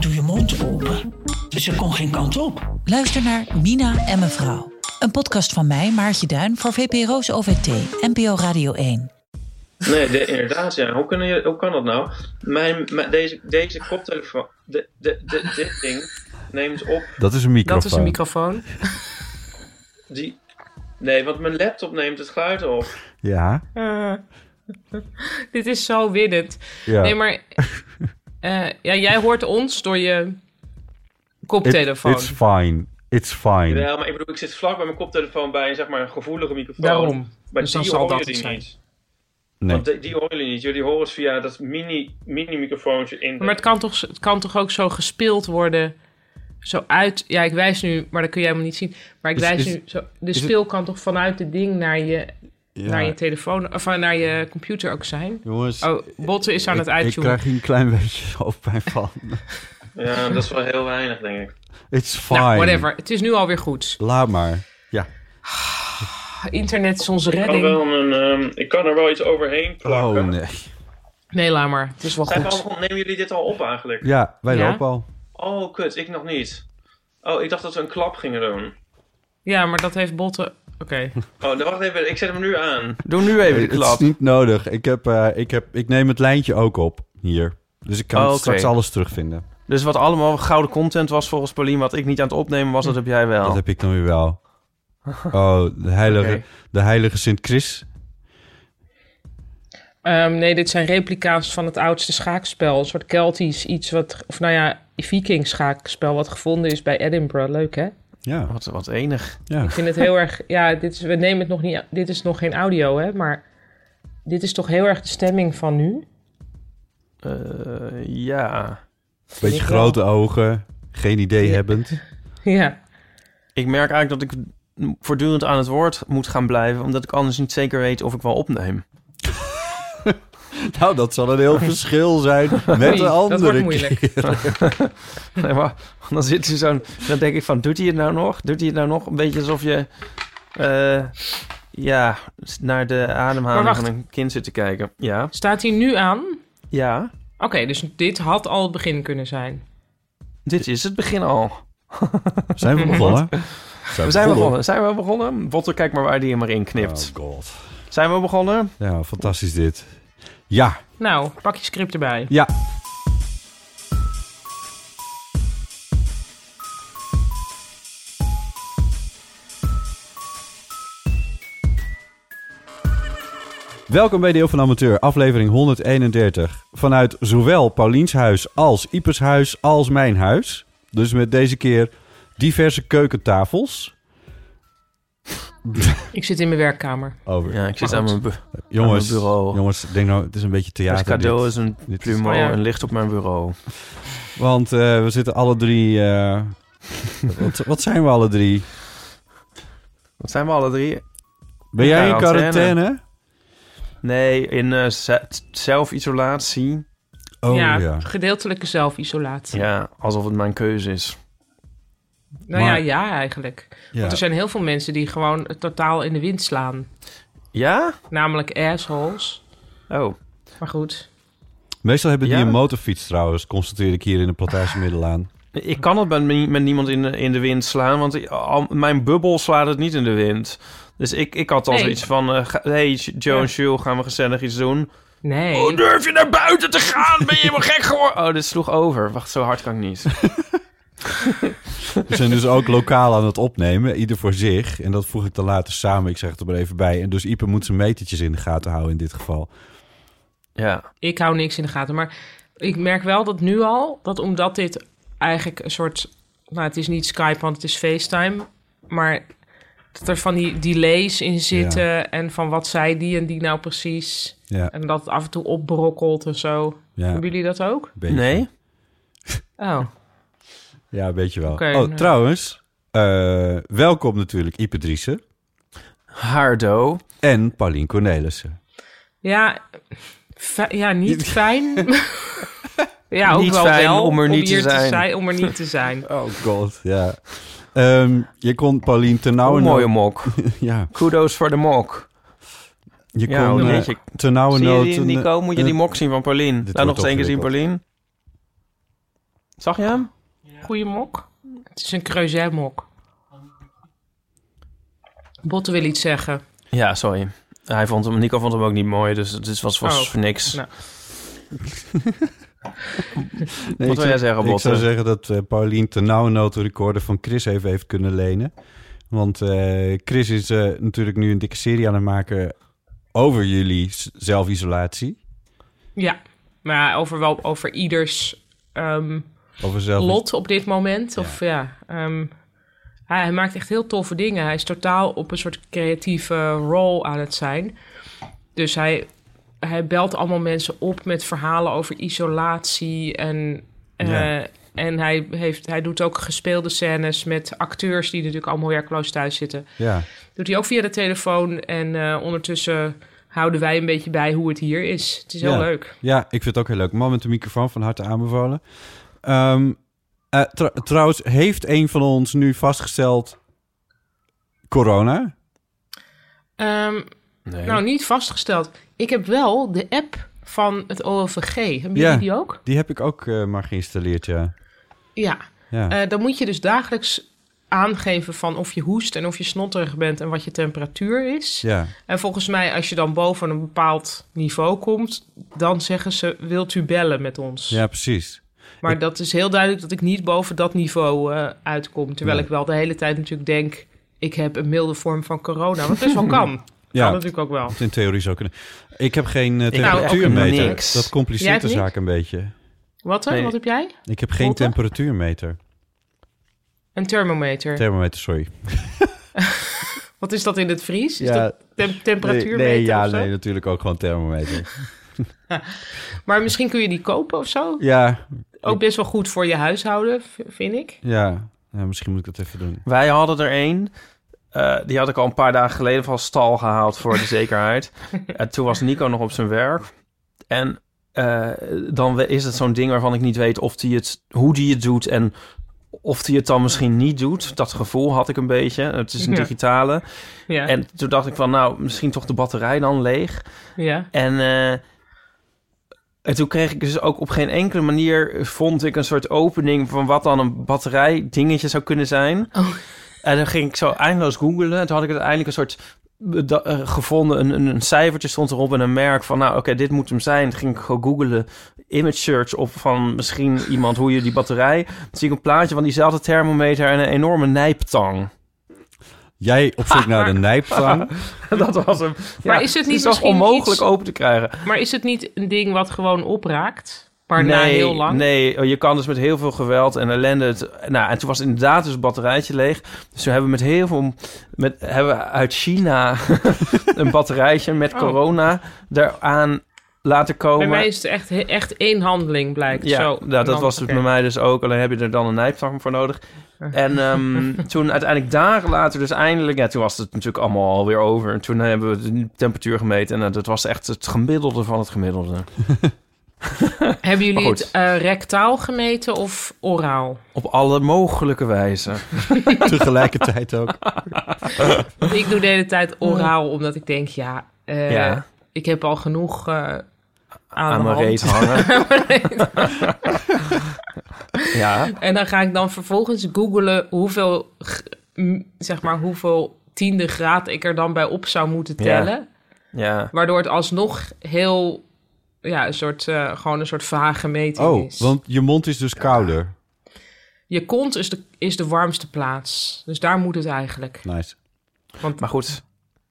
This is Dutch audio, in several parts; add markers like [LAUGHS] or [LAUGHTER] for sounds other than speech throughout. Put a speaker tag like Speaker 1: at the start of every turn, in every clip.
Speaker 1: doe je mond open. Ze kon geen kant op.
Speaker 2: Luister naar Mina en mevrouw. Een podcast van mij, Maartje Duin, voor VPRO's OVT, NPO Radio 1.
Speaker 3: Nee, de- inderdaad, ja. Hoe, kunnen je, hoe kan dat nou? Mijn, mijn- deze, deze koptelefoon, de, de, de, dit ding, neemt op
Speaker 4: Dat is een microfoon.
Speaker 5: Dat is een microfoon.
Speaker 3: die... Nee, want mijn laptop neemt het geluid op.
Speaker 4: Ja.
Speaker 5: Eh, [LAUGHS] dit is zo winnend.
Speaker 4: ja. [LAUGHS]
Speaker 5: Nee, maar eh, ja, jij hoort ons door je
Speaker 4: It-
Speaker 5: koptelefoon.
Speaker 4: it's fine. It's fine.
Speaker 3: Ja, maar ik bedoel, ik zit vlak bij mijn koptelefoon bij een, zeg maar, een gevoelige microfoon.
Speaker 5: Daarom.
Speaker 3: Maar
Speaker 5: Dus dan
Speaker 3: die
Speaker 5: zal
Speaker 3: horen
Speaker 5: dat
Speaker 3: jullie
Speaker 5: het zijn.
Speaker 3: niet.
Speaker 4: Nee.
Speaker 3: Want die, die horen jullie niet. Jullie horen het via dat mini, mini microfoontje in. de-
Speaker 5: Maar het kan, toch, het kan toch ook zo gespeeld worden? Zo uit. Ja, ik wijs nu, maar dat kun jij helemaal niet zien. Maar ik
Speaker 4: Is-
Speaker 5: wijs
Speaker 4: is-
Speaker 5: nu. Zo, de
Speaker 4: is het-
Speaker 5: speel kan toch vanuit het ding naar je,
Speaker 4: Ja.
Speaker 5: naar je telefoon. Of naar je computer ook zijn?
Speaker 4: Jongens,
Speaker 5: Oh, Botten is aan
Speaker 4: ik,
Speaker 5: het uitzoomen.
Speaker 4: ik krijg hier een klein beetje [LAUGHS] hoofdpijn van.
Speaker 3: Ja, dat is wel heel weinig, denk ik.
Speaker 4: It's fine.
Speaker 5: Nou, whatever. Het is nu alweer goed.
Speaker 4: Laat maar.
Speaker 5: Internet is onze
Speaker 3: Ik kan,
Speaker 5: redding.
Speaker 3: wel een, ehm, ik kan er wel iets overheen plakken.
Speaker 4: Oh nee.
Speaker 5: Nee, laat maar. Het is wel
Speaker 3: Zijn we
Speaker 5: goed.
Speaker 3: al- nemen jullie dit al op eigenlijk?
Speaker 4: Ja, wij
Speaker 5: Ja?
Speaker 4: lopen al.
Speaker 3: Oh, kut, ik nog niet. Oh, ik dacht dat we een klap gingen doen.
Speaker 5: Ja, maar dat heeft Botten. Oké.
Speaker 3: Oh, dan wacht even, ik zet hem nu aan.
Speaker 4: Doe nu even de klap. Het is niet nodig. Ik, heb, eh, ik, heb, ik neem het lijntje ook op hier. Dus ik kan
Speaker 6: Oh, oké.
Speaker 4: straks alles terugvinden.
Speaker 6: Dus wat allemaal gouden content was volgens Paulien, wat ik niet aan het opnemen was, dat heb jij wel.
Speaker 4: Dat heb ik dan weer wel. Oh, de heilige,
Speaker 6: Oké.
Speaker 4: de heilige Sint-Chris.
Speaker 5: Ehm, nee, dit zijn replica's van het oudste schaakspel. Een soort Keltisch iets wat... Of nou ja, Viking schaakspel wat gevonden is bij Edinburgh. Leuk, hè?
Speaker 4: Ja,
Speaker 6: Wat, wat enig.
Speaker 4: ja.
Speaker 5: Ik vind het heel erg... Ja, dit is, we nemen het nog niet... Dit is nog geen audio, hè? Maar dit is toch heel erg de stemming van nu?
Speaker 6: Eh, ja.
Speaker 4: Beetje
Speaker 5: ik
Speaker 4: grote ogen. Geen idee hebbend.
Speaker 5: ja.
Speaker 6: Ik merk eigenlijk dat ik voortdurend aan het woord moet gaan blijven, omdat ik anders niet zeker weet of ik wel opneem. [LAUGHS]
Speaker 4: [LAUGHS] Nou, dat zal een heel verschil zijn
Speaker 5: Oei,
Speaker 4: met de
Speaker 5: dat wordt
Speaker 4: andere
Speaker 5: moeilijk.
Speaker 6: Nee, maar dan zit ze zo'n... Dan denk ik van, doet hij het nou nog? Doet hij het nou nog? Een beetje alsof je... eh, ja, naar de
Speaker 5: Maar
Speaker 6: ademhaling
Speaker 5: wacht.
Speaker 6: van een kind zit te kijken. Ja,
Speaker 5: Staat hij nu aan?
Speaker 6: ja.
Speaker 5: Oké, dus dit had al het begin kunnen zijn.
Speaker 6: Dit is het begin al.
Speaker 4: Zijn we begonnen?
Speaker 6: We zijn begonnen. Zijn we begonnen? Botter, kijk maar waar die hem maar in knipt.
Speaker 4: Oh god.
Speaker 6: Zijn we begonnen?
Speaker 4: Ja, fantastisch dit. Ja,
Speaker 5: Nou, pak je script erbij.
Speaker 4: ja. Welkom bij Deel van Amateur, aflevering 131. Vanuit zowel Pauliens huis als Ipers huis als mijn huis. Dus met deze keer diverse keukentafels.
Speaker 5: Ik zit in mijn werkkamer.
Speaker 4: Over. Oh,
Speaker 6: Ja, ik zit
Speaker 5: Maar
Speaker 6: aan
Speaker 5: goed.
Speaker 6: mijn, bu-
Speaker 4: jongens,
Speaker 6: aan mijn bureau.
Speaker 4: jongens, denk nou, het is een beetje theater.
Speaker 6: Als Dus cadeau
Speaker 4: dit.
Speaker 6: is een
Speaker 4: Dit is-
Speaker 6: plumeau
Speaker 5: Oh ja.
Speaker 6: en ligt op mijn bureau.
Speaker 4: Want eh, we zitten alle drie.
Speaker 6: [LAUGHS]
Speaker 4: eh, wat, wat zijn we alle drie?
Speaker 6: Wat zijn we alle drie?
Speaker 4: Ben jij in
Speaker 6: Quarantaine.
Speaker 4: quarantaine?
Speaker 6: Nee, in eh, ze- zelfisolatie.
Speaker 4: Oh ja.
Speaker 5: gedeeltelijke zelfisolatie.
Speaker 6: Ja, alsof het mijn keuze is.
Speaker 5: Nou
Speaker 4: Maar-
Speaker 5: ja, ja, eigenlijk.
Speaker 4: Ja.
Speaker 5: Want er zijn heel veel mensen die gewoon het totaal in de wind slaan.
Speaker 6: Ja?
Speaker 5: Namelijk assholes.
Speaker 6: Oh,
Speaker 5: Maar goed.
Speaker 4: Meestal hebben die
Speaker 6: Ja.
Speaker 4: een motorfiets trouwens, constateer ik hier in de plantage Middelaan.
Speaker 6: ik kan het met, nie- met niemand in de, in de wind slaan, want i- al- mijn bubbel slaat het niet in de wind. Dus ik, ik had al
Speaker 5: Nee.
Speaker 6: zoiets van, eh, ga- hey Joe en
Speaker 5: Ja.
Speaker 6: Jules, gaan we gezellig iets doen?
Speaker 5: Nee.
Speaker 6: Hoe durf je naar buiten te gaan? Ben je helemaal gek geworden? Oh, dit sloeg over. Wacht, zo hard kan ik niet.
Speaker 4: We zijn dus ook lokaal aan het opnemen, ieder voor zich. En dat voeg ik dan later samen, ik zeg het er maar even bij. En dus Ieper moet zijn metertjes in de gaten houden in dit geval.
Speaker 6: Ja,
Speaker 5: Ik hou niks in de gaten. Maar ik merk wel dat nu al, dat omdat dit eigenlijk een soort... Nou, het is niet Skype, want het is FaceTime. Maar dat er van die delays in zitten en van wat zei die en die nou precies.
Speaker 4: Ja,
Speaker 5: En dat het af en toe opbrokkelt en zo.
Speaker 4: ja.
Speaker 5: Hebben jullie dat ook?
Speaker 4: beetje.
Speaker 6: nee?
Speaker 5: Oh.
Speaker 4: Ja, weet je wel.
Speaker 5: Oké,
Speaker 4: oh,
Speaker 5: nou.
Speaker 4: trouwens, eh, welkom natuurlijk Ipe Driessen
Speaker 6: Hardo.
Speaker 4: en Paulien Cornelissen.
Speaker 5: Ja, fi- ja
Speaker 6: [LAUGHS]
Speaker 5: niet fijn. ja, ook
Speaker 6: Niet
Speaker 5: wel
Speaker 6: fijn
Speaker 5: wel.
Speaker 6: om er niet te
Speaker 5: hier
Speaker 6: zijn.
Speaker 5: Om er
Speaker 6: [LAUGHS]
Speaker 5: niet te zijn.
Speaker 4: Oh god, [LAUGHS] ja. Ehm, je kon Paulien
Speaker 6: Hoe
Speaker 4: ternauwernood...
Speaker 6: mooie mok.
Speaker 4: [LAUGHS] Ja,
Speaker 6: Kudos voor de mok.
Speaker 4: je
Speaker 6: Ja,
Speaker 4: kon
Speaker 6: een
Speaker 4: eh,
Speaker 6: beetje- Zie je
Speaker 4: ternauwernood...
Speaker 6: die,
Speaker 4: een-
Speaker 6: Nico? Moet je die
Speaker 4: een-
Speaker 6: mok zien van Paulien?
Speaker 4: eh, Dit
Speaker 6: Laat nog
Speaker 4: wordt
Speaker 6: eens één keer zien,
Speaker 4: ingewikkeld.
Speaker 6: Paulien. Zag je hem?
Speaker 5: Goeie mok. Het is een creuset mok. Botten wil iets zeggen.
Speaker 6: Ja, sorry. Hij vond hem, Nico vond hem ook niet mooi, dus het is- was, was
Speaker 5: Oh.
Speaker 6: voor niks.
Speaker 5: Nou.
Speaker 4: Nee,
Speaker 6: Wat wil
Speaker 4: ik
Speaker 6: jij
Speaker 4: zou-
Speaker 6: zeggen,
Speaker 4: Ik zou
Speaker 6: Botte?
Speaker 4: zeggen dat eh Paulien ternauwernood de recorder van Chris even heeft kunnen lenen. Want eh, Chris is eh, natuurlijk nu een dikke serie aan het maken over jullie s- zelfisolatie.
Speaker 5: Ja, maar ja, over, wel, over ieders ehm,
Speaker 4: Over zelf...
Speaker 5: lot op dit moment. Of ja, ehm, hij, hij maakt echt heel toffe dingen. Hij is totaal op een soort creatieve rol aan het zijn. Dus hij, hij belt allemaal mensen op met verhalen over isolatie. En, eh,
Speaker 4: Ja.
Speaker 5: en hij, heeft, hij doet ook gespeelde scènes met acteurs die natuurlijk allemaal werkloos thuis zitten.
Speaker 4: Ja,
Speaker 5: Doet hij ook via de telefoon. En eh, ondertussen houden wij een beetje bij hoe het hier is. Het is heel
Speaker 4: Ja.
Speaker 5: leuk.
Speaker 4: ja, ik vind het ook heel leuk. Man met de microfoon van harte aanbevolen. Ehm, eh, tr- trouwens, heeft een van ons nu vastgesteld corona?
Speaker 5: Ehm,
Speaker 6: Nee.
Speaker 5: Nou, niet vastgesteld. Ik heb wel de app van het OLVG. Hebben
Speaker 4: Ja.
Speaker 5: jullie die ook?
Speaker 4: Die heb ik ook eh, maar geïnstalleerd, ja.
Speaker 5: Ja.
Speaker 4: ja.
Speaker 5: Eh, dan moet je dus dagelijks aangeven van of je hoest en of je snotterig bent en wat je temperatuur is.
Speaker 4: ja.
Speaker 5: En volgens mij, als je dan boven een bepaald niveau komt, dan zeggen ze: wilt u bellen met ons?
Speaker 4: ja, precies.
Speaker 5: Maar dat is heel duidelijk dat ik niet boven dat niveau eh, uitkom. Terwijl
Speaker 4: Nee.
Speaker 5: ik wel de hele tijd natuurlijk denk: ik heb een milde vorm van corona. Wat best wel kan.
Speaker 4: [LAUGHS] Ja.
Speaker 5: Kan natuurlijk ook wel.
Speaker 4: Het in theorie zou kunnen. Ik heb geen eh,
Speaker 6: heb
Speaker 4: temperatuurmeter.
Speaker 6: ook niks.
Speaker 4: dat
Speaker 5: Jij
Speaker 4: compliceert
Speaker 5: hebt
Speaker 4: de zaak een beetje.
Speaker 5: Wat er?
Speaker 6: Nee.
Speaker 5: Wat heb jij?
Speaker 4: Ik heb geen
Speaker 5: Botte?
Speaker 4: temperatuurmeter.
Speaker 5: Een thermometer.
Speaker 4: Thermometer, sorry.
Speaker 5: Wat is dat in het Fries? Is
Speaker 4: Ja,
Speaker 5: dat tem- temperatuurmeter
Speaker 4: nee, nee, ja,
Speaker 5: of zo?
Speaker 4: nee, natuurlijk ook gewoon thermometer.
Speaker 5: Maar misschien kun je die kopen of zo.
Speaker 4: [LAUGHS] ja,
Speaker 5: Ook best wel goed voor je huishouden, v- vind ik.
Speaker 4: ja, ja, misschien moet ik dat even doen.
Speaker 6: Wij hadden er één. Eh, die had ik al een paar dagen geleden van stal gehaald voor de zekerheid. en toen was Nico nog op zijn werk. En eh, dan we- is het zo'n ding waarvan ik niet weet of die het, hoe die het doet en of die het dan misschien niet doet. Dat gevoel had ik een beetje. Het is een
Speaker 5: Ja.
Speaker 6: digitale.
Speaker 5: Ja,
Speaker 6: En toen dacht ik van, nou, misschien toch de batterij dan leeg.
Speaker 5: ja.
Speaker 6: En, eh, en toen kreeg ik dus ook op geen enkele manier... eh, vond ik een soort opening van wat dan een batterij dingetje zou kunnen zijn.
Speaker 5: Oh.
Speaker 6: En dan ging ik zo eindeloos googelen. En toen had ik uiteindelijk een soort eh, da- eh, gevonden. Een, een, een cijfertje stond erop en een merk van... nou, oké, dit moet hem zijn. Toen ging ik gewoon googelen. Image search op van misschien iemand hoe je die batterij... Toen zie ik een plaatje van diezelfde thermometer... en een enorme nijptang. [LAUGHS]
Speaker 4: Jij op
Speaker 5: [LAUGHS]
Speaker 4: zoek naar de nijptang.
Speaker 6: Dat was hem.
Speaker 5: Maar is het niet
Speaker 6: toch
Speaker 5: misschien
Speaker 6: onmogelijk
Speaker 5: iets-
Speaker 6: open te krijgen?
Speaker 5: Maar is het niet een ding wat gewoon opraakt? Maar na heel lang?
Speaker 6: Nee, je kan dus met heel veel geweld en ellende. Het, nou, en toen was inderdaad dus het batterijtje leeg. Dus toen hebben we met heel veel. Met, hebben we uit China [LAUGHS] een batterijtje met
Speaker 5: Oh.
Speaker 6: corona eraan laten
Speaker 5: Bij
Speaker 6: komen.
Speaker 5: mij is het echt, he- echt één handeling, blijkt.
Speaker 6: ja,
Speaker 5: zo,
Speaker 6: nou,
Speaker 5: En
Speaker 6: dat
Speaker 5: dan-
Speaker 6: was het
Speaker 5: oké. Eh.
Speaker 6: bij mij dus ook. Alleen heb je er dan een nijptang voor nodig. En
Speaker 5: [LAUGHS]
Speaker 6: ehm, toen uiteindelijk dagen later dus eindelijk... Ja, toen was het natuurlijk allemaal alweer over. En toen hebben we de temperatuur gemeten. En eh, dat was echt het gemiddelde van het gemiddelde.
Speaker 5: Hebben jullie
Speaker 6: Maar goed.
Speaker 5: het eh, rectaal gemeten of oraal?
Speaker 6: Op alle mogelijke wijzen.
Speaker 4: Tegelijkertijd ook.
Speaker 5: Want ik doe de hele tijd oraal, omdat ik denk, ja, eh,
Speaker 6: Ja.
Speaker 5: ik heb al genoeg eh, aan,
Speaker 6: aan
Speaker 5: de
Speaker 6: mijn
Speaker 5: hand. [LAUGHS]
Speaker 6: reet hangen. [LAUGHS] ja.
Speaker 5: En dan ga ik dan vervolgens googelen hoeveel, g- m, zeg maar, hoeveel tiende graad ik er dan bij op zou moeten
Speaker 6: Ja.
Speaker 5: tellen.
Speaker 6: Ja.
Speaker 5: Waardoor het alsnog heel, ja, een soort, eh, gewoon een soort vage meting
Speaker 4: Oh,
Speaker 5: is.
Speaker 4: want je mond is dus kouder.
Speaker 5: Je kont is de, is de warmste plaats. Dus daar moet het eigenlijk.
Speaker 4: Nice.
Speaker 5: Want
Speaker 6: Maar goed.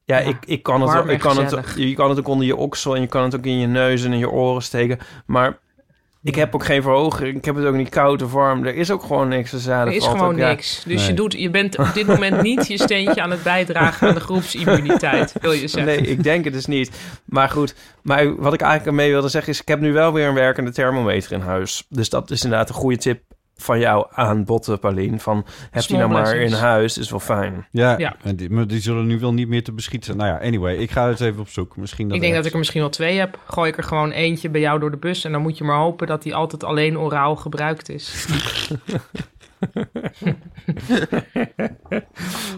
Speaker 6: Ja,
Speaker 5: Ja,
Speaker 6: Ik, ik kan het,
Speaker 5: warm
Speaker 6: ook- ik
Speaker 5: en
Speaker 6: kan het,
Speaker 5: gezellig.
Speaker 6: je kan het ook onder je oksel en je kan het ook in je neus en in je oren steken. Maar ik heb ook geen verhoging. Ik heb het ook niet koud of warm. Er is ook gewoon niks. Dus ja,
Speaker 5: er
Speaker 6: dat
Speaker 5: is
Speaker 6: valt
Speaker 5: gewoon
Speaker 6: ook, ja.
Speaker 5: niks. Dus je,
Speaker 4: Nee.
Speaker 5: doet, je bent op dit moment niet je steentje aan het bijdragen aan de
Speaker 6: [LAUGHS]
Speaker 5: groepsimmuniteit, wil je zeggen.
Speaker 6: Nee, ik denk het dus niet. Maar goed, maar wat ik eigenlijk ermee wilde zeggen is... ik heb nu wel weer een werkende thermometer in huis. Dus dat is inderdaad een goede tip van jou aan botten, Paulien. Van, heb je
Speaker 5: Small
Speaker 6: nou maar in
Speaker 5: blessings.
Speaker 6: huis, is wel fijn.
Speaker 4: Ja,
Speaker 5: Ja.
Speaker 4: En die, maar die zullen nu wel niet meer te beschieten. zijn. Nou ja, anyway, ik ga het even op zoek. Misschien dat
Speaker 5: ik denk
Speaker 4: er-
Speaker 5: dat ik er misschien wel twee heb. Gooi ik er gewoon eentje bij jou door de bus. En dan moet je maar hopen dat die altijd alleen oraal gebruikt is.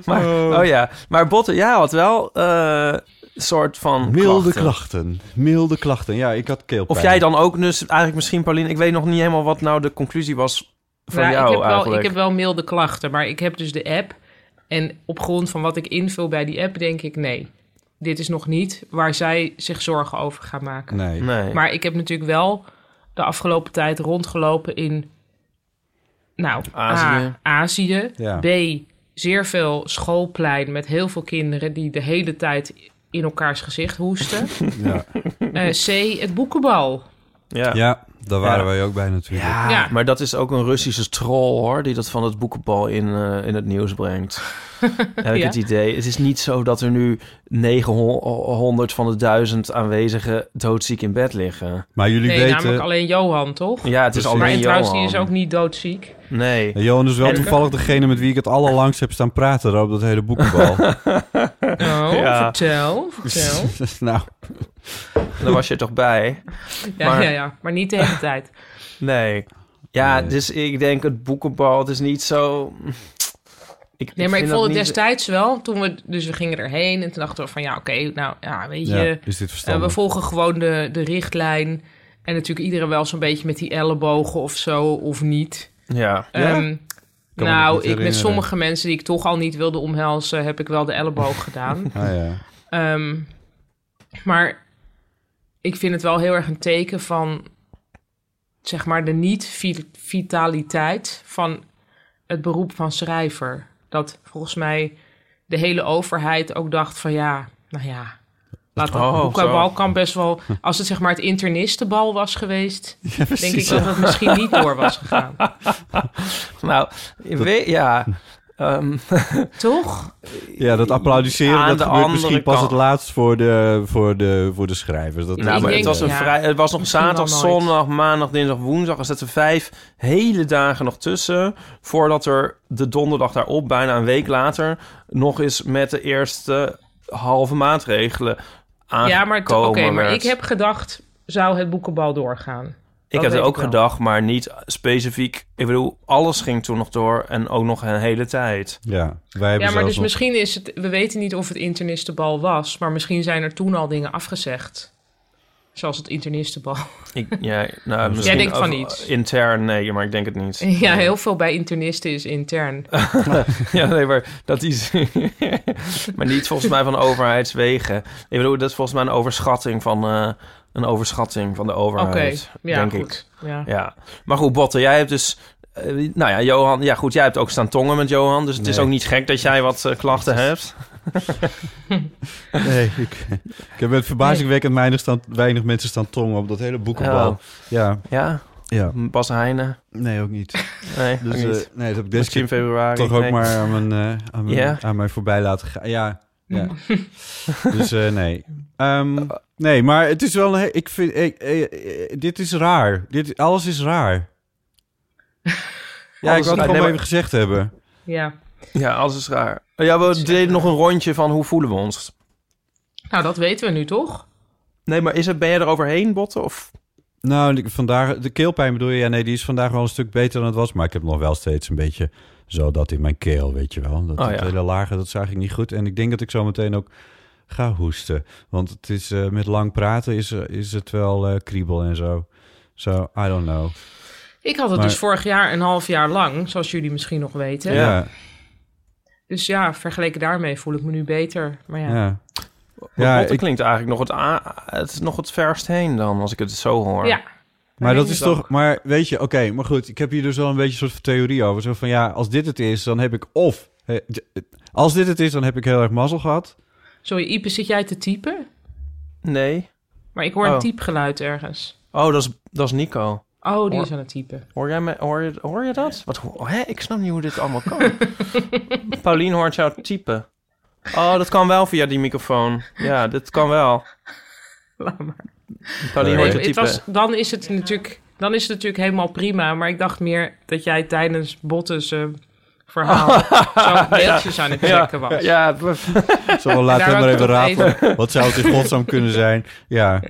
Speaker 6: Maar, oh. ja, maar botten, ja, had wel eh soort van
Speaker 4: Milde
Speaker 6: klachten.
Speaker 4: klachten. Milde klachten. Ja, ik had keelpijn.
Speaker 6: Of jij dan ook dus eigenlijk misschien, Paulien, ik weet nog niet helemaal wat nou de conclusie was van
Speaker 5: Ja,
Speaker 6: jou
Speaker 5: ik, heb wel,
Speaker 6: eigenlijk.
Speaker 5: ik heb wel milde klachten, maar ik heb dus de app. En op grond van wat ik invul bij die app, denk ik nee. Dit is nog niet waar zij zich zorgen over gaat maken.
Speaker 4: Nee.
Speaker 6: [LAUGHS] Nee.
Speaker 5: Maar ik heb natuurlijk wel de afgelopen tijd rondgelopen in. Nou,
Speaker 6: Azië.
Speaker 5: A. Azië.
Speaker 4: Ja.
Speaker 5: B. Zeer veel schoolplein met heel veel kinderen die de hele tijd in elkaars gezicht
Speaker 6: [LAUGHS]
Speaker 5: hoesten.
Speaker 4: Ja.
Speaker 5: Eh, C. Het boekenbal.
Speaker 6: ja. Ja.
Speaker 4: ja, daar waren
Speaker 6: Ja.
Speaker 4: wij ook bij natuurlijk.
Speaker 5: Ja.
Speaker 6: maar dat is ook een Russische troll hoor, die dat van het boekenbal in, eh, in het nieuws
Speaker 5: [LAUGHS]
Speaker 6: brengt. Heb ik
Speaker 5: Ja.
Speaker 6: het idee. Het is niet zo dat er nu 900 van de 1000 aanwezigen doodziek in bed liggen.
Speaker 4: Maar jullie
Speaker 5: Nee,
Speaker 4: weten...
Speaker 5: namelijk alleen Johan, toch?
Speaker 6: Ja, het is
Speaker 4: Precies.
Speaker 6: alleen
Speaker 5: maar en trouwens, die
Speaker 6: Johan.
Speaker 5: is ook niet doodziek.
Speaker 6: Nee.
Speaker 4: En Johan is wel
Speaker 5: En-
Speaker 4: toevallig degene met wie ik het allerlangst heb staan praten daar op dat hele
Speaker 6: [LAUGHS]
Speaker 4: boekenbal.
Speaker 5: Oh,
Speaker 6: Ja.
Speaker 5: vertel,
Speaker 6: [LAUGHS]
Speaker 5: vertel.
Speaker 4: [LAUGHS] nou,
Speaker 6: Daar was je toch bij?
Speaker 5: Ja,
Speaker 6: Maar-
Speaker 5: ja, ja, maar niet de hele
Speaker 6: [LAUGHS]
Speaker 5: tijd.
Speaker 6: Nee. Ja,
Speaker 4: Nee.
Speaker 6: dus ik denk het boekenbal, het is niet zo... Ik,
Speaker 5: Nee, maar ik
Speaker 6: vind
Speaker 5: vond
Speaker 6: dat
Speaker 5: het
Speaker 6: niet-
Speaker 5: destijds wel. Toen we, dus we gingen erheen en toen dachten we van ja, oké, nou ja, weet je.
Speaker 4: ja, is dit
Speaker 5: Eh, we
Speaker 4: verstandig?
Speaker 5: volgen gewoon de, de richtlijn. En natuurlijk iedereen wel zo'n beetje met die ellebogen of zo, of niet.
Speaker 6: Ja.
Speaker 4: Ja?
Speaker 5: Ehm,
Speaker 4: me dat
Speaker 5: nou,
Speaker 4: niet
Speaker 5: ik, met
Speaker 4: herinneren.
Speaker 5: sommige mensen die ik toch al niet wilde omhelzen, heb ik wel de
Speaker 6: [LAUGHS]
Speaker 5: elleboog gedaan.
Speaker 4: ah, [LAUGHS] ja.
Speaker 5: Ehm, maar ik vind het wel heel erg een teken van, zeg maar, de niet-vitaliteit van het beroep van schrijver. Dat volgens mij de hele overheid ook dacht van ja, nou ja. Laat dat
Speaker 6: Oh,
Speaker 5: boekenbal
Speaker 6: zo.
Speaker 5: kan best wel... Als het zeg maar het internistenbal was
Speaker 6: [LAUGHS]
Speaker 5: geweest... denk ik
Speaker 4: precies,
Speaker 5: dat het misschien niet door was gegaan.
Speaker 6: Nou, je weet, ja. Ehm,
Speaker 5: Toch?
Speaker 4: Ja, dat applaudisseren,
Speaker 6: Aan
Speaker 4: dat
Speaker 6: de
Speaker 4: gebeurt
Speaker 6: andere
Speaker 4: misschien pas
Speaker 6: kant.
Speaker 4: het laatst voor de, voor de, voor de schrijvers. Dat
Speaker 6: nou,
Speaker 5: ik
Speaker 6: maar
Speaker 5: denk-
Speaker 6: het was, een
Speaker 5: ja.
Speaker 6: vrij, het was nog
Speaker 5: Misschien wel
Speaker 6: zaterdag,
Speaker 5: nooit.
Speaker 6: zondag, maandag, dinsdag, woensdag. Er zaten vijf hele dagen nog tussen. Voordat er de donderdag daarop, bijna een week later, nog eens met de eerste halve maatregelen aangekomen
Speaker 5: Ja, maar, t- oké, maar
Speaker 6: werd.
Speaker 5: ik heb gedacht... zou het boekenbal doorgaan?
Speaker 6: Ik heb
Speaker 5: dat
Speaker 6: het
Speaker 5: weet
Speaker 6: ook
Speaker 5: ik wel.
Speaker 6: gedacht, maar niet specifiek. Ik bedoel, alles ging toen nog door en ook nog een hele tijd.
Speaker 4: Ja, wij hebben
Speaker 5: Ja, maar
Speaker 4: zelfs
Speaker 5: dus
Speaker 4: nog-
Speaker 5: misschien is het... We weten niet of het internistenbal was... maar misschien zijn er toen al dingen afgezegd. Zoals het internistenbal.
Speaker 6: Ik, ja, nou, misschien
Speaker 5: denkt van
Speaker 6: of-
Speaker 5: niet.
Speaker 6: Intern, nee, maar ik denk het niet.
Speaker 5: [LAUGHS] [LAUGHS] Ja, heel veel bij internisten is intern.
Speaker 6: Ja, nee, maar dat is... [LAUGHS] maar niet volgens mij van overheidswegen. Ik bedoel, dat is volgens mij een overschatting van, eh, een overschatting van de
Speaker 5: Oké,
Speaker 6: overheid,
Speaker 5: ja,
Speaker 6: denk ik.
Speaker 5: goed. Ja.
Speaker 6: Ja. Maar goed, Botte, jij hebt dus... eh, nou ja, Johan, ja goed, jij hebt ook staan tongen met Johan, dus het is
Speaker 4: Nee.
Speaker 6: ook niet gek dat jij wat eh, klachten hebt.
Speaker 4: [LAUGHS] Nee, ik, ik heb met verbazingwekkend weinig, staan, weinig mensen staan tongen op dat hele boekenbal.
Speaker 6: Oh.
Speaker 4: Ja,
Speaker 6: Ja,
Speaker 4: ja.
Speaker 6: Bas Heijnen.
Speaker 4: Nee, ook niet.
Speaker 6: Nee,
Speaker 4: Dus,
Speaker 6: ook niet.
Speaker 4: eh, nee, dat heb ik deze
Speaker 6: Misschien
Speaker 4: keer
Speaker 6: februari.
Speaker 4: toch ook
Speaker 6: nee.
Speaker 4: maar aan, mijn, eh, aan, mijn,
Speaker 6: Ja.
Speaker 4: aan mij voorbij laten gaan. Ja,
Speaker 6: [LAUGHS]
Speaker 4: ja. dus eh, nee. Ehm, nee, maar het is wel... een he- Ik vind, ik- eh, eh, dit is raar. Dit, alles is raar. Ja, ik
Speaker 6: Alles
Speaker 4: wou het
Speaker 6: raar.
Speaker 4: gewoon
Speaker 6: Nee, maar-
Speaker 4: even gezegd hebben.
Speaker 5: ja.
Speaker 6: Ja, alles is raar. Oh, Ja, we deden nog een rondje van hoe voelen we ons.
Speaker 5: Nou, dat weten we nu toch?
Speaker 6: Nee, maar is het, ben je er overheen, Botte? Of?
Speaker 4: Nou, de- vandaag, de keelpijn bedoel je? Ja, nee, die is vandaag wel een stuk beter dan het was. Maar ik heb nog wel steeds een beetje zo dat in mijn keel, weet je wel. Dat
Speaker 6: Oh,
Speaker 4: dat
Speaker 6: ja.
Speaker 4: hele lage, dat zag ik niet goed. En ik denk dat ik zo meteen ook ga hoesten. Want het is, eh, met lang praten is, eh, is het wel eh, kriebel en zo. Zo, I don't know.
Speaker 5: Ik had het
Speaker 4: Maar-
Speaker 5: dus vorig jaar een half jaar lang, zoals jullie misschien nog weten.
Speaker 4: Ja,
Speaker 5: Dus ja, vergeleken daarmee voel ik me nu beter. Maar ja,
Speaker 4: ja. Ja,
Speaker 6: Ja, Botte
Speaker 4: ik-
Speaker 6: klinkt eigenlijk nog het, a- het is nog het verst heen dan, als ik het zo hoor.
Speaker 5: ja.
Speaker 4: Maar dat
Speaker 5: denk
Speaker 4: is
Speaker 5: ik ook.
Speaker 4: toch, maar weet je, oké, maar goed, ik heb hier dus wel een beetje een soort van theorie over. Zo van ja, als dit het is, dan heb ik of. eh, Als dit het is, dan heb ik heel erg mazzel gehad.
Speaker 5: Sorry, Ipe, zit jij te typen?
Speaker 6: Nee?
Speaker 5: Maar ik hoor
Speaker 6: Oh.
Speaker 5: een typgeluid ergens.
Speaker 6: Oh, dat is, dat is Nico.
Speaker 5: Oh, die
Speaker 6: Hoor-
Speaker 5: is aan het typen.
Speaker 6: Hoor, jij me, hoor, je, hoor je dat? Wat, ho- hè? Ik snap niet hoe dit allemaal
Speaker 5: [LAUGHS]
Speaker 6: kan. Paulien hoort jou typen. Oh, dat kan wel via die microfoon. Ja, dat kan wel.
Speaker 5: Laat maar.
Speaker 6: Paulien
Speaker 4: Nee,
Speaker 6: hoort je
Speaker 5: Het
Speaker 6: typen.
Speaker 5: was, dan is het natuurlijk... Dan is het natuurlijk helemaal prima. Maar ik dacht meer dat jij tijdens Bottes eh,
Speaker 6: [LAUGHS]
Speaker 5: verhaal zo mailtjes aan het checken was.
Speaker 6: Ja,
Speaker 4: Zo, laat
Speaker 5: Daar
Speaker 4: hem maar
Speaker 5: wou ik
Speaker 4: even
Speaker 5: het op
Speaker 4: rapen. Wat zou het in godsnaam kunnen zijn? Ja.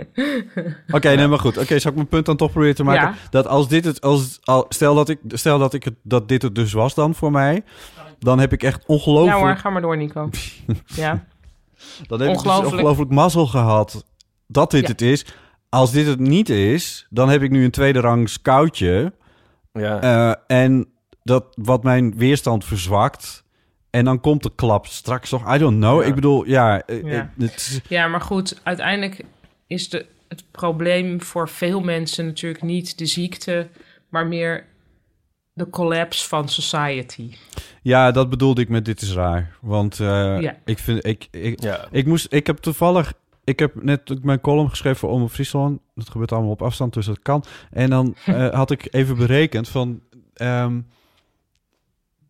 Speaker 4: Oké, nee, maar goed. Oké, zal ik mijn punt dan toch proberen te maken?
Speaker 5: Ja.
Speaker 4: Dat als dit het... Als, al, stel dat, ik, stel dat, ik het, dat dit het dus was dan voor mij... Dan heb ik echt
Speaker 5: Ja hoor,
Speaker 4: ongelooflijk...
Speaker 5: ga maar
Speaker 6: [LAUGHS]
Speaker 5: door Nico. ja.
Speaker 4: dan heb ik dus
Speaker 5: ongelooflijk-
Speaker 4: ongelooflijk mazzel gehad dat dit
Speaker 5: Ja.
Speaker 4: het is. Als dit het niet is, dan heb ik nu een tweede rangs koudje.
Speaker 6: ja.
Speaker 4: Eh, en dat wat mijn weerstand verzwakt. En dan komt de klap straks nog. I don't know.
Speaker 6: Ja.
Speaker 4: Ik bedoel, ja. eh,
Speaker 5: Ja.
Speaker 4: eh, het is-
Speaker 5: ja, maar goed, uiteindelijk is de, het probleem voor veel mensen natuurlijk niet de ziekte, maar meer de collapse van society.
Speaker 4: ja, dat bedoelde ik met dit is raar. Want eh,
Speaker 5: Ja.
Speaker 4: ik vind, ik, ik,
Speaker 6: ja.
Speaker 4: ik moest, ik heb toevallig, ik heb net mijn column geschreven voor Omroep Friesland. Dat gebeurt allemaal op afstand, dus dat kan. En dan eh, had ik even berekend van, ehm,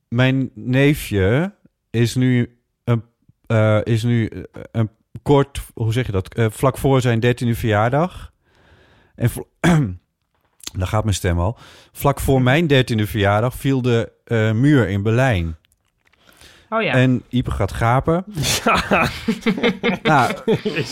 Speaker 4: mijn neefje is nu een, eh, is nu eh, een kort, hoe zeg je dat, Eh, vlak voor zijn dertiende verjaardag. En vl- [CLEARS THROAT] daar gaat mijn stem al. Vlak voor mijn dertiende verjaardag viel de eh, muur in Berlijn.
Speaker 5: Oh ja.
Speaker 4: En Ipe gaat gapen.
Speaker 5: [LAUGHS]
Speaker 4: nou,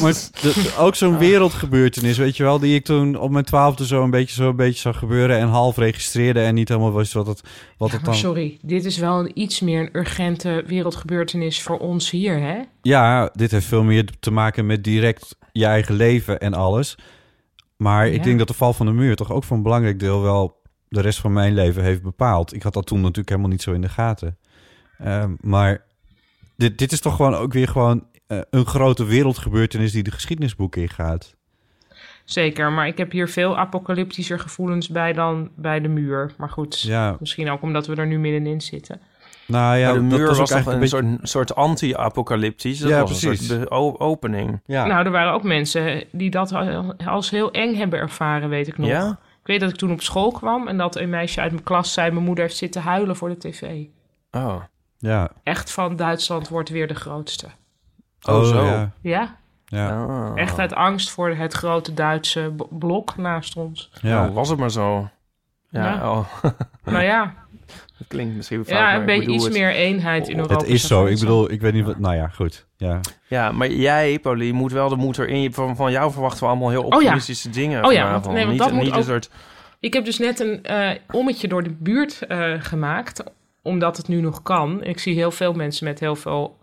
Speaker 4: maar de- ook
Speaker 5: Ah.
Speaker 4: zo'n wereldgebeurtenis, weet je wel, die ik toen op mijn twaalfde zo een beetje, zo een beetje zag gebeuren en half registreerde en niet helemaal wist wat het, wat
Speaker 5: Ja,
Speaker 4: het
Speaker 5: maar
Speaker 4: dan.
Speaker 5: sorry, dit is wel een iets meer een urgente wereldgebeurtenis voor ons hier, hè?
Speaker 4: Ja, dit heeft veel meer te maken met direct je eigen leven en alles. Maar ik
Speaker 5: Ja.
Speaker 4: denk dat de val van de muur toch ook voor een belangrijk deel wel de rest van mijn leven heeft bepaald. Ik had dat toen natuurlijk helemaal niet zo in de gaten. Ehm, maar dit, dit is toch gewoon ook weer gewoon eh, een grote wereldgebeurtenis die de geschiedenisboeken ingaat.
Speaker 5: Zeker, maar ik heb hier veel apocalyptischer gevoelens bij dan bij de muur. Maar goed,
Speaker 4: Ja,
Speaker 5: misschien ook omdat we er nu middenin zitten.
Speaker 4: nou ja,
Speaker 6: Maar de
Speaker 4: dat
Speaker 6: muur
Speaker 4: was,
Speaker 6: was,
Speaker 4: ook
Speaker 6: toch een,
Speaker 4: eigenlijk een beetje...
Speaker 6: soort, soort anti-apocalyptisch. Dat
Speaker 4: Ja,
Speaker 6: was een
Speaker 4: precies.
Speaker 6: soort be- o- opening.
Speaker 4: Ja.
Speaker 5: Nou, er waren ook mensen die dat al- als heel eng hebben ervaren, weet ik nog.
Speaker 6: Ja?
Speaker 5: Ik weet dat ik toen op school kwam en dat een meisje uit mijn klas zei... mijn moeder heeft zitten huilen voor de tv.
Speaker 6: Oh.
Speaker 4: ja.
Speaker 5: Echt van Duitsland wordt weer de grootste.
Speaker 6: Oh, zo.
Speaker 4: Ja,
Speaker 5: Ja,
Speaker 4: ja,
Speaker 6: Ah.
Speaker 5: echt uit angst voor het grote Duitse b- blok naast ons.
Speaker 4: ja.
Speaker 6: Nou, was het maar zo. Ja,
Speaker 5: Ja.
Speaker 6: oh, [LAUGHS]
Speaker 5: Nou ja,
Speaker 6: dat klinkt misschien fout,
Speaker 5: Ja,
Speaker 6: maar
Speaker 5: een
Speaker 6: ik
Speaker 5: beetje
Speaker 6: bedoel
Speaker 5: iets
Speaker 6: het.
Speaker 5: meer eenheid in
Speaker 6: Het
Speaker 5: Europa.
Speaker 4: Het is zo.
Speaker 5: zou
Speaker 4: Ik
Speaker 5: goed
Speaker 4: bedoel, ik weet niet wat... Nou ja, goed. Ja.
Speaker 6: Ja, maar jij, Pauli, moet wel de moeder in je... Van, van jou verwachten we allemaal heel
Speaker 5: Oh ja.
Speaker 6: optimistische dingen
Speaker 5: Oh ja,
Speaker 6: vanavond.
Speaker 5: want- nee, want
Speaker 6: niet
Speaker 5: dat moet
Speaker 6: niet een
Speaker 5: ook-
Speaker 6: soort...
Speaker 5: zijn. Ik heb dus net een eh, ommetje door de buurt eh, gemaakt, omdat het nu nog kan. Ik zie heel veel mensen met heel veel...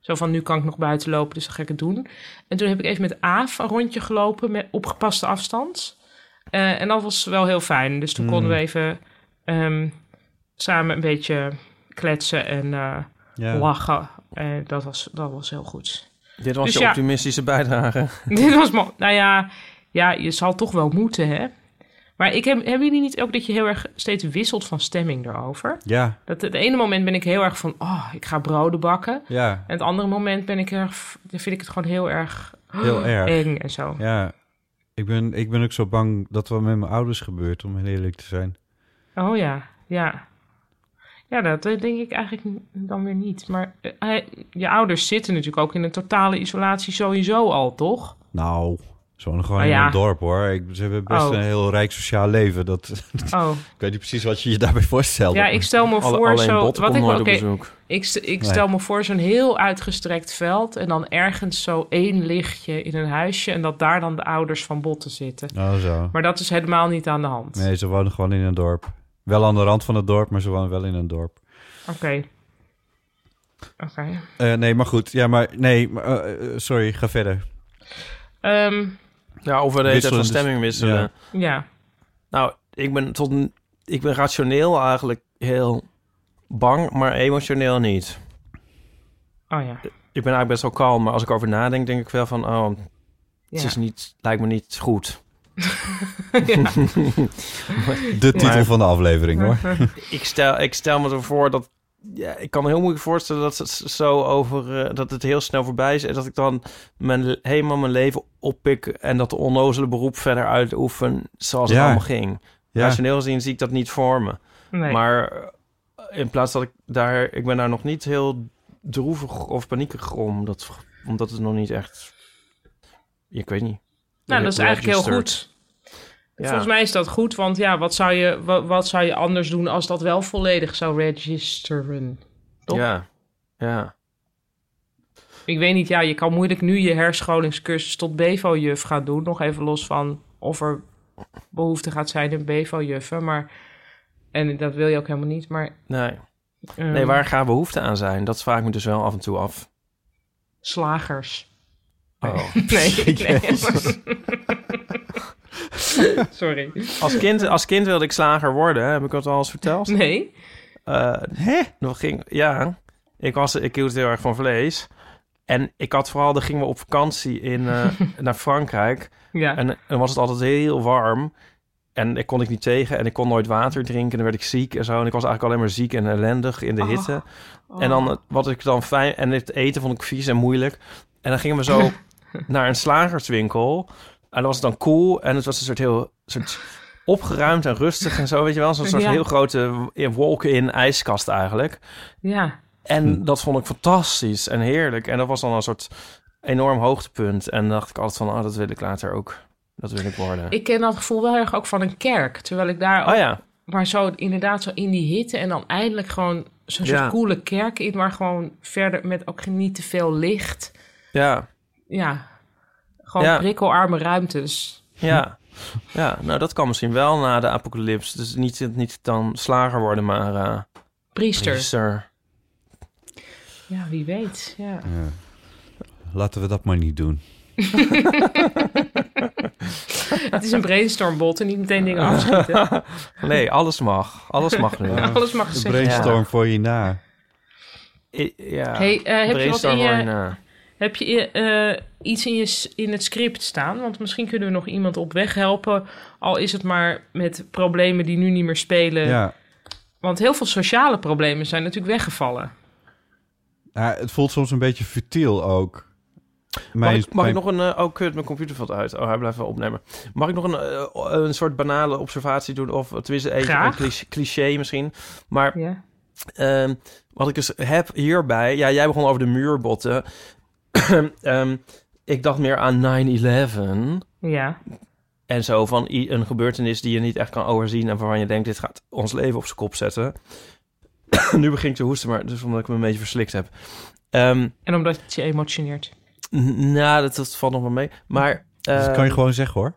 Speaker 5: Zo van, nu kan ik nog buiten lopen, dus dan ga ik het doen. En toen heb ik even met Aaf een rondje gelopen met opgepaste afstand. Eh, en dat was wel heel fijn. Dus toen konden we even ehm, samen een beetje kletsen en eh,
Speaker 4: Ja.
Speaker 5: lachen. Eh, dat, was, dat was heel goed.
Speaker 6: Dit was
Speaker 5: Dus
Speaker 6: je
Speaker 5: ja.
Speaker 6: optimistische
Speaker 5: [LAUGHS]
Speaker 6: bijdrage.
Speaker 5: Dit was mo- Nou ja, ja, je zal toch wel moeten, hè? Maar ik heb, hebben jullie niet ook dat je heel erg steeds wisselt van stemming erover?
Speaker 4: Ja.
Speaker 5: Dat het ene moment ben ik heel erg van, oh, ik ga broden bakken.
Speaker 4: Ja.
Speaker 5: En het andere moment ben ik heel erg, v- dan vind ik het gewoon heel erg [GASPS]
Speaker 4: Heel erg.
Speaker 5: eng en zo.
Speaker 4: Ja, ik ben, ik ben ook zo bang dat wat met mijn ouders gebeurt, om heel eerlijk te zijn.
Speaker 5: Oh ja, ja. Ja, dat eh, denk ik eigenlijk n- dan weer niet. Maar eh, hij- je ouders zitten natuurlijk ook in een totale isolatie sowieso al, toch?
Speaker 4: Nou, zo'n gewoon
Speaker 5: Ah,
Speaker 4: in
Speaker 5: ja.
Speaker 4: een dorp hoor. Ik, ze hebben best
Speaker 5: Oh.
Speaker 4: een heel rijk sociaal leven. Dat, [LAUGHS]
Speaker 5: Oh,
Speaker 4: ik weet niet precies wat je je daarbij voorstelt.
Speaker 5: ja, ik stel me
Speaker 6: Alle,
Speaker 5: voor
Speaker 6: alleen
Speaker 5: zo...
Speaker 6: bot
Speaker 5: wat ik,
Speaker 6: nooit
Speaker 5: wel-
Speaker 6: op
Speaker 5: oké,
Speaker 6: bezoek.
Speaker 5: Ik, st- ik
Speaker 4: Nee.
Speaker 5: stel me voor zo'n heel uitgestrekt veld en dan ergens zo één lichtje in een huisje en dat daar dan de ouders van botten zitten.
Speaker 4: Oh, zo.
Speaker 5: Maar dat is helemaal niet aan de hand.
Speaker 4: Nee, ze wonen gewoon in een dorp. Wel aan de rand van het dorp, maar ze wonen wel in een dorp.
Speaker 5: Oké. Oké.
Speaker 4: Eh, nee, maar goed. Ja, maar nee, maar, eh, eh, sorry, ga verder.
Speaker 5: Ehm,
Speaker 6: Ja, over de hele tijd van
Speaker 4: Wisselende-
Speaker 6: stemming wisselen.
Speaker 4: Ja.
Speaker 5: ja.
Speaker 6: Nou, ik ben, tot, een- ik ben rationeel eigenlijk heel bang, maar emotioneel niet.
Speaker 5: Oh ja. ja.
Speaker 6: Ik ben eigenlijk best wel kalm, maar als ik over nadenk, denk ik wel van... Oh, het is niet, lijkt me niet goed.
Speaker 5: Ja.
Speaker 4: De titel van de aflevering hoor.
Speaker 6: [LAUGHS] Ik stel, ik stel me ervoor dat... Ja, ik kan me heel moeilijk voorstellen dat het zo over... eh, dat het heel snel voorbij is en dat ik dan mijn, le- helemaal mijn leven oppik... en dat onnozele beroep verder uitoefen zoals
Speaker 4: Ja.
Speaker 6: het allemaal ging.
Speaker 4: Ja.
Speaker 6: Rationeel gezien zie ik dat niet voor me.
Speaker 5: Nee.
Speaker 6: Maar eh, in plaats dat ik daar... Ik ben daar nog niet heel droevig of paniekerig om. Dat, omdat het nog niet echt... Ik weet niet.
Speaker 5: nou, dat is eigenlijk heel
Speaker 6: Registered.
Speaker 5: goed. Volgens mij is dat goed, want ja, wat zou, je, wa- wat zou je anders doen als dat wel volledig zou registeren? toch?
Speaker 6: Ja. Ja.
Speaker 5: Ik weet niet, ja, je kan moeilijk nu je herscholingscursus tot BEVO-juf gaan doen. Nog even los van of er behoefte gaat zijn in BEVO-juffen. Maar, en dat wil je ook helemaal niet, maar...
Speaker 6: Nee.
Speaker 5: ehm,
Speaker 6: nee, waar gaat behoefte aan zijn? Dat vraag ik me dus wel af en toe af. [LAUGHS]
Speaker 5: Slagers.
Speaker 6: Oh.
Speaker 5: Nee, nee.
Speaker 6: [LAUGHS]
Speaker 5: Sorry.
Speaker 6: Als, kind, als kind wilde ik slager worden, hè? heb ik dat al eens verteld?
Speaker 5: Nee?
Speaker 6: Eh, nog ging, ja, ik, was, ik hield heel erg van vlees. En ik had vooral, dan gingen we op vakantie in, eh,
Speaker 5: [LAUGHS]
Speaker 6: naar Frankrijk.
Speaker 5: Ja.
Speaker 6: En dan was het altijd heel warm. En ik kon ik niet tegen. En ik kon nooit water drinken. En dan werd ik ziek en zo. En ik was eigenlijk alleen maar ziek en ellendig in de hitte.
Speaker 5: oh.
Speaker 6: En dan eh, wat ik dan fijn... En het eten vond ik vies en moeilijk. En dan gingen we zo naar een slagerswinkel. En dan was het dan cool. En het was een soort heel... Soort opgeruimd en rustig en zo. Weet je wel? Zo'n soort
Speaker 5: Ja.
Speaker 6: heel grote walk-in ijskast eigenlijk.
Speaker 5: Ja.
Speaker 6: En dat vond ik fantastisch en heerlijk. En dat was dan een soort enorm hoogtepunt. En dan dacht ik altijd van, oh, dat wil ik later ook. Dat wil ik worden.
Speaker 5: Ik ken dat gevoel wel heel erg ook van een kerk. Terwijl ik daar
Speaker 6: Oh ja,
Speaker 5: Maar zo inderdaad zo in die hitte en dan eindelijk gewoon zo'n
Speaker 6: Ja.
Speaker 5: soort coole kerk in, maar gewoon verder met ook niet te veel licht.
Speaker 6: ja,
Speaker 5: Ja, gewoon
Speaker 6: Ja.
Speaker 5: prikkelarme ruimtes.
Speaker 6: ja. Ja, nou dat kan misschien wel na de apocalyps. Dus niet, niet dan slager worden, maar eh
Speaker 5: Priester.
Speaker 6: priester.
Speaker 5: Ja, wie weet. Ja.
Speaker 4: Laten we dat maar niet doen.
Speaker 5: [LAUGHS] Het is een brainstormbot en niet meteen dingen afschieten.
Speaker 6: Nee, alles mag. Alles mag
Speaker 5: [LAUGHS]
Speaker 6: nu.
Speaker 5: Alles mag
Speaker 4: De
Speaker 5: gezegd worden.
Speaker 4: brainstorm voor je na.
Speaker 6: I- ja.
Speaker 5: Hey, eh, heb je wat in
Speaker 6: Brainstorm hoor je
Speaker 5: je,
Speaker 6: na.
Speaker 5: heb je eh, iets in, je, s- in het script staan? Want misschien kunnen we nog iemand op weg helpen. Al is het maar met problemen die nu niet meer spelen.
Speaker 4: Ja.
Speaker 5: Want heel veel sociale problemen zijn natuurlijk weggevallen.
Speaker 4: Ja, het voelt soms een beetje futiel ook.
Speaker 6: Mag,
Speaker 4: Mijn-
Speaker 6: ik, mag ik nog een... eh, oh, kut, mijn computer valt uit. Oh, hij blijft wel opnemen. Mag ik nog een, eh, een soort banale observatie doen? Of tenminste even
Speaker 5: Graag.
Speaker 6: een cliché, cliché misschien. Maar
Speaker 5: Ja.
Speaker 6: Ehm, wat ik dus heb hierbij... Ja, jij begon over de muurbotten. [CLEARS THROAT] Ehm, ik dacht meer aan 9-11.
Speaker 5: Ja.
Speaker 6: En zo van i- een gebeurtenis die je niet echt kan overzien... en waarvan je denkt, dit gaat ons leven op zijn kop zetten. [COUGHS] nu begin ik te hoesten, maar dus omdat ik me een beetje verslikt heb. Ehm,
Speaker 5: En omdat het je emotioneert.
Speaker 6: n- nou, dat, dat valt nog wel mee. Maar...
Speaker 4: dus dat kan je
Speaker 6: ehm,
Speaker 4: gewoon zeggen hoor.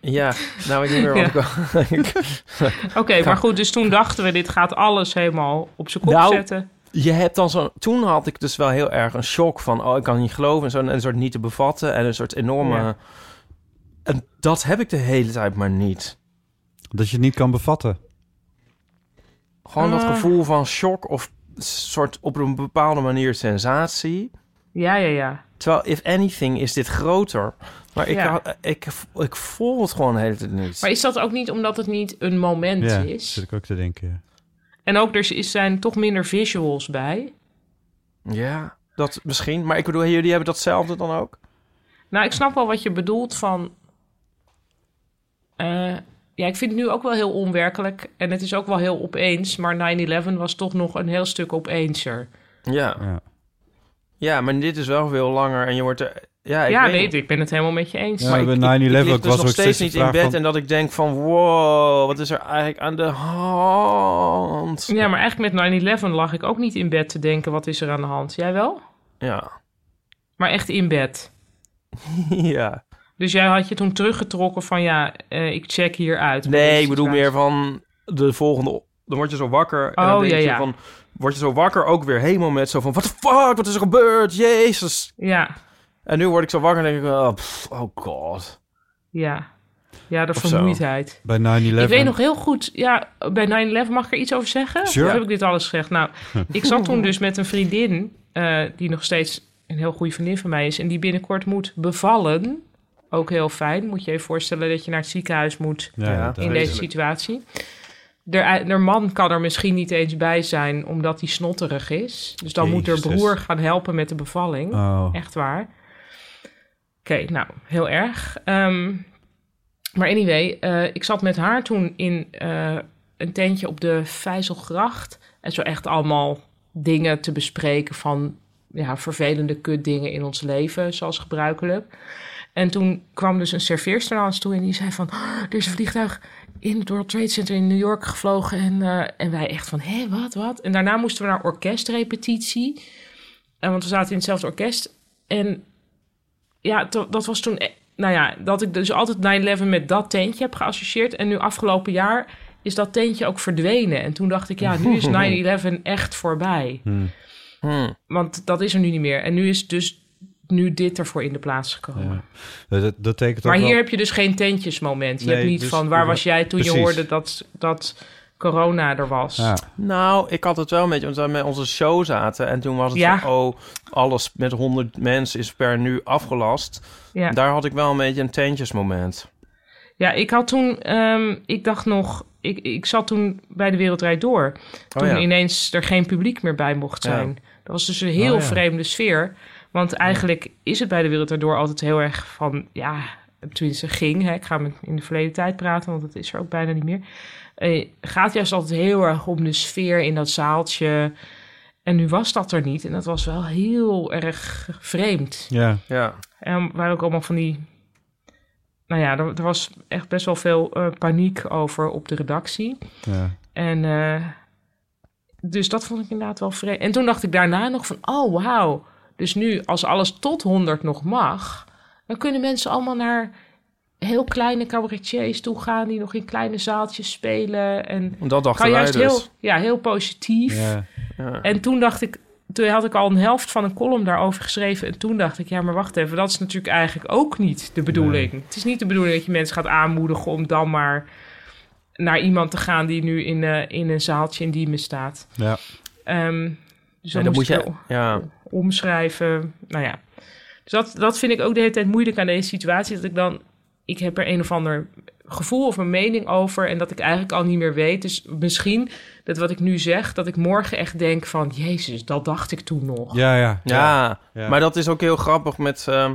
Speaker 6: Ja, nou, ik weet niet meer wat
Speaker 5: [LAUGHS] Ja.
Speaker 6: ik wou- ik
Speaker 5: Oké, maar goed, dus toen dachten we, dit gaat alles helemaal op zijn kop
Speaker 6: Nou, [LAUGHS]
Speaker 5: zetten.
Speaker 6: Je hebt dan zo'n... Toen had ik dus wel heel erg een shock van... Oh, ik kan niet geloven. En zo'n een soort niet te bevatten. En een soort enorme...
Speaker 5: Ja.
Speaker 6: En dat heb ik de hele tijd maar niet.
Speaker 4: Dat je het niet kan bevatten.
Speaker 6: Gewoon dat
Speaker 5: Ah.
Speaker 6: gevoel van shock of soort op een bepaalde manier sensatie.
Speaker 5: Ja, ja, ja.
Speaker 6: Terwijl, if anything, is dit groter. Maar ik,
Speaker 5: Ja.
Speaker 6: had- ik, ik voel het gewoon de hele tijd niet.
Speaker 5: Maar is dat ook niet omdat het niet een moment
Speaker 4: Ja,
Speaker 5: is?
Speaker 4: zit ik ook te denken.
Speaker 5: En ook, er is- zijn toch minder visuals bij.
Speaker 6: Ja, dat misschien. Maar ik bedoel, jullie hebben datzelfde dan ook?
Speaker 5: Nou, ik snap wel wat je bedoelt van... eh, ja, ik vind het nu ook wel heel onwerkelijk. En het is ook wel heel opeens. Maar 9-11 was toch nog een heel stuk opeenser.
Speaker 6: Ja.
Speaker 4: Ja.
Speaker 6: Ja, maar dit is wel veel langer. En je wordt er... Ja, ik
Speaker 5: ja,
Speaker 6: weet
Speaker 5: weet
Speaker 6: niet.
Speaker 5: ik. Ik ben het helemaal met je eens.
Speaker 4: Ja,
Speaker 6: Maar
Speaker 4: bij
Speaker 6: ik-
Speaker 4: 9-11
Speaker 6: ik lig
Speaker 4: ook
Speaker 6: dus
Speaker 4: was
Speaker 6: nog
Speaker 4: ook
Speaker 6: steeds
Speaker 4: steeds de
Speaker 6: niet in
Speaker 4: vraag
Speaker 6: bed
Speaker 4: van-
Speaker 6: en dat ik denk van wow, wat is er eigenlijk aan de hand?
Speaker 5: Ja, maar eigenlijk met 9-11 lag ik ook niet in bed te denken... wat is er aan de hand? Jij wel?
Speaker 4: [LAUGHS]
Speaker 6: Ja.
Speaker 5: Maar echt in bed.
Speaker 6: ja.
Speaker 5: Dus jij had je toen teruggetrokken van ja, eh, ik check hier uit.
Speaker 6: Nee, ik bedoel meer van de volgende. o- Dan word je zo wakker en dan
Speaker 5: Oh,
Speaker 6: denk
Speaker 5: ja,
Speaker 6: je
Speaker 5: ja.
Speaker 6: van word je zo wakker ook weer helemaal met zo van what the fuck, wat is er gebeurd? Jezus.
Speaker 5: Ja,
Speaker 6: En nu word ik zo wakker en denk ik oh, pff, oh god.
Speaker 5: ja. Ja, de
Speaker 6: Of zo.
Speaker 5: vermoeidheid.
Speaker 4: Bij 9-11.
Speaker 5: Ik weet nog heel goed, ja, bij 9-11 mag ik er iets over zeggen?
Speaker 4: Sure.
Speaker 5: Of heb ik dit alles gezegd? Nou, ik zat toen dus met een vriendin, eh, die nog steeds een heel goede vriendin van mij is... en die binnenkort moet bevallen. Ook heel fijn. Moet je je voorstellen dat je naar het ziekenhuis moet...
Speaker 4: Ja,
Speaker 6: Ja.
Speaker 4: inderdaad.
Speaker 5: in
Speaker 6: Vreselijk.
Speaker 5: deze situatie. Der, der man kan er misschien niet eens bij zijn omdat hij snotterig is. Dus dan moet
Speaker 4: Jezus.
Speaker 5: haar broer gaan helpen met de bevalling.
Speaker 4: Oh.
Speaker 5: Echt waar. Oké, nou, heel erg. Ehm, maar anyway, eh, ik zat met haar toen in eh, een tentje op de Vijzelgracht. En zo echt allemaal dingen te bespreken van ja, vervelende kutdingen in ons leven, zoals gebruikelijk. En toen kwam dus een serveerster naar ons toe en die zei van... "Oh, er is een vliegtuig in het World Trade Center in New York gevlogen. En, eh, en wij echt van, hé, wat, wat? En daarna moesten we naar orkestrepetitie. En want we zaten in hetzelfde orkest. En ja, to- dat was toen... e- Nou ja, dat ik dus altijd 9-11 met dat tentje heb geassocieerd. En nu afgelopen jaar is dat tentje ook verdwenen. En toen dacht ik, ja,
Speaker 4: [LAUGHS]
Speaker 5: nu is 9-11 echt voorbij.
Speaker 6: Hmm.
Speaker 5: Want dat is er nu niet meer. En nu is dus nu dit ervoor in de plaats gekomen.
Speaker 4: Ja. Dus Dat, dat tekent
Speaker 5: Maar
Speaker 4: ook wel-
Speaker 5: hier heb je dus geen tentjesmoment. Je
Speaker 4: Nee,
Speaker 5: hebt niet
Speaker 4: dus-
Speaker 5: van waar
Speaker 4: ja,
Speaker 5: was jij toen je
Speaker 4: precies.
Speaker 5: hoorde dat, dat corona er was.
Speaker 4: Ja.
Speaker 6: Nou, ik had het wel een beetje, want we met onze show zaten en toen was het
Speaker 5: Ja.
Speaker 6: van, oh, alles met 100 mensen is per nu afgelast.
Speaker 5: Ja.
Speaker 6: Daar had ik wel een beetje een tentjesmoment.
Speaker 5: Ja, ik had toen, ehm, ik dacht nog, ik, ik zat toen bij de Wereldrijd Door. Toen
Speaker 6: Oh ja.
Speaker 5: ineens er geen publiek meer bij mocht
Speaker 6: Ja.
Speaker 5: zijn. Dat was dus een heel
Speaker 6: Oh, ja.
Speaker 5: vreemde sfeer. Want eigenlijk is het bij de Wereldrijd Door altijd heel erg van, ja, tenminste ging. Hè, ik ga met in de verleden tijd praten, want dat is er ook bijna niet meer. Eh, gaat juist altijd heel erg om de sfeer in dat zaaltje. En nu was dat er niet. En dat was wel heel erg vreemd.
Speaker 4: Ja.
Speaker 6: Ja,
Speaker 5: En waren ook allemaal van die. Nou ja, er, er was echt best wel veel eh, paniek over op de redactie.
Speaker 4: Ja.
Speaker 5: En eh, dus dat vond ik inderdaad wel vreemd. En toen dacht ik daarna nog van, oh wauw. Dus nu, als alles tot 100 nog mag, dan kunnen mensen allemaal naar heel kleine cabaretiers toe gaan die nog in kleine zaaltjes spelen. En
Speaker 6: dat dachten
Speaker 5: kan
Speaker 6: wij
Speaker 5: juist Eh.
Speaker 6: dus.
Speaker 5: heel, ja, heel positief.
Speaker 4: Ja.
Speaker 6: Ja.
Speaker 5: En toen dacht ik, toen had ik al een helft van een column daarover geschreven. En toen dacht ik, ja, maar wacht even, dat is natuurlijk eigenlijk ook niet de bedoeling. Het is niet de bedoeling dat je mensen gaat aanmoedigen om dan maar naar iemand te gaan die nu in, eh, in een zaaltje in Diemen staat.
Speaker 4: Ja.
Speaker 5: Ehm,
Speaker 6: Ja,
Speaker 5: dus dan
Speaker 6: dat
Speaker 5: moest
Speaker 6: moet
Speaker 5: je
Speaker 6: je, ja,
Speaker 5: omschrijven. Nou ja. Dus dat, dat vind ik ook de hele tijd moeilijk aan deze situatie. Dat ik dan, ik heb er een of ander gevoel of een mening over. En dat ik eigenlijk al niet meer weet. Dus misschien dat wat ik nu zeg, dat ik morgen echt denk van... Jezus, dat dacht ik toen nog.
Speaker 4: Ja, ja.
Speaker 6: Ja,
Speaker 4: Ja.
Speaker 6: maar dat is ook heel grappig met... ehm,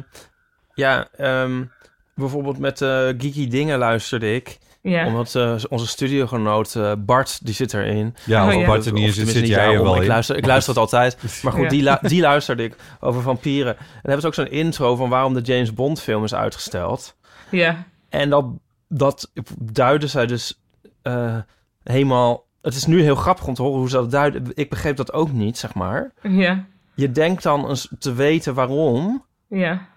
Speaker 6: ja, ehm, bijvoorbeeld met eh, Geeky Dingen luisterde ik.
Speaker 5: Ja.
Speaker 6: Omdat eh, onze studiogenoot eh, Bart, die zit erin.
Speaker 4: Ja,
Speaker 5: Oh,
Speaker 4: als
Speaker 5: ja.
Speaker 4: Bart er niet
Speaker 6: Of
Speaker 4: in zit,
Speaker 6: tenminste
Speaker 4: zit
Speaker 6: niet
Speaker 4: jij er
Speaker 6: daarom.
Speaker 4: wel
Speaker 6: ik
Speaker 4: in.
Speaker 6: luister, ik luister het
Speaker 4: [LAUGHS]
Speaker 6: altijd. Maar goed,
Speaker 5: Ja.
Speaker 6: die, lu- die luisterde ik over vampieren. En daar hebben ze ook zo'n intro van waarom de James Bond film is uitgesteld.
Speaker 5: ja.
Speaker 6: En dat, dat duidde zij dus eh, helemaal... Het is nu heel grappig om te horen hoe ze dat duiden. Ik begreep dat ook niet, zeg maar.
Speaker 5: Ja.
Speaker 6: Je denkt dan eens te weten waarom
Speaker 5: Ja.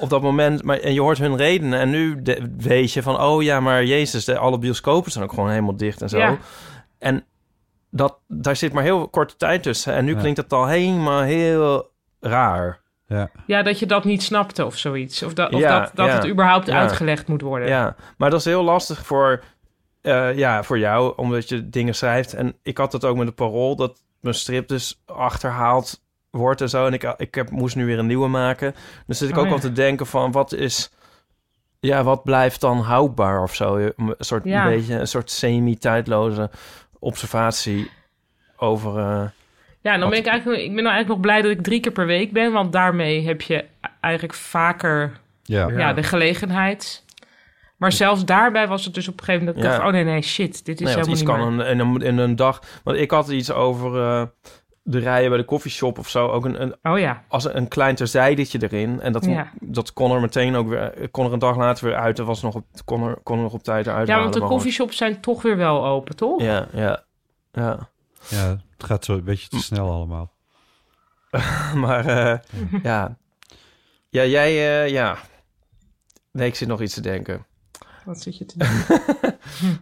Speaker 6: op dat moment, maar, en je hoort hun redenen. En nu de- weet je van, oh ja, maar Jezus, de, alle bioscopen zijn ook gewoon helemaal dicht en zo.
Speaker 5: Ja.
Speaker 6: En dat, daar zit maar heel korte tijd tussen. En nu
Speaker 4: Ja.
Speaker 6: klinkt het al helemaal heel raar.
Speaker 5: Ja, dat je dat niet snapte of zoiets. Of, dat of
Speaker 6: Ja,
Speaker 5: dat, dat
Speaker 6: ja.
Speaker 5: het überhaupt
Speaker 6: Ja.
Speaker 5: uitgelegd moet worden.
Speaker 6: Ja, maar dat is heel lastig voor, eh, ja, voor jou, omdat je dingen schrijft. En ik had dat ook met de parool, dat mijn strip dus achterhaald wordt en zo. En ik, ik heb, moest nu weer een nieuwe maken. Dus zit ik
Speaker 5: Oh,
Speaker 6: ook
Speaker 5: ja.
Speaker 6: al te denken van, wat is... Ja, wat blijft dan houdbaar of zo? Een soort,
Speaker 5: Ja.
Speaker 6: een beetje, een soort semi-tijdloze observatie over... eh,
Speaker 5: Ja, dan
Speaker 6: Wat-
Speaker 5: ben ik eigenlijk, ik ben nou eigenlijk nog blij dat ik drie keer per week ben. Want daarmee heb je eigenlijk vaker
Speaker 4: Ja.
Speaker 5: ja, de gelegenheid. Maar zelfs daarbij was het dus op een gegeven moment dat ik
Speaker 6: Ja.
Speaker 5: dacht... oh nee, nee, shit, dit is
Speaker 6: nee, want
Speaker 5: helemaal
Speaker 6: nou iets
Speaker 5: niet
Speaker 6: kan
Speaker 5: meer.
Speaker 6: een, in, een, in een dag... Want ik had iets over eh, de rijen bij de koffieshop of zo. Ook een, een,
Speaker 5: Oh ja,
Speaker 6: als een klein terzijdetje erin. En dat,
Speaker 5: Ja.
Speaker 6: dat kon er meteen ook weer, kon er een dag later weer uit. Dat was nog op, kon, er, kon er nog op tijd eruit.
Speaker 5: ja want
Speaker 6: halen,
Speaker 5: de
Speaker 6: maar
Speaker 5: koffieshops zijn toch weer wel open, toch?
Speaker 6: gewoon- Ja, ja, ja. [LAUGHS]
Speaker 4: Ja, het gaat zo een beetje te snel allemaal.
Speaker 6: Maar
Speaker 5: [LAUGHS]
Speaker 6: eh, ja. Ja, jij, eh, ja. Nee, ik zit nog iets te denken.
Speaker 5: Wat zit je te
Speaker 6: [LAUGHS]
Speaker 5: doen?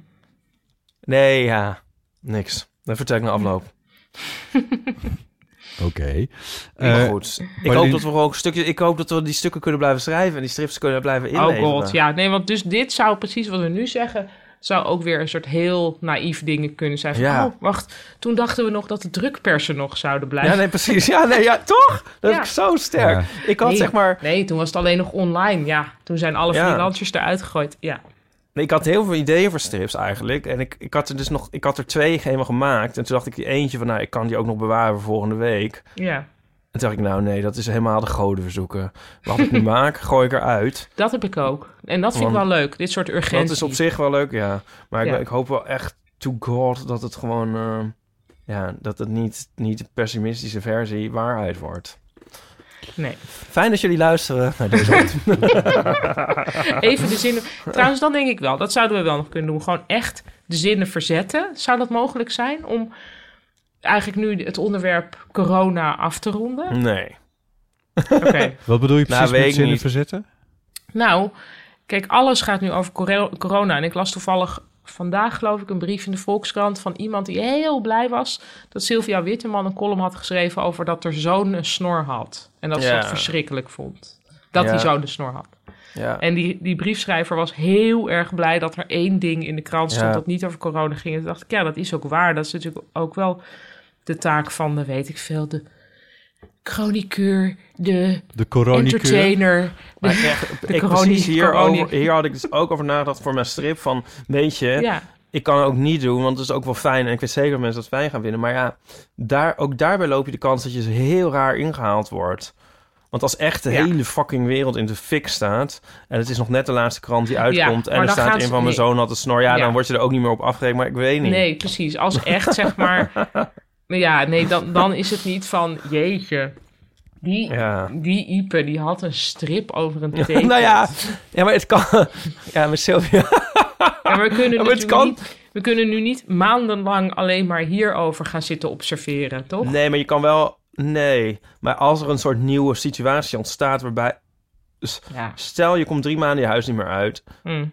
Speaker 6: Nee, ja. Niks. Dan vertel ik na afloop.
Speaker 4: Oké.
Speaker 6: maar
Speaker 4: [LAUGHS] Eh,
Speaker 6: goed. Ik
Speaker 4: maar
Speaker 6: hoop
Speaker 4: die-
Speaker 6: dat we ook stukjes... Ik hoop dat we die stukken kunnen blijven schrijven... en die strips kunnen blijven
Speaker 5: Oh
Speaker 6: inleveren.
Speaker 5: god, ja. Nee, want dus dit zou precies wat we nu zeggen... zou ook weer een soort heel naïef dingen kunnen zijn. Van,
Speaker 6: Ja.
Speaker 5: Oh, wacht, toen dachten we nog dat de drukpersen nog zouden blijven.
Speaker 6: Ja, nee, precies. Ja, nee, ja, toch? Dat
Speaker 5: Ja.
Speaker 6: is zo sterk. Ik had
Speaker 5: Nee,
Speaker 6: zeg maar...
Speaker 5: Nee, toen was het alleen nog online, ja. Toen zijn alle
Speaker 6: Ja.
Speaker 5: freelancers eruit gegooid, ja.
Speaker 6: Nee, ik had heel veel ideeën voor strips eigenlijk. En ik, ik had er dus nog, ik had er twee helemaal gemaakt. En toen dacht ik die eentje van, nou, ik kan die ook nog bewaren voor volgende week.
Speaker 5: Ja,
Speaker 6: En toen dacht ik, nou nee, dat is helemaal de goden verzoeken. Wat
Speaker 5: [LAUGHS]
Speaker 6: ik nu maak, gooi ik eruit.
Speaker 5: dat heb ik ook. En dat vind ik wel
Speaker 6: Want-
Speaker 5: leuk, dit soort urgentie.
Speaker 6: Dat is op zich wel leuk, ja. Maar ik,
Speaker 5: Ja.
Speaker 6: ik hoop wel echt, to god, dat het gewoon, eh, ja, dat het niet, niet de pessimistische versie waarheid wordt.
Speaker 5: Nee.
Speaker 6: Fijn dat jullie
Speaker 5: [LAUGHS]
Speaker 6: luisteren naar deze
Speaker 5: Even de zinnen. Trouwens, dan denk ik wel. Dat zouden we wel nog kunnen doen. Gewoon echt de zinnen verzetten. Zou dat mogelijk zijn om eigenlijk nu het onderwerp corona af te
Speaker 6: [LAUGHS]
Speaker 5: ronden?
Speaker 6: Nee.
Speaker 5: Oké.
Speaker 4: Wat bedoel je
Speaker 6: Nou,
Speaker 4: precies
Speaker 6: weet
Speaker 4: met
Speaker 6: ik
Speaker 4: zinnen
Speaker 6: niet.
Speaker 4: verzetten?
Speaker 5: Nou, kijk, alles gaat nu over coro- corona. En ik las toevallig vandaag, geloof ik, een brief in de Volkskrant van iemand die heel blij was dat Sylvia Witteman een column had geschreven over dat haar zoon een snor had. En dat ze
Speaker 6: Ja.
Speaker 5: dat verschrikkelijk vond. Dat
Speaker 6: Ja.
Speaker 5: die zoon een snor had.
Speaker 6: Ja.
Speaker 5: En die, die briefschrijver was heel erg blij dat er één ding in de krant stond
Speaker 6: Ja.
Speaker 5: dat niet over corona ging. En toen dacht ik, ja, dat is ook waar. Dat is natuurlijk ook wel de taak van de, weet ik veel, de chroniqueur, de
Speaker 4: De coronicure.
Speaker 5: entertainer.
Speaker 6: Maar
Speaker 5: de-
Speaker 6: echt,
Speaker 5: [LAUGHS] de
Speaker 6: ik
Speaker 5: corona-
Speaker 6: precies hier,
Speaker 5: corona-
Speaker 6: over, hier had ik dus ook over nagedacht voor mijn strip van... Weet je,
Speaker 5: ja.
Speaker 6: ik kan het ook niet doen, want het is ook wel fijn. En ik weet zeker dat mensen dat fijn gaan vinden. Maar ja, daar, ook daarbij loop je de kans dat je heel raar ingehaald wordt. Want als echt de
Speaker 5: Ja.
Speaker 6: hele fucking wereld in de fik staat... en het is nog net de laatste krant die uitkomt...
Speaker 5: maar
Speaker 6: en er
Speaker 5: dan
Speaker 6: staat
Speaker 5: gaan
Speaker 6: in
Speaker 5: ze-
Speaker 6: van mijn
Speaker 5: nee.
Speaker 6: zoon had een snor... Ja,
Speaker 5: Ja.
Speaker 6: dan word je er ook niet meer op afgerekend, maar ik weet niet. [LAUGHS]
Speaker 5: Nee, precies. Als echt, zeg maar. Maar ja, nee, dan, dan is het niet van, jeetje. Die,
Speaker 6: Ja.
Speaker 5: die Ipe, die had een strip over een
Speaker 6: [LAUGHS]
Speaker 5: teken.
Speaker 6: nou ja, ja, maar het kan... [LAUGHS] Ja, maar Sylvia...
Speaker 5: Ja, maar we kunnen,
Speaker 6: Ja, [LAUGHS] maar het
Speaker 5: natuurlijk
Speaker 6: kan.
Speaker 5: Niet, we kunnen nu niet maandenlang alleen maar hierover gaan zitten observeren, toch?
Speaker 6: Nee, maar je kan wel... Nee, maar als er een soort nieuwe situatie ontstaat waarbij...
Speaker 5: Ja.
Speaker 6: Stel, je komt drie maanden je huis niet meer uit.
Speaker 5: Hm.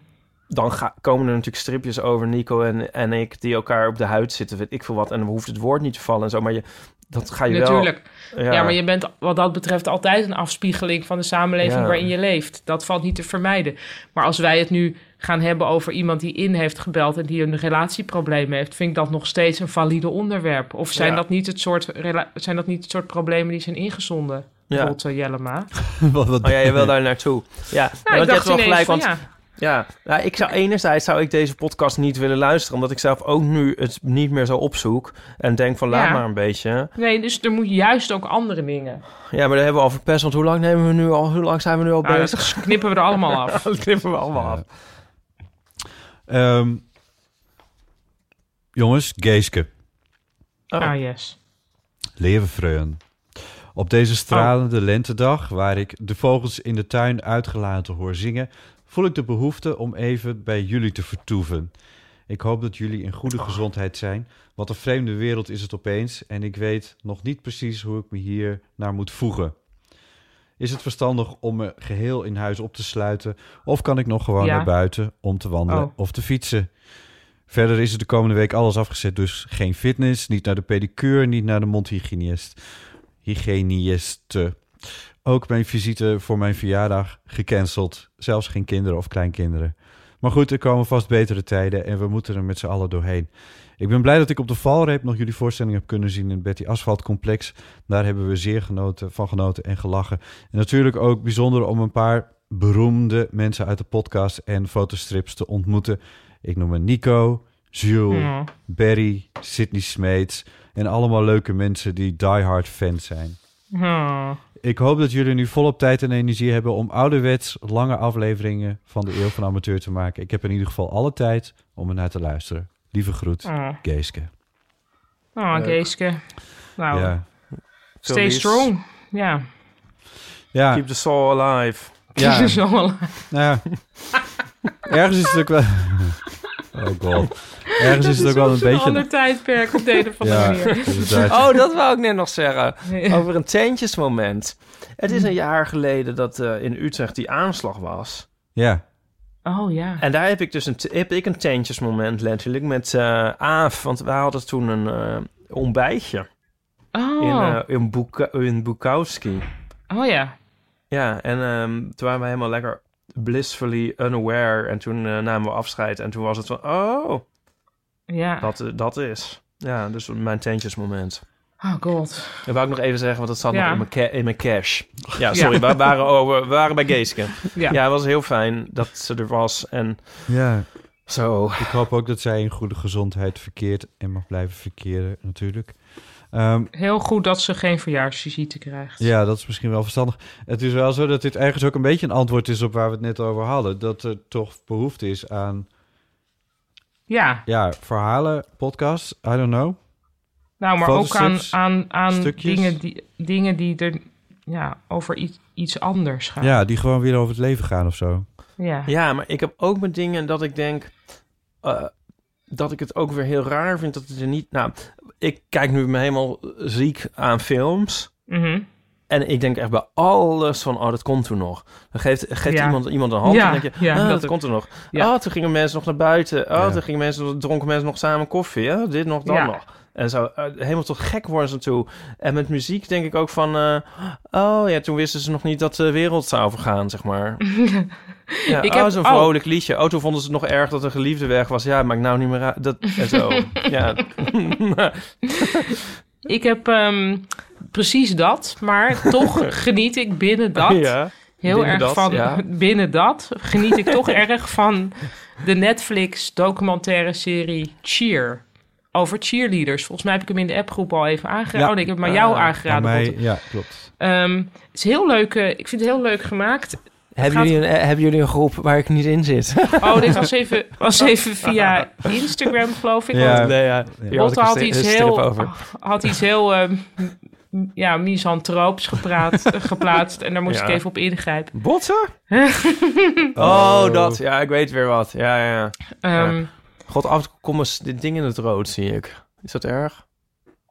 Speaker 6: Dan ga- komen er natuurlijk stripjes over Nico en, en ik... die elkaar op de huid zitten, weet ik veel wat. En dan hoeft het woord niet te vallen en zo. Maar je, dat ga je
Speaker 5: Natuurlijk.
Speaker 6: wel...
Speaker 5: Ja. maar je bent wat dat betreft altijd een afspiegeling van de samenleving
Speaker 6: Ja.
Speaker 5: waarin je leeft. Dat valt niet te vermijden. Maar als wij het nu gaan hebben over iemand die in heeft gebeld en die een relatieprobleem heeft, vind ik dat nog steeds een valide onderwerp. Of zijn,
Speaker 6: Ja.
Speaker 5: dat, niet het soort rela- zijn dat niet het soort problemen die zijn ingezonden?
Speaker 6: Ja.
Speaker 5: Bijvoorbeeld eh, Jellema.
Speaker 4: [LAUGHS] Wat- wat-
Speaker 6: Oh
Speaker 4: [LAUGHS]
Speaker 6: ja, je wil daar naartoe. Ja,
Speaker 5: [LAUGHS] Nou, ik
Speaker 6: want je hebt
Speaker 5: dacht
Speaker 6: wel
Speaker 5: ineens
Speaker 6: gelijk,
Speaker 5: van,
Speaker 6: want
Speaker 5: ja.
Speaker 6: Ja, nou, ik zou enerzijds zou ik deze podcast niet willen luisteren, omdat ik zelf ook nu het niet meer zo opzoek en denk van laat
Speaker 5: Ja.
Speaker 6: maar een beetje.
Speaker 5: Nee, dus er moet juist ook andere dingen.
Speaker 6: Ja, maar daar hebben we al verpest, want hoe lang nemen we nu al, hoe lang zijn we nu al
Speaker 5: Nou,
Speaker 6: bezig?
Speaker 5: [LAUGHS] dat knippen we er allemaal
Speaker 6: [LAUGHS]
Speaker 5: af.
Speaker 6: Dat knippen we allemaal af.
Speaker 4: Ehm, jongens, Geeske,
Speaker 6: Oh.
Speaker 5: Ah, yes.
Speaker 4: levenvreun. Op deze
Speaker 6: Oh.
Speaker 4: stralende lentedag, waar ik de vogels in de tuin uitgelaten hoor zingen, voel ik de behoefte om even bij jullie te vertoeven. Ik hoop dat jullie in
Speaker 6: Oh.
Speaker 4: goede gezondheid zijn. Wat een vreemde wereld is het opeens en ik weet nog niet precies hoe ik me hier naar moet voegen. Is het verstandig om me geheel in huis op te sluiten of kan ik nog gewoon
Speaker 5: Ja.
Speaker 4: naar buiten om te wandelen
Speaker 5: Oh.
Speaker 4: of te fietsen? Verder is er de komende week alles afgezet, dus geen fitness, niet naar de pedicure, niet naar de mondhygiënist. Hygiëniste. Ook mijn visite voor mijn verjaardag gecanceld. Zelfs geen kinderen of kleinkinderen. Maar goed, er komen vast betere tijden en we moeten er met z'n allen doorheen. Ik ben blij dat ik op de valreep nog jullie voorstelling heb kunnen zien in het Betty Asphalt Complex. Daar hebben we zeer genoten, van genoten en gelachen. En natuurlijk ook bijzonder om een paar beroemde mensen uit de podcast en fotostrips te ontmoeten. Ik noem me Nico, Jules,
Speaker 5: Ja.
Speaker 4: Barry, Sydney Smeets en allemaal leuke mensen die diehard fans zijn.
Speaker 5: Hmm.
Speaker 4: Ik hoop dat jullie nu volop tijd en energie hebben om ouderwets lange afleveringen van de Eeuw van Amateur te maken. Ik heb in ieder geval alle tijd om ernaar te luisteren. Lieve groet,
Speaker 5: Oh,
Speaker 4: Geeske.
Speaker 5: oh
Speaker 6: Leuk.
Speaker 5: Geeske. Nou,
Speaker 4: Ja.
Speaker 5: stay strong. Ja,
Speaker 4: Ja,
Speaker 6: Keep the soul alive.
Speaker 5: [LAUGHS] ja.
Speaker 4: ja,
Speaker 5: zo wel.
Speaker 4: nou ja. Ergens is het ook wel... [LAUGHS] Oh god. Ergens is het ook wel een
Speaker 5: een ander
Speaker 4: beetje...
Speaker 5: tijdperk op de een of andere
Speaker 4: Ja, [LAUGHS] Dus
Speaker 5: manier.
Speaker 4: inderdaad.
Speaker 6: Oh, dat wou ik net nog zeggen.
Speaker 5: Nee.
Speaker 6: Over een teentjesmoment. Het is een jaar geleden dat eh, in Utrecht die aanslag was.
Speaker 4: Ja,
Speaker 5: Oh ja.
Speaker 6: En daar heb ik dus een, t- heb ik een teentjesmoment letterlijk met eh Aaf. Want wij hadden toen een eh, ontbijtje
Speaker 5: Oh,
Speaker 6: in, eh in, Boeka- in Bukowski.
Speaker 5: oh ja.
Speaker 6: Ja, en ehm, toen waren we helemaal lekker blissfully unaware. En toen eh, namen we afscheid. En toen was het van, oh,
Speaker 5: Ja.
Speaker 6: dat, eh, dat is. Ja, dus mijn teentjesmoment.
Speaker 5: Oh god.
Speaker 6: Dat wou ik nog even zeggen, want dat zat
Speaker 5: Ja.
Speaker 6: nog in mijn, ca- in mijn cash. Ja, sorry, we, waren over, we waren bij Geeske.
Speaker 5: Ja.
Speaker 6: Ja. het was heel fijn dat ze er was. En
Speaker 4: ja,
Speaker 6: zo,
Speaker 4: ik hoop ook dat zij in goede gezondheid verkeert en mag blijven verkeren natuurlijk. Ehm,
Speaker 5: Heel goed dat ze geen verjaarsvisite krijgt.
Speaker 4: Ja, dat is misschien wel verstandig. Het is wel zo dat dit ergens ook een beetje een antwoord is op waar we het net over hadden. Dat er toch behoefte is aan
Speaker 5: Ja.
Speaker 4: ja, verhalen, podcasts, I don't know.
Speaker 5: Nou, maar ook aan,
Speaker 4: Fotostrips,
Speaker 5: aan, aan
Speaker 4: stukjes.
Speaker 5: dingen, die, dingen die er ja, over iets, iets anders gaat.
Speaker 4: Ja, die gewoon weer over het leven gaan of zo.
Speaker 5: Ja.
Speaker 6: Ja, maar ik heb ook mijn dingen dat ik denk eh, dat ik het ook weer heel raar vind dat het er niet. Nou, ik kijk nu me helemaal ziek aan films.
Speaker 5: Mhm.
Speaker 6: En ik denk echt bij alles van, oh, dat komt toen nog. Dan geeft, geeft
Speaker 5: Ja.
Speaker 6: iemand, iemand een hand
Speaker 5: Ja,
Speaker 6: en denk je,
Speaker 5: ja,
Speaker 6: ah,
Speaker 5: dat
Speaker 6: dat,
Speaker 5: ook.
Speaker 6: komt er nog.
Speaker 5: Ja.
Speaker 6: Oh, toen gingen mensen nog naar buiten. Oh,
Speaker 4: Ja.
Speaker 6: toen gingen mensen, dronken mensen nog samen koffie. hè? dit nog, dat
Speaker 5: Ja.
Speaker 6: nog. En zo, eh, helemaal tot gek worden ze aan toe. En met muziek denk ik ook van, eh, oh ja, toen wisten ze nog niet dat de wereld zou vergaan, zeg maar.
Speaker 5: [LAUGHS]
Speaker 6: ja,
Speaker 5: Ik
Speaker 6: oh,
Speaker 5: heb-
Speaker 6: zo'n
Speaker 5: oh.
Speaker 6: vrolijk liedje. Oh, toen vonden ze het nog erg dat een geliefde weg was. Ja, maakt nou niet meer uit. Dat, en zo,
Speaker 5: [LAUGHS]
Speaker 6: ja.
Speaker 5: Ik heb ehm, precies dat, maar toch
Speaker 4: [LAUGHS]
Speaker 5: geniet ik binnen dat
Speaker 6: ja.
Speaker 5: heel
Speaker 6: binnen
Speaker 5: erg
Speaker 6: dat,
Speaker 5: van.
Speaker 6: ja.
Speaker 5: [LAUGHS] Binnen dat geniet ik toch [LAUGHS] erg van de Netflix documentaire serie Cheer. Over cheerleaders. Volgens mij heb ik hem in de appgroep al even aangeraden.
Speaker 4: Ja.
Speaker 5: Oh nee, ik heb hem aan jou
Speaker 6: Ah,
Speaker 4: Ja,
Speaker 5: aangeraden.
Speaker 4: mij,
Speaker 5: Botte.
Speaker 4: ja klopt.
Speaker 5: Ehm, het is heel leuk. eh, ik vind het heel leuk gemaakt.
Speaker 7: Hebben,
Speaker 5: Gaat-
Speaker 7: jullie een, eh, hebben jullie een groep waar ik niet in zit?
Speaker 5: Oh, dit was even, was even via Instagram, geloof ik.
Speaker 4: Ja,
Speaker 5: want
Speaker 7: nee, ja.
Speaker 4: Hier
Speaker 5: Botte had,
Speaker 7: een
Speaker 5: iets
Speaker 7: strip
Speaker 5: heel, Ah.
Speaker 7: over.
Speaker 5: had iets heel ehm, m- ja, misanthroops
Speaker 4: [LAUGHS]
Speaker 5: gepraat, geplaatst. En daar moest
Speaker 6: Ja.
Speaker 5: ik even op ingrijpen.
Speaker 6: Botten? oh, dat. Ja, ik weet weer wat. Ja, ja, ja.
Speaker 5: Ehm,
Speaker 6: God, af en toe komen ze dit ding in het rood, zie ik. Is dat erg?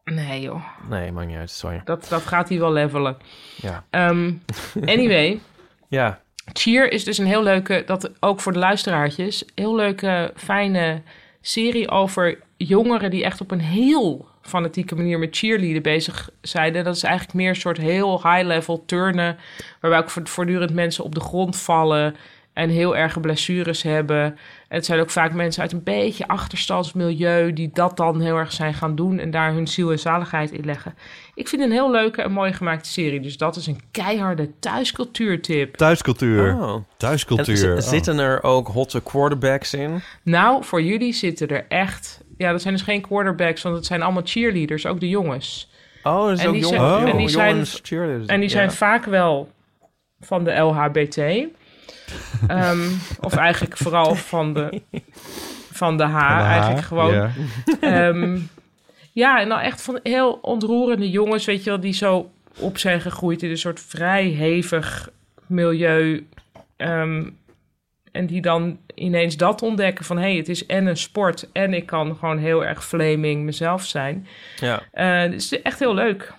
Speaker 5: Nee joh,
Speaker 6: Nee, maakt niet uit. Sorry.
Speaker 5: dat, dat gaat hij wel levelen.
Speaker 6: Ja.
Speaker 5: Ehm, anyway,
Speaker 6: Ja.
Speaker 5: Cheer is dus een heel leuke, dat ook voor de luisteraartjes, heel leuke, fijne serie over jongeren die echt op een heel fanatieke manier met cheerleaden bezig zijn. En dat is eigenlijk meer een soort heel high-level turnen, waarbij ook vo- voortdurend mensen op de grond vallen en heel erge blessures hebben. En het zijn ook vaak mensen uit een beetje achterstandsmilieu die dat dan heel erg zijn gaan doen en daar hun ziel en zaligheid in leggen. Ik vind het een heel leuke en mooi gemaakte serie, dus dat is een keiharde thuiscultuurtip.
Speaker 4: Thuiscultuur.
Speaker 6: Oh. En
Speaker 4: Thuiscultuur.
Speaker 6: zi-
Speaker 4: Oh.
Speaker 6: zitten er ook hotte quarterbacks in?
Speaker 5: Nou, voor jullie zitten er echt. Ja, dat zijn dus geen quarterbacks, want het zijn allemaal cheerleaders, ook de jongens.
Speaker 6: Oh, er
Speaker 5: En
Speaker 6: zijn ook
Speaker 5: die
Speaker 6: jongen,
Speaker 5: zijn-
Speaker 4: en
Speaker 6: jongen-
Speaker 5: die zijn-
Speaker 6: jongens cheerleaders.
Speaker 5: En die zijn
Speaker 6: Ja.
Speaker 5: vaak wel van de [LAUGHS] LHBT. Ehm, of eigenlijk vooral van de, van de H.
Speaker 4: Oh.
Speaker 5: eigenlijk gewoon.
Speaker 4: Ja.
Speaker 5: Ehm, ja, en dan echt van heel ontroerende jongens, weet je wel, die zo op zijn gegroeid in een soort vrij hevig milieu. Ehm, en die dan ineens dat ontdekken van hé, hey, het is en een sport en ik kan gewoon heel erg flaming mezelf zijn.
Speaker 6: Ja.
Speaker 5: Eh, Het is echt heel leuk.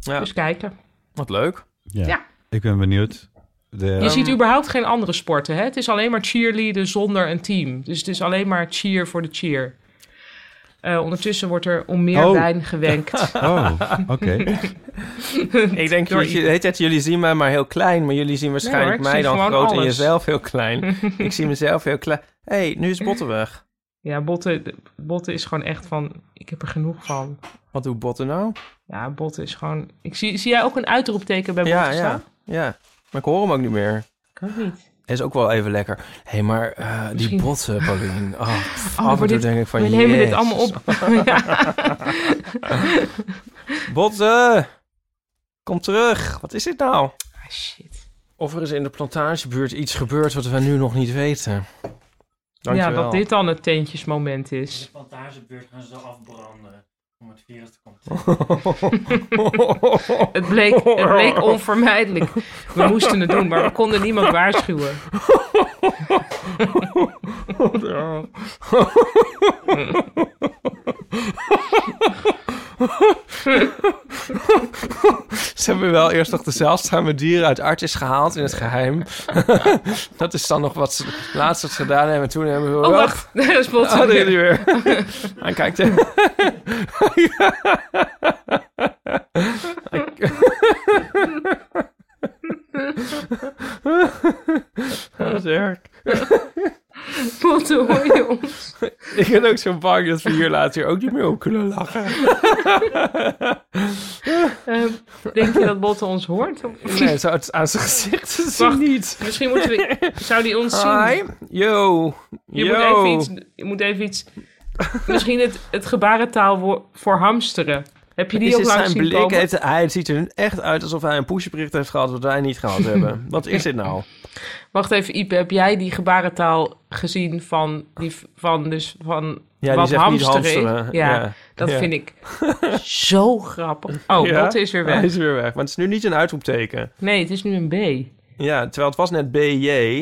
Speaker 6: Ja.
Speaker 5: Dus kijken.
Speaker 6: Wat
Speaker 5: [LAUGHS]
Speaker 6: leuk.
Speaker 4: Ja.
Speaker 5: Ja.
Speaker 4: Ik ben benieuwd. De,
Speaker 5: Je ziet überhaupt geen andere sporten. Hè? Het is alleen maar cheerleaden zonder een team. Dus het is alleen maar cheer voor de cheer. Eh, ondertussen wordt er om meer
Speaker 4: Oh.
Speaker 5: wijn gewenkt.
Speaker 4: Oh, oké.
Speaker 6: Ik denk,
Speaker 5: Door-
Speaker 6: jullie, heet het, jullie zien mij maar heel klein, maar jullie zien waarschijnlijk
Speaker 5: hoor, ik
Speaker 6: mij
Speaker 5: zie
Speaker 6: dan
Speaker 5: gewoon
Speaker 6: groot en
Speaker 5: alles.
Speaker 6: jezelf heel
Speaker 5: [LAUGHS]
Speaker 6: klein. ik zie mezelf heel klein. Hé, hey, nu is Botten weg.
Speaker 5: Ja, botten, de- botten is gewoon echt van, ik heb er genoeg van.
Speaker 6: Wat doet Botten nou?
Speaker 5: Ja, botten is gewoon... Ik zie, zie jij ook een uitroepteken bij
Speaker 6: Ja,
Speaker 5: botten
Speaker 6: ja,
Speaker 5: staan?
Speaker 6: ja. Maar ik hoor hem ook niet meer.
Speaker 5: Kan ook niet.
Speaker 6: Is ook wel even lekker. Hé, hey, maar eh, die
Speaker 5: Misschien-
Speaker 6: botten,
Speaker 5: [LAUGHS]
Speaker 6: Paulien. Oh, pff,
Speaker 5: maar
Speaker 6: af en toe
Speaker 5: dit-
Speaker 6: denk ik van,
Speaker 5: We nemen dit
Speaker 6: jezus.
Speaker 5: allemaal
Speaker 6: [LAUGHS]
Speaker 5: op.
Speaker 6: Botten! Kom terug! Wat is dit nou?
Speaker 5: Ah, shit.
Speaker 6: Of er is in de plantagebuurt iets gebeurd wat we nu nog niet weten.
Speaker 5: Ja,
Speaker 6: Dankjewel.
Speaker 5: dat dit dan het teentjesmoment is.
Speaker 8: plantagebeurt gaan ze afbranden om het virus te komen.
Speaker 5: Het bleek, het
Speaker 6: [LAUGHS]
Speaker 5: bleek onvermijdelijk. We moesten het doen, maar we konden niemand waarschuwen.
Speaker 6: [LAUGHS]
Speaker 5: Oh,
Speaker 6: Ze hebben wel eerst nog de zeldzame dieren uit Artis gehaald in het geheim. [LAUGHS] dat is dan nog wat ze laatst wat ze gedaan hebben. Toen hebben we...
Speaker 5: Oh, wacht. [LAUGHS] Daar is
Speaker 6: Oh,
Speaker 5: botten
Speaker 6: daar
Speaker 5: weer.
Speaker 6: jullie weer. [LAUGHS] Hij kijkt
Speaker 5: [LAUGHS]
Speaker 6: even. Dat is erg.
Speaker 5: Botten, hoor je ons?
Speaker 6: Ik ben ook zo bang dat we hier later ook niet meer op kunnen
Speaker 5: [LAUGHS]
Speaker 6: lachen.
Speaker 5: Ehm, denk je dat botten ons hoort? Of-
Speaker 6: Nee, zo uit- aan zijn gezicht te zien
Speaker 5: Wacht.
Speaker 6: niet.
Speaker 5: Misschien moeten we... Zou die ons zien?
Speaker 6: Hi. Yo.
Speaker 5: Je
Speaker 6: Yo.
Speaker 5: moet even iets. Je moet even iets. Misschien het, het gebarentaal wo- voor hamsteren. Heb je
Speaker 6: Is
Speaker 5: die ook
Speaker 6: dit
Speaker 5: langs
Speaker 6: zijn
Speaker 5: zien
Speaker 6: blik?
Speaker 5: komen?
Speaker 6: Heeft, hij het ziet er echt uit alsof hij een pushbericht heeft gehad wat wij niet gehad
Speaker 5: [LAUGHS]
Speaker 6: hebben. Wat is dit nou?
Speaker 5: Wacht even, Ipe, heb jij die gebarentaal gezien van, die, van, dus van
Speaker 6: Ja,
Speaker 5: wat
Speaker 6: die zegt niet
Speaker 5: hamster is?
Speaker 6: hamsteren.
Speaker 5: Ja,
Speaker 6: Ja.
Speaker 5: dat
Speaker 6: Ja.
Speaker 5: vind
Speaker 6: [LAUGHS]
Speaker 5: ik zo grappig. Oh,
Speaker 6: Ja?
Speaker 5: dat is weer weg.
Speaker 6: Hij is weer weg. Maar het is nu niet een uitroepteken.
Speaker 5: Nee, het is nu een B.
Speaker 6: Ja, terwijl het was net BJ.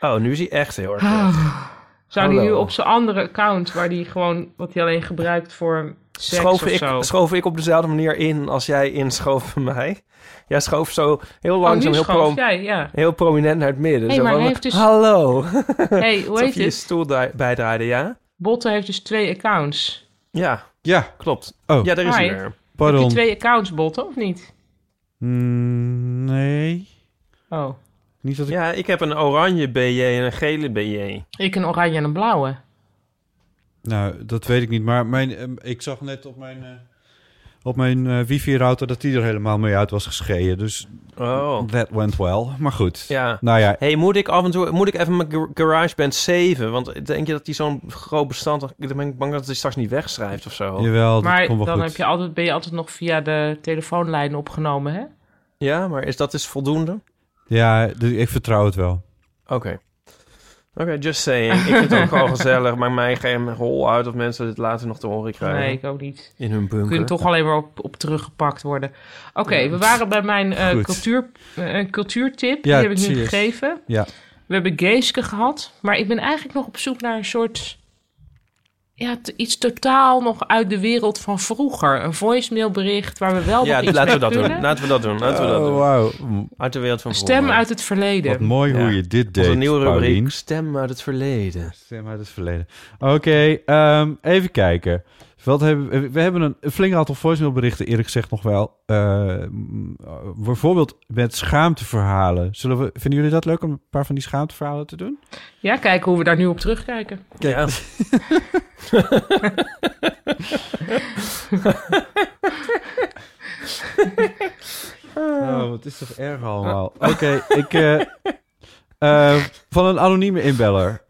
Speaker 6: Oh, nu is hij echt heel erg.
Speaker 5: Ah, Zou die nu
Speaker 6: Hallo.
Speaker 5: op zijn andere account, waar die gewoon, wat hij alleen gebruikt voor seks
Speaker 6: schoof
Speaker 5: of
Speaker 6: ik,
Speaker 5: zo?
Speaker 6: schoof ik op dezelfde manier in als jij inschoof bij mij? Jij schoof zo heel
Speaker 5: Oh,
Speaker 6: langzaam,
Speaker 5: nu
Speaker 6: heel,
Speaker 5: schoof
Speaker 6: pro- [LAUGHS]
Speaker 5: jij, ja.
Speaker 6: heel prominent naar het midden.
Speaker 5: Hey,
Speaker 6: Zo
Speaker 5: maar
Speaker 6: van,
Speaker 5: hij heeft dus-
Speaker 6: Hallo!
Speaker 5: hey,
Speaker 6: [LAUGHS]
Speaker 5: hoe
Speaker 6: Alsof
Speaker 5: heet
Speaker 6: je je
Speaker 5: het?
Speaker 6: stoel daar- bijdraaide, ja?
Speaker 5: Botte heeft dus twee accounts.
Speaker 6: Ja,
Speaker 4: Ja,
Speaker 6: klopt.
Speaker 4: Oh.
Speaker 6: Ja, daar is hij
Speaker 5: Hi.
Speaker 6: weer.
Speaker 5: Heb
Speaker 4: pardon.
Speaker 5: je twee accounts, Botte, of niet?
Speaker 4: Mm, nee,
Speaker 5: Oh,
Speaker 4: niet dat ik...
Speaker 6: Ja, ik heb een oranje BJ en een gele BJ.
Speaker 5: ik een oranje en een blauwe.
Speaker 4: Nou, dat weet ik niet, maar mijn, ehm, ik zag net op mijn, eh, op mijn eh, wifi-router dat die er helemaal mee uit was geschreven. Dus
Speaker 6: Oh.
Speaker 4: that went well. Maar goed.
Speaker 6: Ja.
Speaker 4: Nou ja,
Speaker 6: hey, moet ik af en toe moet ik even mijn gar- GarageBand saven? Want denk je dat die zo'n groot bestand... Dan ben ik bang dat hij straks niet wegschrijft of zo.
Speaker 4: jawel, dat
Speaker 5: maar
Speaker 4: komt wel
Speaker 5: dan
Speaker 4: goed.
Speaker 5: heb je altijd, ben je altijd nog via de telefoonlijn opgenomen, hè?
Speaker 6: Ja, maar is dat is voldoende?
Speaker 4: Ja, dus ik vertrouw het wel.
Speaker 6: Oké. Oké, just saying. Ik vind het ook gewoon gezellig, maar mij geen rol uit of mensen dit later nog te horen krijgen.
Speaker 5: Nee, ik ook niet.
Speaker 6: In hun
Speaker 5: We
Speaker 6: bunker.
Speaker 5: kunnen toch alleen maar op, op teruggepakt worden. Oké, we waren bij mijn eh,
Speaker 4: Goed.
Speaker 5: cultuur, eh, een cultuurtip.
Speaker 4: Ja,
Speaker 5: Die heb ik nu
Speaker 4: cheers.
Speaker 5: gegeven.
Speaker 4: Ja.
Speaker 5: We hebben Geeske gehad. Maar ik ben eigenlijk nog op zoek naar een soort... Ja, t- iets totaal nog uit de wereld van vroeger. Een voicemailbericht waar we wel
Speaker 6: Ja,
Speaker 5: nog iets
Speaker 6: laten we
Speaker 5: mee
Speaker 6: dat doen.
Speaker 5: kunnen.
Speaker 6: Laten we dat doen. Laten we dat
Speaker 4: Oh,
Speaker 6: doen.
Speaker 4: wauw.
Speaker 6: Uit de wereld van
Speaker 5: Een Stem
Speaker 6: vroeger.
Speaker 5: uit het verleden.
Speaker 4: Wat mooi hoe
Speaker 6: Ja.
Speaker 4: je dit deed,
Speaker 6: Onze nieuwe rubriek.
Speaker 4: Paulien.
Speaker 6: Stem uit het verleden.
Speaker 4: Stem uit het verleden. Oké, ehm, even kijken. Wat hebben, we hebben een, een flink aantal voicemailberichten, eerlijk gezegd nog wel. Eh, mm, bijvoorbeeld met schaamteverhalen. Zullen we, vinden jullie dat leuk om een paar van die schaamteverhalen te doen?
Speaker 5: Ja, kijken hoe we daar nu op terugkijken.
Speaker 6: Ja.
Speaker 4: Oh, wat is toch erg allemaal. Oké, ik... [LAUGHS] eh, eh, van een anonieme inbeller.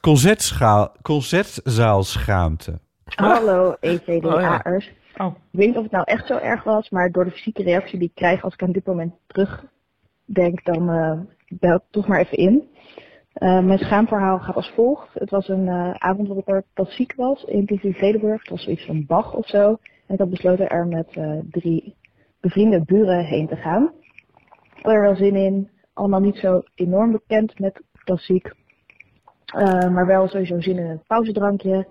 Speaker 4: Concertscha- Concertzaalschaamte.
Speaker 5: [LAUGHS]
Speaker 9: Hallo, EVDA'ers.
Speaker 5: Oh.
Speaker 9: Ik weet niet of het nou echt zo erg was, maar door de fysieke reactie die ik krijg als ik aan dit moment terugdenk, dan eh, bel ik toch maar even in. Eh, mijn schaamverhaal gaat als volgt. Het was een eh, avond waarop ik pas ziek was in TV Vredenburg. Het was zoiets van Bach of zo. En ik had besloten er met eh, drie bevriende buren heen te gaan. Ik had er wel zin in. Allemaal niet zo enorm bekend met klassiek. Eh, maar wel sowieso zin in een pauzedrankje.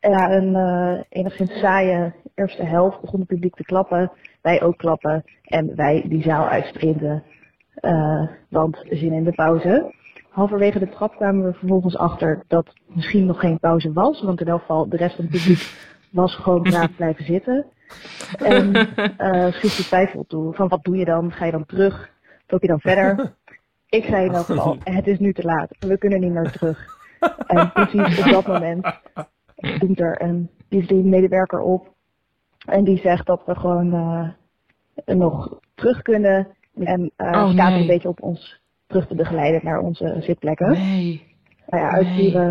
Speaker 9: Ja, een eh, enigszins saaie eerste helft begon het publiek te klappen. Wij ook klappen en wij die zaal uitsprinten. eh, want zin in de pauze. Halverwege de trap kwamen we vervolgens achter dat misschien nog geen pauze was. Want in elk geval de rest van
Speaker 5: [LAUGHS]
Speaker 9: het publiek was gewoon braaf blijven zitten. En eh schiet de twijfel toe van wat doe je dan? Ga je dan terug? Loop je dan
Speaker 5: [LAUGHS]
Speaker 9: verder? Ik zei in elk geval, het is nu te laat. We kunnen niet meer terug. En precies op dat moment doet er een medewerker op. En die zegt dat we gewoon eh, nog terug kunnen. En eh,
Speaker 5: Oh,
Speaker 9: staat
Speaker 5: nee.
Speaker 9: een beetje op ons terug te begeleiden naar onze zitplekken.
Speaker 5: Nee.
Speaker 9: Nou ja, uit die eh,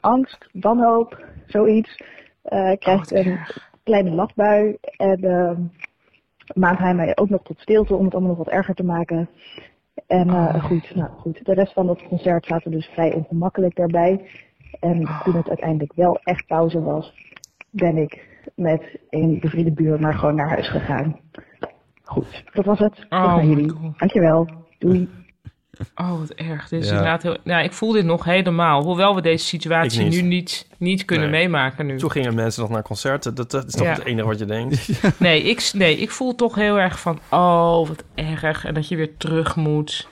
Speaker 9: angst, wanhoop, zoiets, eh krijgt
Speaker 5: Oh, wat
Speaker 9: een kleine lachbui. En ehm, maakt hij mij ook nog tot stilte om het allemaal nog wat erger te maken. En eh,
Speaker 5: Oh.
Speaker 9: goed, nou goed, de rest van het concert zaten dus vrij ongemakkelijk daarbij. En
Speaker 5: Oh.
Speaker 9: toen het uiteindelijk wel echt pauze was, ben ik met een bevriende buur maar gewoon naar huis gegaan. Goed, dat was het. Tot
Speaker 5: Oh,
Speaker 9: naar
Speaker 5: my
Speaker 9: jullie.
Speaker 5: God.
Speaker 9: Dankjewel. Doei.
Speaker 5: Oh, wat erg. Dit is
Speaker 4: Ja.
Speaker 5: inderdaad heel... Nou, ik voel dit nog helemaal. Hoewel we deze situatie
Speaker 6: Ik niet.
Speaker 5: nu niet, niet kunnen
Speaker 6: Nee.
Speaker 5: meemaken nu.
Speaker 6: Toen gingen mensen nog naar concerten. Dat, dat is toch
Speaker 5: Ja.
Speaker 6: het enige wat je [LAUGHS] denkt?
Speaker 5: Nee ik, nee, ik voel toch heel erg van... Oh, wat erg. En dat je weer terug moet.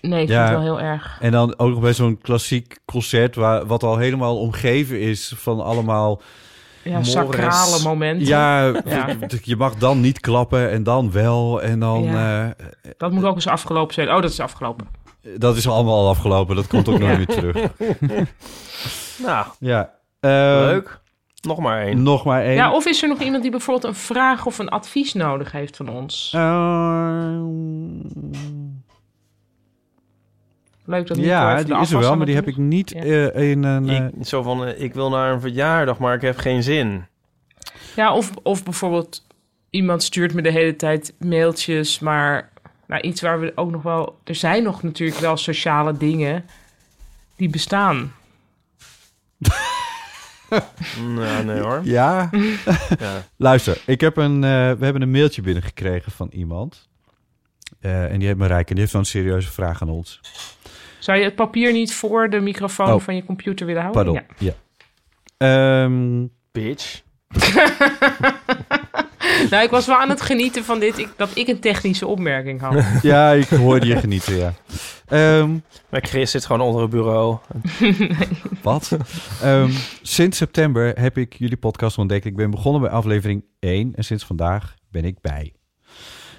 Speaker 5: Nee, ik
Speaker 4: Ja.
Speaker 5: vind het wel heel erg.
Speaker 4: En dan ook nog bij zo'n klassiek concert, waar, wat al helemaal omgeven is van allemaal.
Speaker 5: Ja,
Speaker 4: Morris.
Speaker 5: sacrale momenten.
Speaker 4: Ja,
Speaker 5: Ja.
Speaker 4: d- d- je mag dan niet klappen en dan wel. En dan.
Speaker 5: Ja.
Speaker 4: eh,
Speaker 5: Dat moet ook eens afgelopen zijn. Oh, dat is afgelopen.
Speaker 4: dat is allemaal al afgelopen, dat komt ook nooit meer
Speaker 5: [LAUGHS]
Speaker 4: terug.
Speaker 6: nou,
Speaker 4: Ja. Eh,
Speaker 6: Ehm, leuk. Nog maar één.
Speaker 4: Nog maar één.
Speaker 5: Ja, of is er nog iemand die bijvoorbeeld een vraag of een advies nodig heeft van ons?
Speaker 4: Eh,
Speaker 5: Leuk dat Nico
Speaker 4: Ja,
Speaker 5: even
Speaker 4: die is
Speaker 5: de
Speaker 4: er
Speaker 5: afwas
Speaker 4: wel,
Speaker 5: aan
Speaker 4: maar die
Speaker 5: het
Speaker 4: heb ik niet eh, in een... eh,
Speaker 6: Ik, zo van, eh, ik wil naar een verjaardag, maar ik heb geen zin.
Speaker 5: Ja, of, of bijvoorbeeld iemand stuurt me de hele tijd mailtjes, maar nou, iets waar we ook nog wel... Er zijn nog natuurlijk wel sociale dingen die bestaan.
Speaker 6: Nou, nee hoor.
Speaker 5: [LAUGHS]
Speaker 4: Ja.
Speaker 6: Ja.
Speaker 4: [LAUGHS] Luister, ik heb een, eh, we hebben een mailtje binnengekregen van iemand. Eh, en die heet Marijke. En die heeft zo'n serieuze vraag aan ons.
Speaker 5: Oh, Zou je het papier niet voor de microfoon
Speaker 4: Oh.
Speaker 5: van je computer willen houden?
Speaker 4: Pardon.
Speaker 5: Ja.
Speaker 4: Ja. Ehm,
Speaker 6: Bitch.
Speaker 5: Nou, ik was wel aan het genieten van dit, ik, dat ik een technische opmerking had.
Speaker 4: ja, ik hoorde je genieten, ja. Ehm,
Speaker 6: Maar Chris zit gewoon onder het bureau.
Speaker 5: [LAUGHS]
Speaker 4: wat? Ehm, sinds september heb ik jullie podcast ontdekt. Ik ben begonnen bij aflevering 1 en sinds vandaag ben ik bij.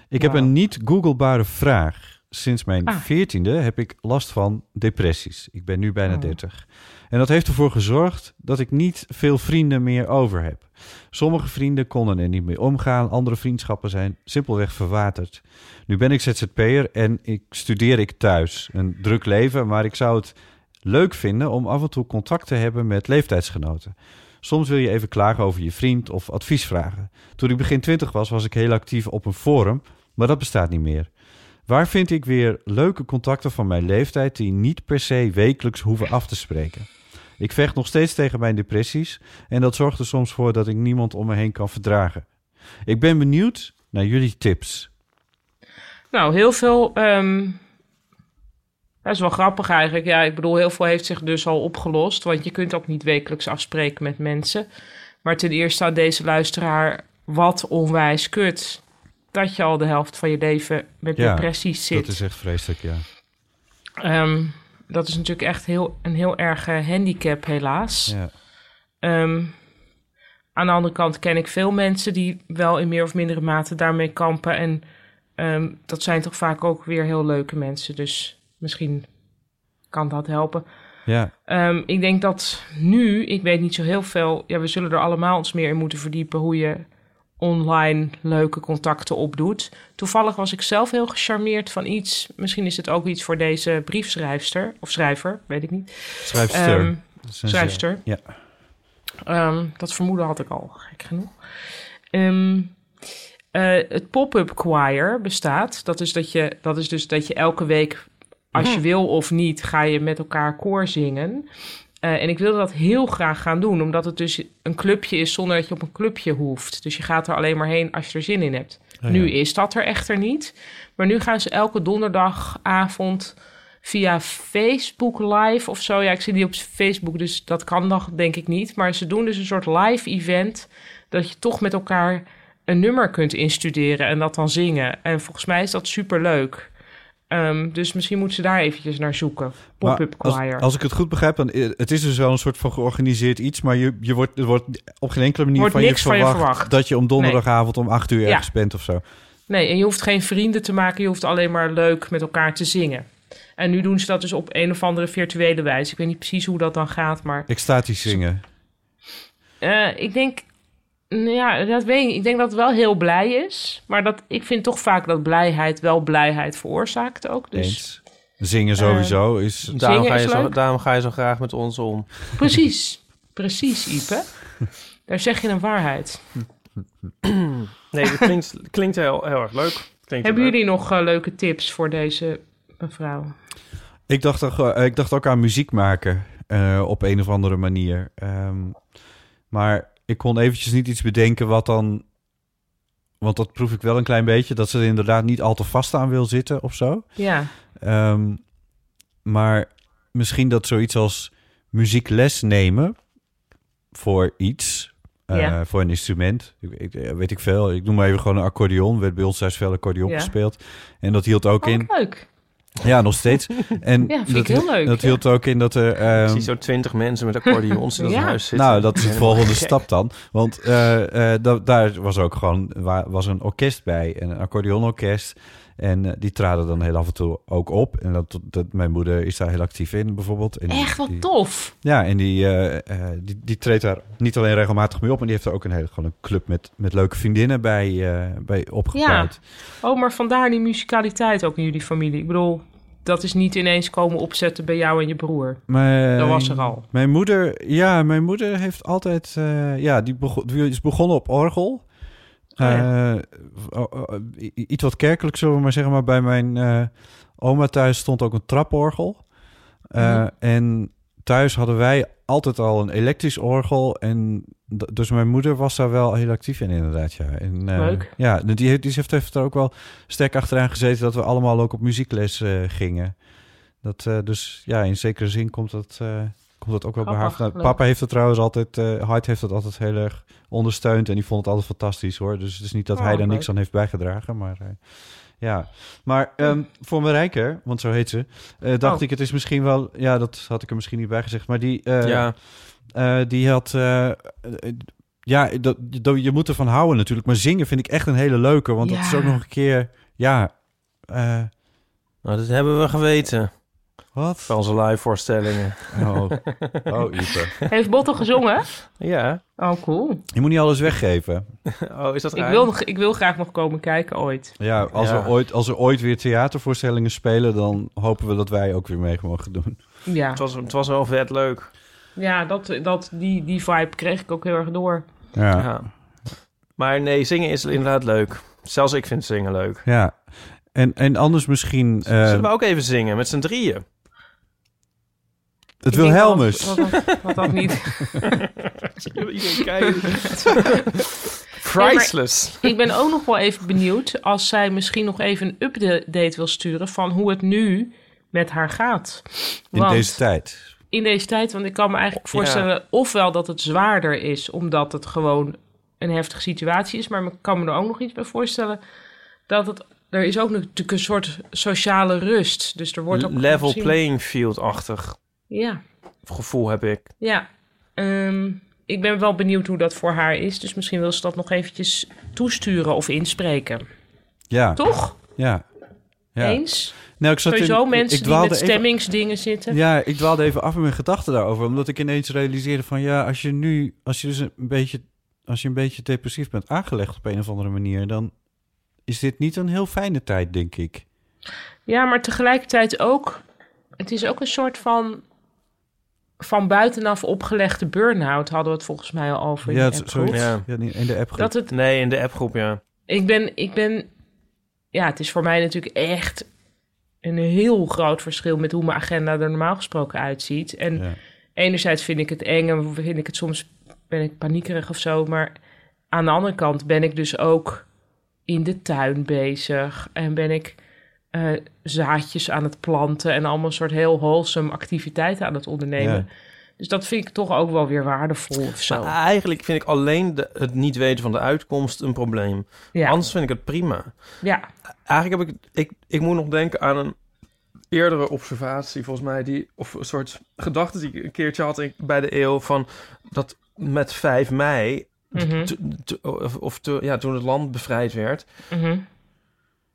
Speaker 4: Ik heb
Speaker 5: Wauw.
Speaker 4: een niet googlebare vraag. Sinds mijn
Speaker 5: Ah.
Speaker 4: veertiende heb ik last van depressies. Ik ben nu bijna
Speaker 5: Oh.
Speaker 4: 30. En dat heeft ervoor gezorgd dat ik niet veel vrienden meer over heb. Sommige vrienden konden er niet mee omgaan. Andere vriendschappen zijn simpelweg verwaterd. Nu ben ik ZZP'er en ik studeer ik thuis. Een druk leven, maar ik zou het leuk vinden om af en toe contact te hebben met leeftijdsgenoten. Soms wil je even klagen over je vriend of advies vragen. Toen ik begin 20 was, was ik heel actief op een forum, maar dat bestaat niet meer. Waar vind ik weer leuke contacten van mijn leeftijd die niet per se wekelijks hoeven af te spreken? Ik vecht nog steeds tegen mijn depressies en dat zorgt er soms voor dat ik niemand om me heen kan verdragen. Ik ben benieuwd naar jullie tips.
Speaker 5: Nou, heel veel. ehm, dat is wel grappig eigenlijk. Ja, ik bedoel, heel veel heeft zich dus al opgelost. Want je kunt ook niet wekelijks afspreken met mensen. Maar ten eerste aan deze luisteraar, wat onwijs kut. Dat je al de helft van je leven met
Speaker 4: Ja,
Speaker 5: depressies zit.
Speaker 4: Dat is echt vreselijk, ja.
Speaker 5: Ehm, dat is natuurlijk echt heel, een heel erg eh, handicap, helaas.
Speaker 4: ja.
Speaker 5: Ehm, aan de andere kant ken ik veel mensen die wel in meer of mindere mate daarmee kampen. En ehm, dat zijn toch vaak ook weer heel leuke mensen. Dus misschien kan dat helpen.
Speaker 4: Ja,
Speaker 5: Ehm, ik denk dat nu, ik weet niet zo heel veel. Ja, we zullen er allemaal ons meer in moeten verdiepen hoe je online leuke contacten opdoet. Toevallig was ik zelf heel gecharmeerd van iets. Misschien is het ook iets voor deze briefschrijfster of schrijver, weet ik niet.
Speaker 4: schrijfster.
Speaker 5: Ehm,
Speaker 4: Dat zijn ze.
Speaker 5: schrijfster.
Speaker 4: Ja.
Speaker 5: Ehm, dat vermoeden had ik al, gek genoeg. Ehm, eh, het pop-up choir bestaat. Dat is, dat, je, dat is dus dat je elke week, als je wil of niet, ga je met elkaar koor zingen. Eh, en ik wilde dat heel graag gaan doen, omdat het dus een clubje is zonder dat je op een clubje hoeft. Dus je gaat er alleen maar heen als je er zin in hebt. Nu is dat er echter niet. Maar nu gaan ze elke donderdagavond via Facebook Live of zo. Ja, ik zie die op Facebook, dus dat kan dan denk ik niet. Maar ze doen dus een soort live event dat je toch met elkaar een nummer kunt instuderen en dat dan zingen. En volgens mij is dat superleuk. Ehm dus misschien moeten ze daar eventjes naar zoeken.
Speaker 4: Maar
Speaker 5: Pop-up
Speaker 4: als,
Speaker 5: choir.
Speaker 4: als ik het goed begrijp, dan i- het is dus wel een soort van georganiseerd iets, maar je, je wordt, er wordt op geen enkele manier
Speaker 5: Wordt
Speaker 4: van, je
Speaker 5: niks van je
Speaker 4: verwacht
Speaker 5: verwacht.
Speaker 4: dat je om donderdagavond om acht uur
Speaker 5: Ja.
Speaker 4: ergens bent of zo.
Speaker 5: Nee, en je hoeft geen vrienden te maken, je hoeft alleen maar leuk met elkaar te zingen. En nu doen ze dat dus op een of andere virtuele wijze. Ik weet niet precies hoe dat dan gaat, maar
Speaker 4: Extatisch zingen.
Speaker 5: eh, ik denk, nou ja, dat weet ik. Ik denk dat het wel heel blij is, maar dat ik vind toch vaak dat blijheid wel blijheid veroorzaakt ook. Dus Ehm,
Speaker 4: Eens. Zingen sowieso is...
Speaker 6: Daarom ga,
Speaker 5: is
Speaker 6: je zo,
Speaker 5: leuk.
Speaker 6: daarom ga je zo graag met ons om.
Speaker 5: precies, precies, Ipe. Daar zeg je een waarheid.
Speaker 6: Nee, dat klinkt, klinkt heel, heel erg leuk. Klinkt
Speaker 5: Hebben
Speaker 6: heel leuk.
Speaker 5: jullie nog eh, leuke tips voor deze mevrouw?
Speaker 4: Ik dacht, toch, eh, ik dacht ook aan muziek maken eh, op een of andere manier. Ehm, maar ik kon eventjes niet iets bedenken wat dan... Want dat proef ik wel een klein beetje, dat ze er inderdaad niet al te vast aan wil zitten of zo.
Speaker 5: Ja,
Speaker 4: Ehm, maar misschien dat zoiets als muziekles nemen voor iets, eh,
Speaker 5: Ja.
Speaker 4: voor een instrument, ik, ik- eh, weet ik veel. Ik noem maar even gewoon een accordeon. Werd bij ons thuis veel accordeon
Speaker 5: Ja.
Speaker 4: gespeeld. En dat hield ook
Speaker 5: oh,
Speaker 4: in.
Speaker 5: leuk.
Speaker 4: Ja, nog
Speaker 5: [LAUGHS]
Speaker 4: steeds. En
Speaker 5: Ja, vind ik
Speaker 4: dat,
Speaker 5: heel leuk,
Speaker 4: Dat
Speaker 5: ja.
Speaker 4: hield ook in dat er. ehm,
Speaker 6: Ik zie zo twintig mensen met accordeons in dat
Speaker 5: Ja.
Speaker 6: huis zitten.
Speaker 4: nou, dat is de
Speaker 6: Helemaal
Speaker 4: volgende
Speaker 6: gek.
Speaker 4: stap dan. Want eh, eh, da- daar was ook gewoon wa- was een orkest bij, een accordeonorkest. En eh, die traden dan heel af en toe ook op. En dat, dat, mijn moeder is daar heel actief in, bijvoorbeeld. En die-
Speaker 5: Echt
Speaker 4: die-
Speaker 5: wat tof.
Speaker 4: Ja, en die, eh, eh, die, die treedt daar niet alleen regelmatig mee op... maar die heeft er ook een hele gewoon een club met, met leuke vriendinnen bij, eh, bij opgebouwd.
Speaker 5: Oh, maar vandaar die musicaliteit ook in jullie familie. Ik bedoel, dat is niet ineens komen opzetten bij jou en je broer.
Speaker 4: Mijn,
Speaker 5: Dat was er al.
Speaker 4: Mijn moeder, ja, mijn moeder heeft altijd, eh, ja, die, begon, die is begonnen op orgel.
Speaker 5: Oh,
Speaker 4: Eh, o- o- i- i- iets wat kerkelijk, zullen we maar zeggen. Maar bij mijn eh, oma thuis stond ook een traporgel. Eh,
Speaker 5: Mhm.
Speaker 10: Ja.
Speaker 4: En thuis hadden wij altijd al een elektrisch orgel. En d- dus mijn moeder was daar wel heel actief in, inderdaad. Ja. En, eh,
Speaker 5: Leuk.
Speaker 4: Ja, die, heeft- die heeft, heeft er ook wel sterk achteraan gezeten dat we allemaal ook op muziekles eh, gingen. Dat, eh, dus ja, in zekere zin komt dat, eh, komt dat ook wel bij haar.
Speaker 10: Grappig,
Speaker 4: vandaan.
Speaker 10: leuk.
Speaker 4: Papa heeft het trouwens altijd, eh Hart heeft dat altijd heel erg ondersteund en die vond het altijd fantastisch hoor. Dus het is niet dat
Speaker 10: Oh,
Speaker 4: hij daar
Speaker 10: leuk.
Speaker 4: niks aan heeft bijgedragen, maar eh, ja. Maar ehm, voor Marijke, want zo heet ze, eh, dacht
Speaker 10: Oh.
Speaker 4: ik het is misschien wel, ja dat had ik er misschien niet bij gezegd, maar die, eh,
Speaker 6: Ja.
Speaker 4: eh, die had, eh, eh, ja dat, dat- je moet ervan houden natuurlijk, maar zingen vind ik echt een hele leuke, want dat is
Speaker 6: Ja.
Speaker 4: ook nog een keer, ja. eh,
Speaker 6: Nou, dat hebben we geweten.
Speaker 4: Wat?
Speaker 6: Van onze live voorstellingen.
Speaker 4: Oh. Oh, Ipe.
Speaker 5: Heeft Botte gezongen?
Speaker 6: Ja.
Speaker 5: Oh, cool.
Speaker 4: je moet niet alles weggeven.
Speaker 6: Oh, is dat
Speaker 5: Ik wil, nog- ik wil graag nog komen kijken ooit.
Speaker 4: Ja, als,
Speaker 5: Ja.
Speaker 4: Er ooit, als er ooit weer theatervoorstellingen spelen, dan hopen we dat wij ook weer mee mogen doen.
Speaker 5: Ja.
Speaker 6: Het, was, het was wel vet leuk.
Speaker 5: Ja, dat, dat, die, die vibe kreeg ik ook heel erg door.
Speaker 4: Ja.
Speaker 6: Maar nee, zingen is inderdaad leuk. Zelfs ik vind zingen leuk.
Speaker 4: Ja. En, en anders misschien. eh,
Speaker 6: Zullen we ook even zingen met z'n drieën?
Speaker 4: het
Speaker 6: ik denk wel-
Speaker 4: Wilhelmus.
Speaker 6: wat- wat-
Speaker 5: Wat dat niet.
Speaker 6: Iedereen
Speaker 5: [LAUGHS]
Speaker 6: kijkt. Priceless.
Speaker 5: Ik ben ook nog wel even benieuwd als zij misschien nog even een update wil sturen van hoe het nu met haar gaat.
Speaker 4: In deze tijd.
Speaker 5: In deze tijd, want ik kan me eigenlijk
Speaker 4: Ja.
Speaker 5: voorstellen, ofwel dat het zwaarder is, omdat het gewoon een heftige situatie is, maar ik kan me er ook nog iets bij voorstellen dat het er is ook natuurlijk een soort sociale rust, dus er wordt ook
Speaker 6: Level
Speaker 5: gezien-
Speaker 6: playing field-achtig
Speaker 5: Ja,
Speaker 6: gevoel heb ik.
Speaker 5: ja. Ehm, ik ben wel benieuwd hoe dat voor haar is, dus misschien wil ze dat nog eventjes toesturen of inspreken.
Speaker 4: Ja.
Speaker 5: Toch?
Speaker 4: Ja. ja.
Speaker 5: Eens?
Speaker 4: Nou, ik zat
Speaker 5: Sowieso
Speaker 4: in,
Speaker 5: mensen
Speaker 4: ik
Speaker 5: die
Speaker 4: dwaalde
Speaker 5: met
Speaker 4: even-
Speaker 5: stemmingsdingen zitten.
Speaker 4: Ja, ik dwaalde even af in mijn gedachten daarover. Omdat ik ineens realiseerde van ja, als je nu, als je dus een beetje, als je een beetje depressief bent aangelegd op een of andere manier, dan is dit niet een heel fijne tijd, denk ik.
Speaker 5: Ja, maar tegelijkertijd ook... Het is ook een soort van... van buitenaf opgelegde burn-out... hadden we het volgens mij al over. in
Speaker 4: Ja,
Speaker 5: de
Speaker 4: het-
Speaker 5: appgroep.
Speaker 4: zoiets. Ja, in de appgroep.
Speaker 5: Dat het-
Speaker 6: Nee, in de appgroep, ja.
Speaker 5: Ik ben, ik ben... Ja, het is voor mij natuurlijk echt... een heel groot verschil... met hoe mijn agenda er normaal gesproken uitziet. En enerzijds vind ik het eng... en vind ik het soms... ben ik paniekerig of zo, maar... aan de andere kant ben ik dus ook... in de tuin bezig... en ben ik... eh, zaadjes aan het planten... en allemaal soort heel wholesome activiteiten aan het ondernemen.
Speaker 6: Ja.
Speaker 5: Dus dat vind ik toch ook wel weer waardevol of zo.
Speaker 6: Maar eigenlijk vind ik alleen de- het niet weten van de uitkomst een probleem.
Speaker 5: Ja.
Speaker 6: Anders vind ik het prima.
Speaker 5: Ja.
Speaker 6: Eigenlijk heb ik, ik... Ik moet nog denken aan een eerdere observatie, volgens mij. Die, of een soort gedachte die ik een keertje had in- bij de eeuw... van dat met 5 mei...
Speaker 5: Mhm.
Speaker 6: t- t- of, of te- ja, toen het land bevrijd werd...
Speaker 5: Mhm.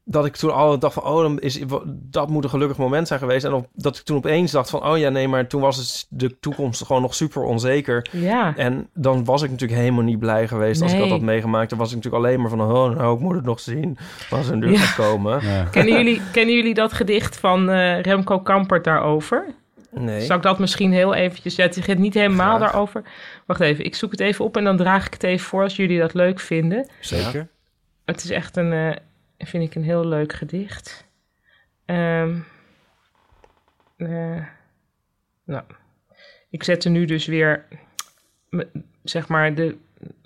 Speaker 6: dat ik toen al dacht van, oh, dan is, dat moet een gelukkig moment zijn geweest. En op, dat ik toen opeens dacht van, oh ja, nee, maar toen was het, de toekomst gewoon nog super onzeker.
Speaker 5: Ja.
Speaker 6: En dan was ik natuurlijk helemaal niet blij geweest als ik dat
Speaker 5: Nee.
Speaker 6: had meegemaakt. Dan was ik natuurlijk alleen maar van, oh, nou, ik moet het nog zien wat er nu
Speaker 5: Ja.
Speaker 6: gaat komen.
Speaker 5: Kennen jullie, kennen jullie dat gedicht van eh, Remco Kampert daarover?
Speaker 6: Nee.
Speaker 5: Zal ik dat misschien heel eventjes... Ja, het gaat niet helemaal daarover. Wacht even, ik zoek het even op en dan draag ik het even voor als jullie dat leuk vinden.
Speaker 4: Zeker.
Speaker 5: Het is echt een, eh, vind ik een heel leuk gedicht. Ehm, eh, nou, ik zet er nu dus weer, m- zeg maar, de,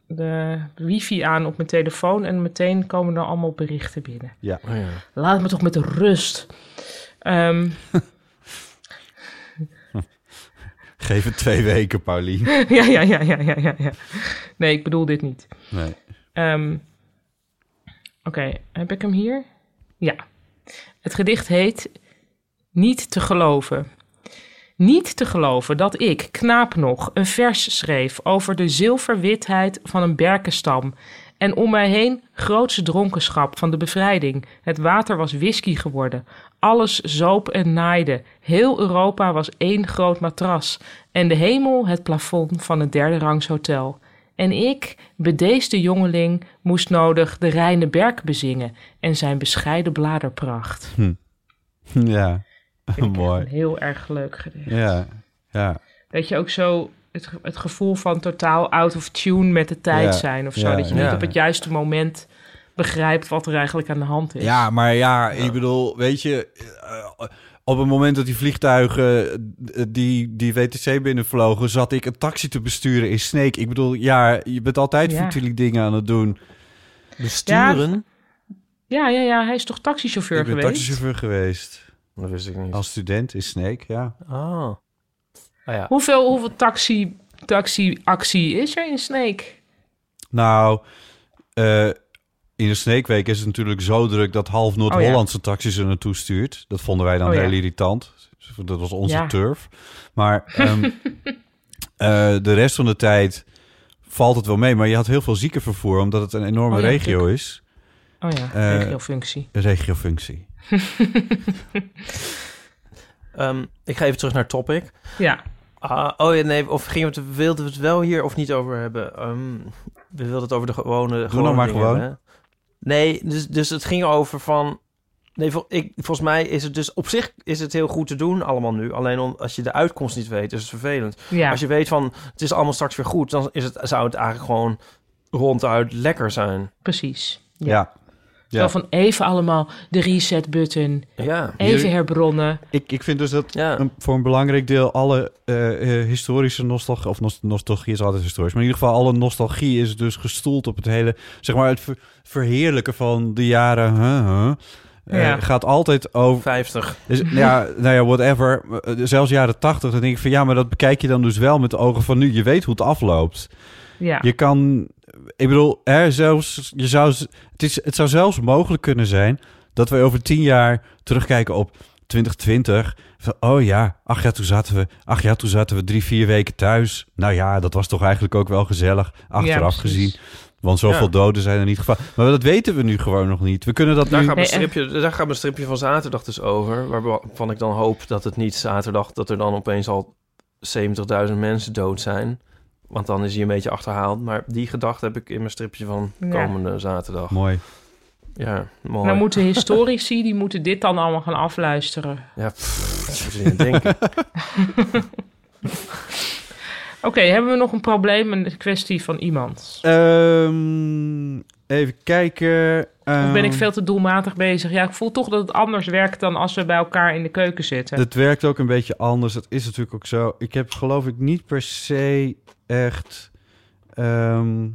Speaker 5: de wifi aan op mijn telefoon en meteen komen er allemaal berichten binnen.
Speaker 4: Ja.
Speaker 6: Oh
Speaker 5: Laat me toch met rust. Ehm, [LAUGHS]
Speaker 4: Geef het twee weken, Paulien.
Speaker 5: ja, ja, ja, ja, ja, ja, ja. Nee, ik bedoel dit niet.
Speaker 4: Nee.
Speaker 5: Ehm, Oké, heb ik hem hier? Ja. Het gedicht heet Niet te geloven. Niet te geloven dat ik, knaap nog, een vers schreef over de zilverwitheid van een berkenstam. En om mij heen grootse dronkenschap van de bevrijding. Het water was whisky geworden. Alles zoop en naaide. Heel Europa was één groot matras. En de hemel het plafond van het derde rangs hotel. En ik, bedeesde jongeling, moest nodig de reine berk bezingen en zijn bescheiden bladerpracht.
Speaker 4: [LAUGHS] Ja.
Speaker 5: Vind ik echt
Speaker 4: Mooi.
Speaker 5: een heel erg leuk gedicht.
Speaker 4: Ja, ja.
Speaker 5: Dat je ook zo het, ge- het gevoel van totaal out of tune met de tijd
Speaker 4: Ja,
Speaker 5: zijn of zo.
Speaker 4: ja,
Speaker 5: dat je niet
Speaker 4: ja.
Speaker 5: op het juiste moment begrijpt wat er eigenlijk aan de hand is.
Speaker 4: Ja, maar ja, ik bedoel, weet je, eh, op het moment dat die vliegtuigen eh, die, die WTC binnenvlogen, zat ik een taxi te besturen in Sneek. Ik bedoel, ja, je bent altijd
Speaker 5: Ja.
Speaker 4: futiele dingen aan het doen.
Speaker 5: Besturen? Ja, ja, ja, hij is toch taxichauffeur
Speaker 4: ik ben
Speaker 5: geweest?
Speaker 4: taxichauffeur geweest.
Speaker 6: Dat wist ik
Speaker 5: Oh.
Speaker 6: niet.
Speaker 4: Als student in Sneek, ja.
Speaker 6: Oh. Ah ja.
Speaker 5: Hoeveel, hoeveel taxi, taxi-actie is er in Snake?
Speaker 4: Nou, eh, in de Sneekweek is het natuurlijk zo druk dat half Noord-Hollandse taxis er naartoe stuurt. Dat vonden wij dan
Speaker 5: Oh ja.
Speaker 4: heel irritant. Dat was onze
Speaker 5: Ja.
Speaker 4: turf.
Speaker 5: [LAUGHS]
Speaker 4: Maar ehm, eh, de rest van de tijd valt het wel mee. Maar je had heel veel ziekenvervoer, omdat het een enorme
Speaker 5: Oh ja,
Speaker 4: regio
Speaker 5: natuurlijk.
Speaker 4: is.
Speaker 5: Oh ja,
Speaker 4: Eh,
Speaker 5: regiofunctie.
Speaker 4: Een regiofunctie.
Speaker 6: Ehm, ik ga even terug naar topic.
Speaker 5: Ja.
Speaker 6: Ah, oh ja, nee, of gingen we het, wilden we het wel hier of niet over hebben? Ehm, we wilden het over de gewone. Doe
Speaker 4: nou maar gewoon.
Speaker 6: Nee, dus, dus het ging over van. Nee, vol- ik, volgens mij is het dus op zich is het heel goed te doen allemaal nu. Alleen om, als je de uitkomst niet weet, is het vervelend.
Speaker 5: Ja.
Speaker 6: Als je weet van het is allemaal straks weer goed, dan is het, zou het eigenlijk gewoon ronduit lekker zijn.
Speaker 5: Precies. Ja.
Speaker 4: Ja.
Speaker 5: Zo van even allemaal de reset-button.
Speaker 6: Ja.
Speaker 5: Even herbronnen.
Speaker 4: Ik, ik vind dus dat
Speaker 6: Ja.
Speaker 4: een- voor een belangrijk deel alle eh, eh, historische nostalgie, of nos- nostalgie is altijd historisch, maar in ieder geval alle nostalgie is dus gestoeld op het hele, zeg maar, het ver- verheerlijken van de jaren. huh, huh. Eh,
Speaker 5: Ja.
Speaker 4: gaat altijd over.
Speaker 6: 50.
Speaker 4: Dus, nou ja, nou ja, whatever. Eh, Zelfs jaren 80. Dan denk ik van ja, maar dat bekijk je dan dus wel met de ogen van nu. Je weet hoe het afloopt.
Speaker 5: Ja.
Speaker 4: Je kan, ik bedoel, hè, zelfs, je zou, het, is, het zou zelfs mogelijk kunnen zijn dat wij over tien jaar terugkijken op 2020. Van, oh ja, ach ja, toen zaten we, ach ja, toen zaten we drie, vier weken thuis. Nou ja, dat was toch eigenlijk ook wel gezellig, achteraf
Speaker 5: precies.
Speaker 4: gezien. Want zoveel
Speaker 6: Ja.
Speaker 4: doden zijn er niet gevallen. Maar dat weten we nu gewoon nog niet. We kunnen dat
Speaker 6: Daar
Speaker 4: nu...
Speaker 6: gaat, mijn
Speaker 5: Nee, echt.
Speaker 6: stripje, daar gaat mijn stripje van zaterdag dus over. Waarvan ik dan hoop dat het niet zaterdag... dat er dan opeens al 70.000 mensen dood zijn. Want dan is hij een beetje achterhaald. Maar die gedachte heb ik in mijn stripje van
Speaker 5: Ja.
Speaker 6: komende zaterdag.
Speaker 4: Mooi.
Speaker 6: Ja, mooi.
Speaker 5: Dan moeten historici, die moeten dit dan allemaal gaan afluisteren.
Speaker 6: Ja, pff, dat moet je niet [LAUGHS] denken.
Speaker 5: Oké, hebben we nog een probleem, een kwestie van iemand?
Speaker 4: Ehm, even kijken.
Speaker 5: Of
Speaker 4: Ehm,
Speaker 5: ben ik veel te doelmatig bezig? Ja, ik voel toch dat het anders werkt dan als we bij elkaar in de keuken zitten.
Speaker 4: Het werkt ook een beetje anders. Dat is natuurlijk ook zo. Ik heb geloof ik niet per se echt. ehm,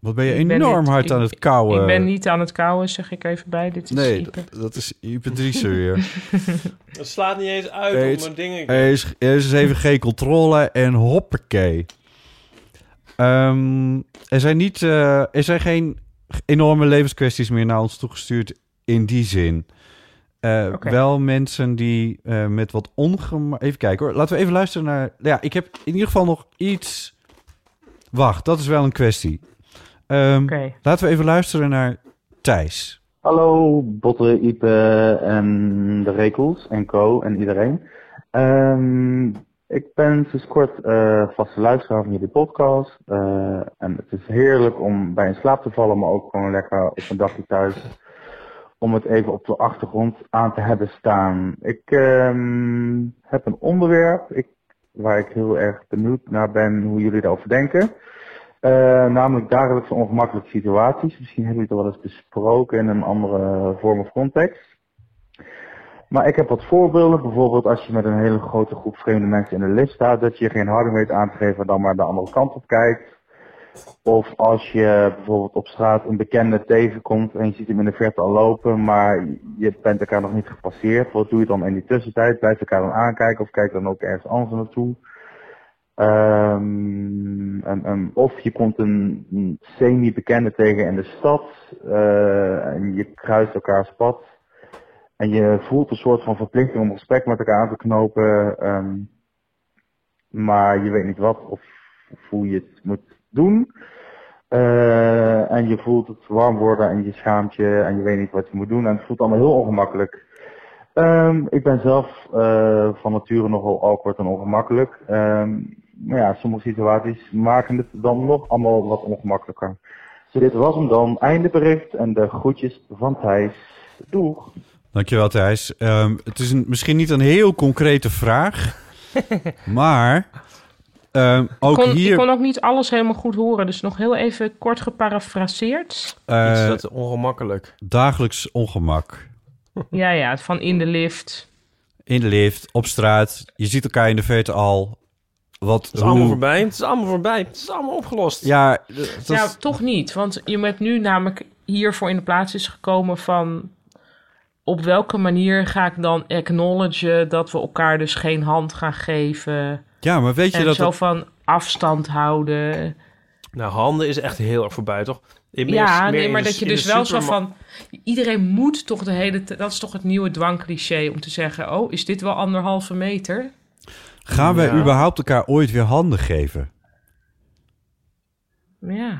Speaker 4: wat ben je
Speaker 5: Ik ben
Speaker 4: enorm
Speaker 5: niet-
Speaker 4: hard
Speaker 5: ik-
Speaker 4: aan het kouwen?
Speaker 5: Ik ben niet aan het kouwen, zeg ik even bij. Dit is
Speaker 4: Nee, Hm.
Speaker 5: Ipe.
Speaker 4: dat, dat is [LAUGHS] hyperdrieser weer.
Speaker 6: Het slaat niet eens uit
Speaker 4: Nee, om het- mijn
Speaker 6: dingen...
Speaker 4: Er is, er is dus even geen controle en hoppakee. Ehm, er, zijn niet, eh, er zijn geen enorme levenskwesties meer naar ons toegestuurd in die zin. Eh,
Speaker 5: Oké.
Speaker 4: Wel mensen die eh, met wat ongemak... Even kijken hoor. Laten we even luisteren naar... nou Ja, ik heb in ieder geval nog iets... Wacht, dat is wel een kwestie. Ehm,
Speaker 5: Oké.
Speaker 4: Laten we even luisteren naar Thijs.
Speaker 10: Hallo Botte, Ipe en de Rekels en Co en iedereen. Ehm, ik ben sinds kort eh, vaste luisteraar van jullie podcast. eh, en het is heerlijk om bij in slaap te vallen, maar ook gewoon lekker op een dagje thuis. Om het even op de achtergrond aan te hebben staan. Ik ehm, heb een onderwerp ik, waar ik heel erg benieuwd naar ben hoe jullie daarover denken. Eh, namelijk dagelijkse ongemakkelijke situaties. Misschien hebben jullie het al wel eens besproken in een andere vorm of context. Maar ik heb wat voorbeelden. Bijvoorbeeld als je met een hele grote groep vreemde mensen in de lift staat, dat je geen houding weet aan te geven en dan maar de andere kant op kijkt. Of als je bijvoorbeeld op straat een bekende tegenkomt en je ziet hem in de verte al lopen, maar je bent elkaar nog niet gepasseerd. Wat doe je dan in die tussentijd? Blijf je elkaar dan aankijken of kijk dan ook ergens anders naartoe? Ehm, en- en of je komt een een semi-bekende tegen in de stad eh, en je kruist elkaars pad. En je voelt een soort van verplichting om gesprek met elkaar aan te knopen. ehm, maar je weet niet wat of, of hoe je het moet doen. Eh, en je voelt het warm worden en je schaamt je en je weet niet wat je moet doen. En het voelt allemaal heel ongemakkelijk. Ehm, ik ben zelf eh, van nature nogal awkward en ongemakkelijk. Ehm, maar ja, sommige situaties maken het dan nog allemaal wat ongemakkelijker. Dus dit was hem dan. Einde bericht en de groetjes van Thijs. Doeg!
Speaker 4: Dankjewel, Thijs. Ehm, het is een, misschien niet een heel concrete vraag,
Speaker 5: [LAUGHS]
Speaker 4: maar ehm, ook
Speaker 5: ik, kon,
Speaker 4: hier...
Speaker 5: ik kon ook niet alles helemaal goed horen, dus nog heel even kort
Speaker 4: [LAUGHS]
Speaker 5: geparafraseerd.
Speaker 4: eh,
Speaker 6: Iets dat ongemakkelijk.
Speaker 4: Dagelijks ongemak.
Speaker 5: Ja, ja, van in de lift.
Speaker 4: In de lift, op straat. Je ziet elkaar in de verte al. Wat,
Speaker 6: Het is allemaal voorbij. Het is allemaal voorbij. Het is allemaal opgelost.
Speaker 4: Ja, dat-
Speaker 5: nou, toch niet, want je bent nu namelijk hiervoor in de plaats is gekomen van... Op welke manier ga ik dan acknowledgen dat we elkaar dus geen hand gaan geven?
Speaker 4: Ja, maar weet je
Speaker 5: en
Speaker 4: dat
Speaker 5: zo
Speaker 4: het-
Speaker 5: van afstand houden.
Speaker 6: Nou, handen is echt heel erg voorbij, toch? In- meer-
Speaker 5: ja,
Speaker 6: meer
Speaker 5: nee,
Speaker 6: in
Speaker 5: maar
Speaker 6: de-
Speaker 5: dat je
Speaker 6: in de
Speaker 5: dus wel zo
Speaker 6: superma-
Speaker 5: van... Iedereen moet toch de hele... tijd- Dat is toch het nieuwe dwangcliché om te zeggen... Oh, is dit wel anderhalve meter?
Speaker 4: Gaan wij
Speaker 5: Ja.
Speaker 4: überhaupt elkaar ooit weer handen geven?
Speaker 5: Ja.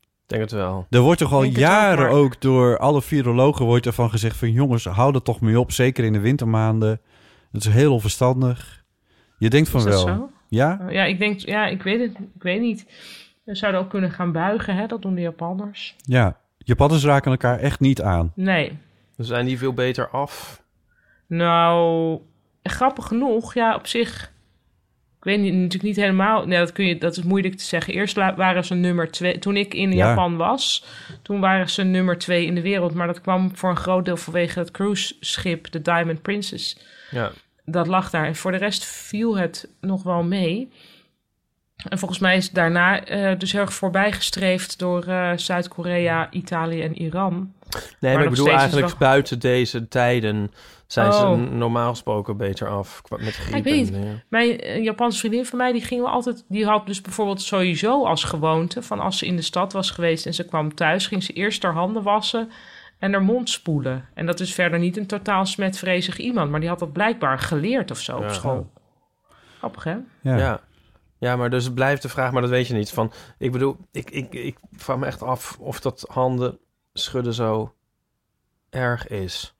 Speaker 6: Ik denk het wel.
Speaker 4: Er wordt toch al
Speaker 6: Denk het ook,
Speaker 4: jaren
Speaker 6: maar-
Speaker 4: ook, door alle virologen wordt ervan gezegd van... jongens, hou er toch mee op, zeker in de wintermaanden. Dat is heel onverstandig. Je denkt van
Speaker 5: Is dat
Speaker 4: wel.
Speaker 5: zo?
Speaker 4: Ja?
Speaker 5: Oh, Ja, ik denk... Ja, ik weet het. Ik weet niet. We zouden ook kunnen gaan buigen, hè? Dat doen de Japanners.
Speaker 4: Ja. Japanners raken elkaar echt niet aan.
Speaker 5: Nee.
Speaker 6: Dan zijn die veel beter af.
Speaker 5: Nou, grappig genoeg, ja, op zich. Ik weet niet, natuurlijk niet helemaal. Nee, dat, kun je, dat is moeilijk te zeggen. Eerst la- waren ze nummer twee. Toen ik in
Speaker 11: Ja.
Speaker 5: Japan was, toen waren ze nummer twee in de wereld. Maar dat kwam voor een groot deel vanwege het cruiseschip, de Diamond Princess.
Speaker 6: Ja.
Speaker 5: Dat lag daar. En voor de rest viel het nog wel mee. En volgens mij is daarna eh, dus heel erg voorbijgestreefd door eh, Zuid-Korea, Italië en Iran.
Speaker 6: Nee, maar,
Speaker 5: nog
Speaker 6: ik bedoel
Speaker 5: steeds is
Speaker 6: eigenlijk
Speaker 5: wel-
Speaker 6: buiten deze tijden zijn
Speaker 5: Oh.
Speaker 6: ze normaal gesproken beter af. qua- Met griep
Speaker 5: Ja, ik weet
Speaker 6: en,
Speaker 5: niet.
Speaker 6: eh,
Speaker 5: Mijn eh, Japanse vriendin van mij, die ging wel altijd. Die had dus bijvoorbeeld sowieso als gewoonte. van als ze in de stad was geweest en ze kwam thuis, ging ze eerst haar handen wassen en haar mond spoelen. En dat is verder niet een totaal smetvrezig iemand, maar die had dat blijkbaar geleerd of zo op
Speaker 6: Ja.
Speaker 5: school. Grappig, hè?
Speaker 6: Ja. ja. maar dus het blijft de vraag, maar dat weet je niet. Van, ik bedoel, ik, ik, ik vraag me echt af of dat handen schudden zo erg is.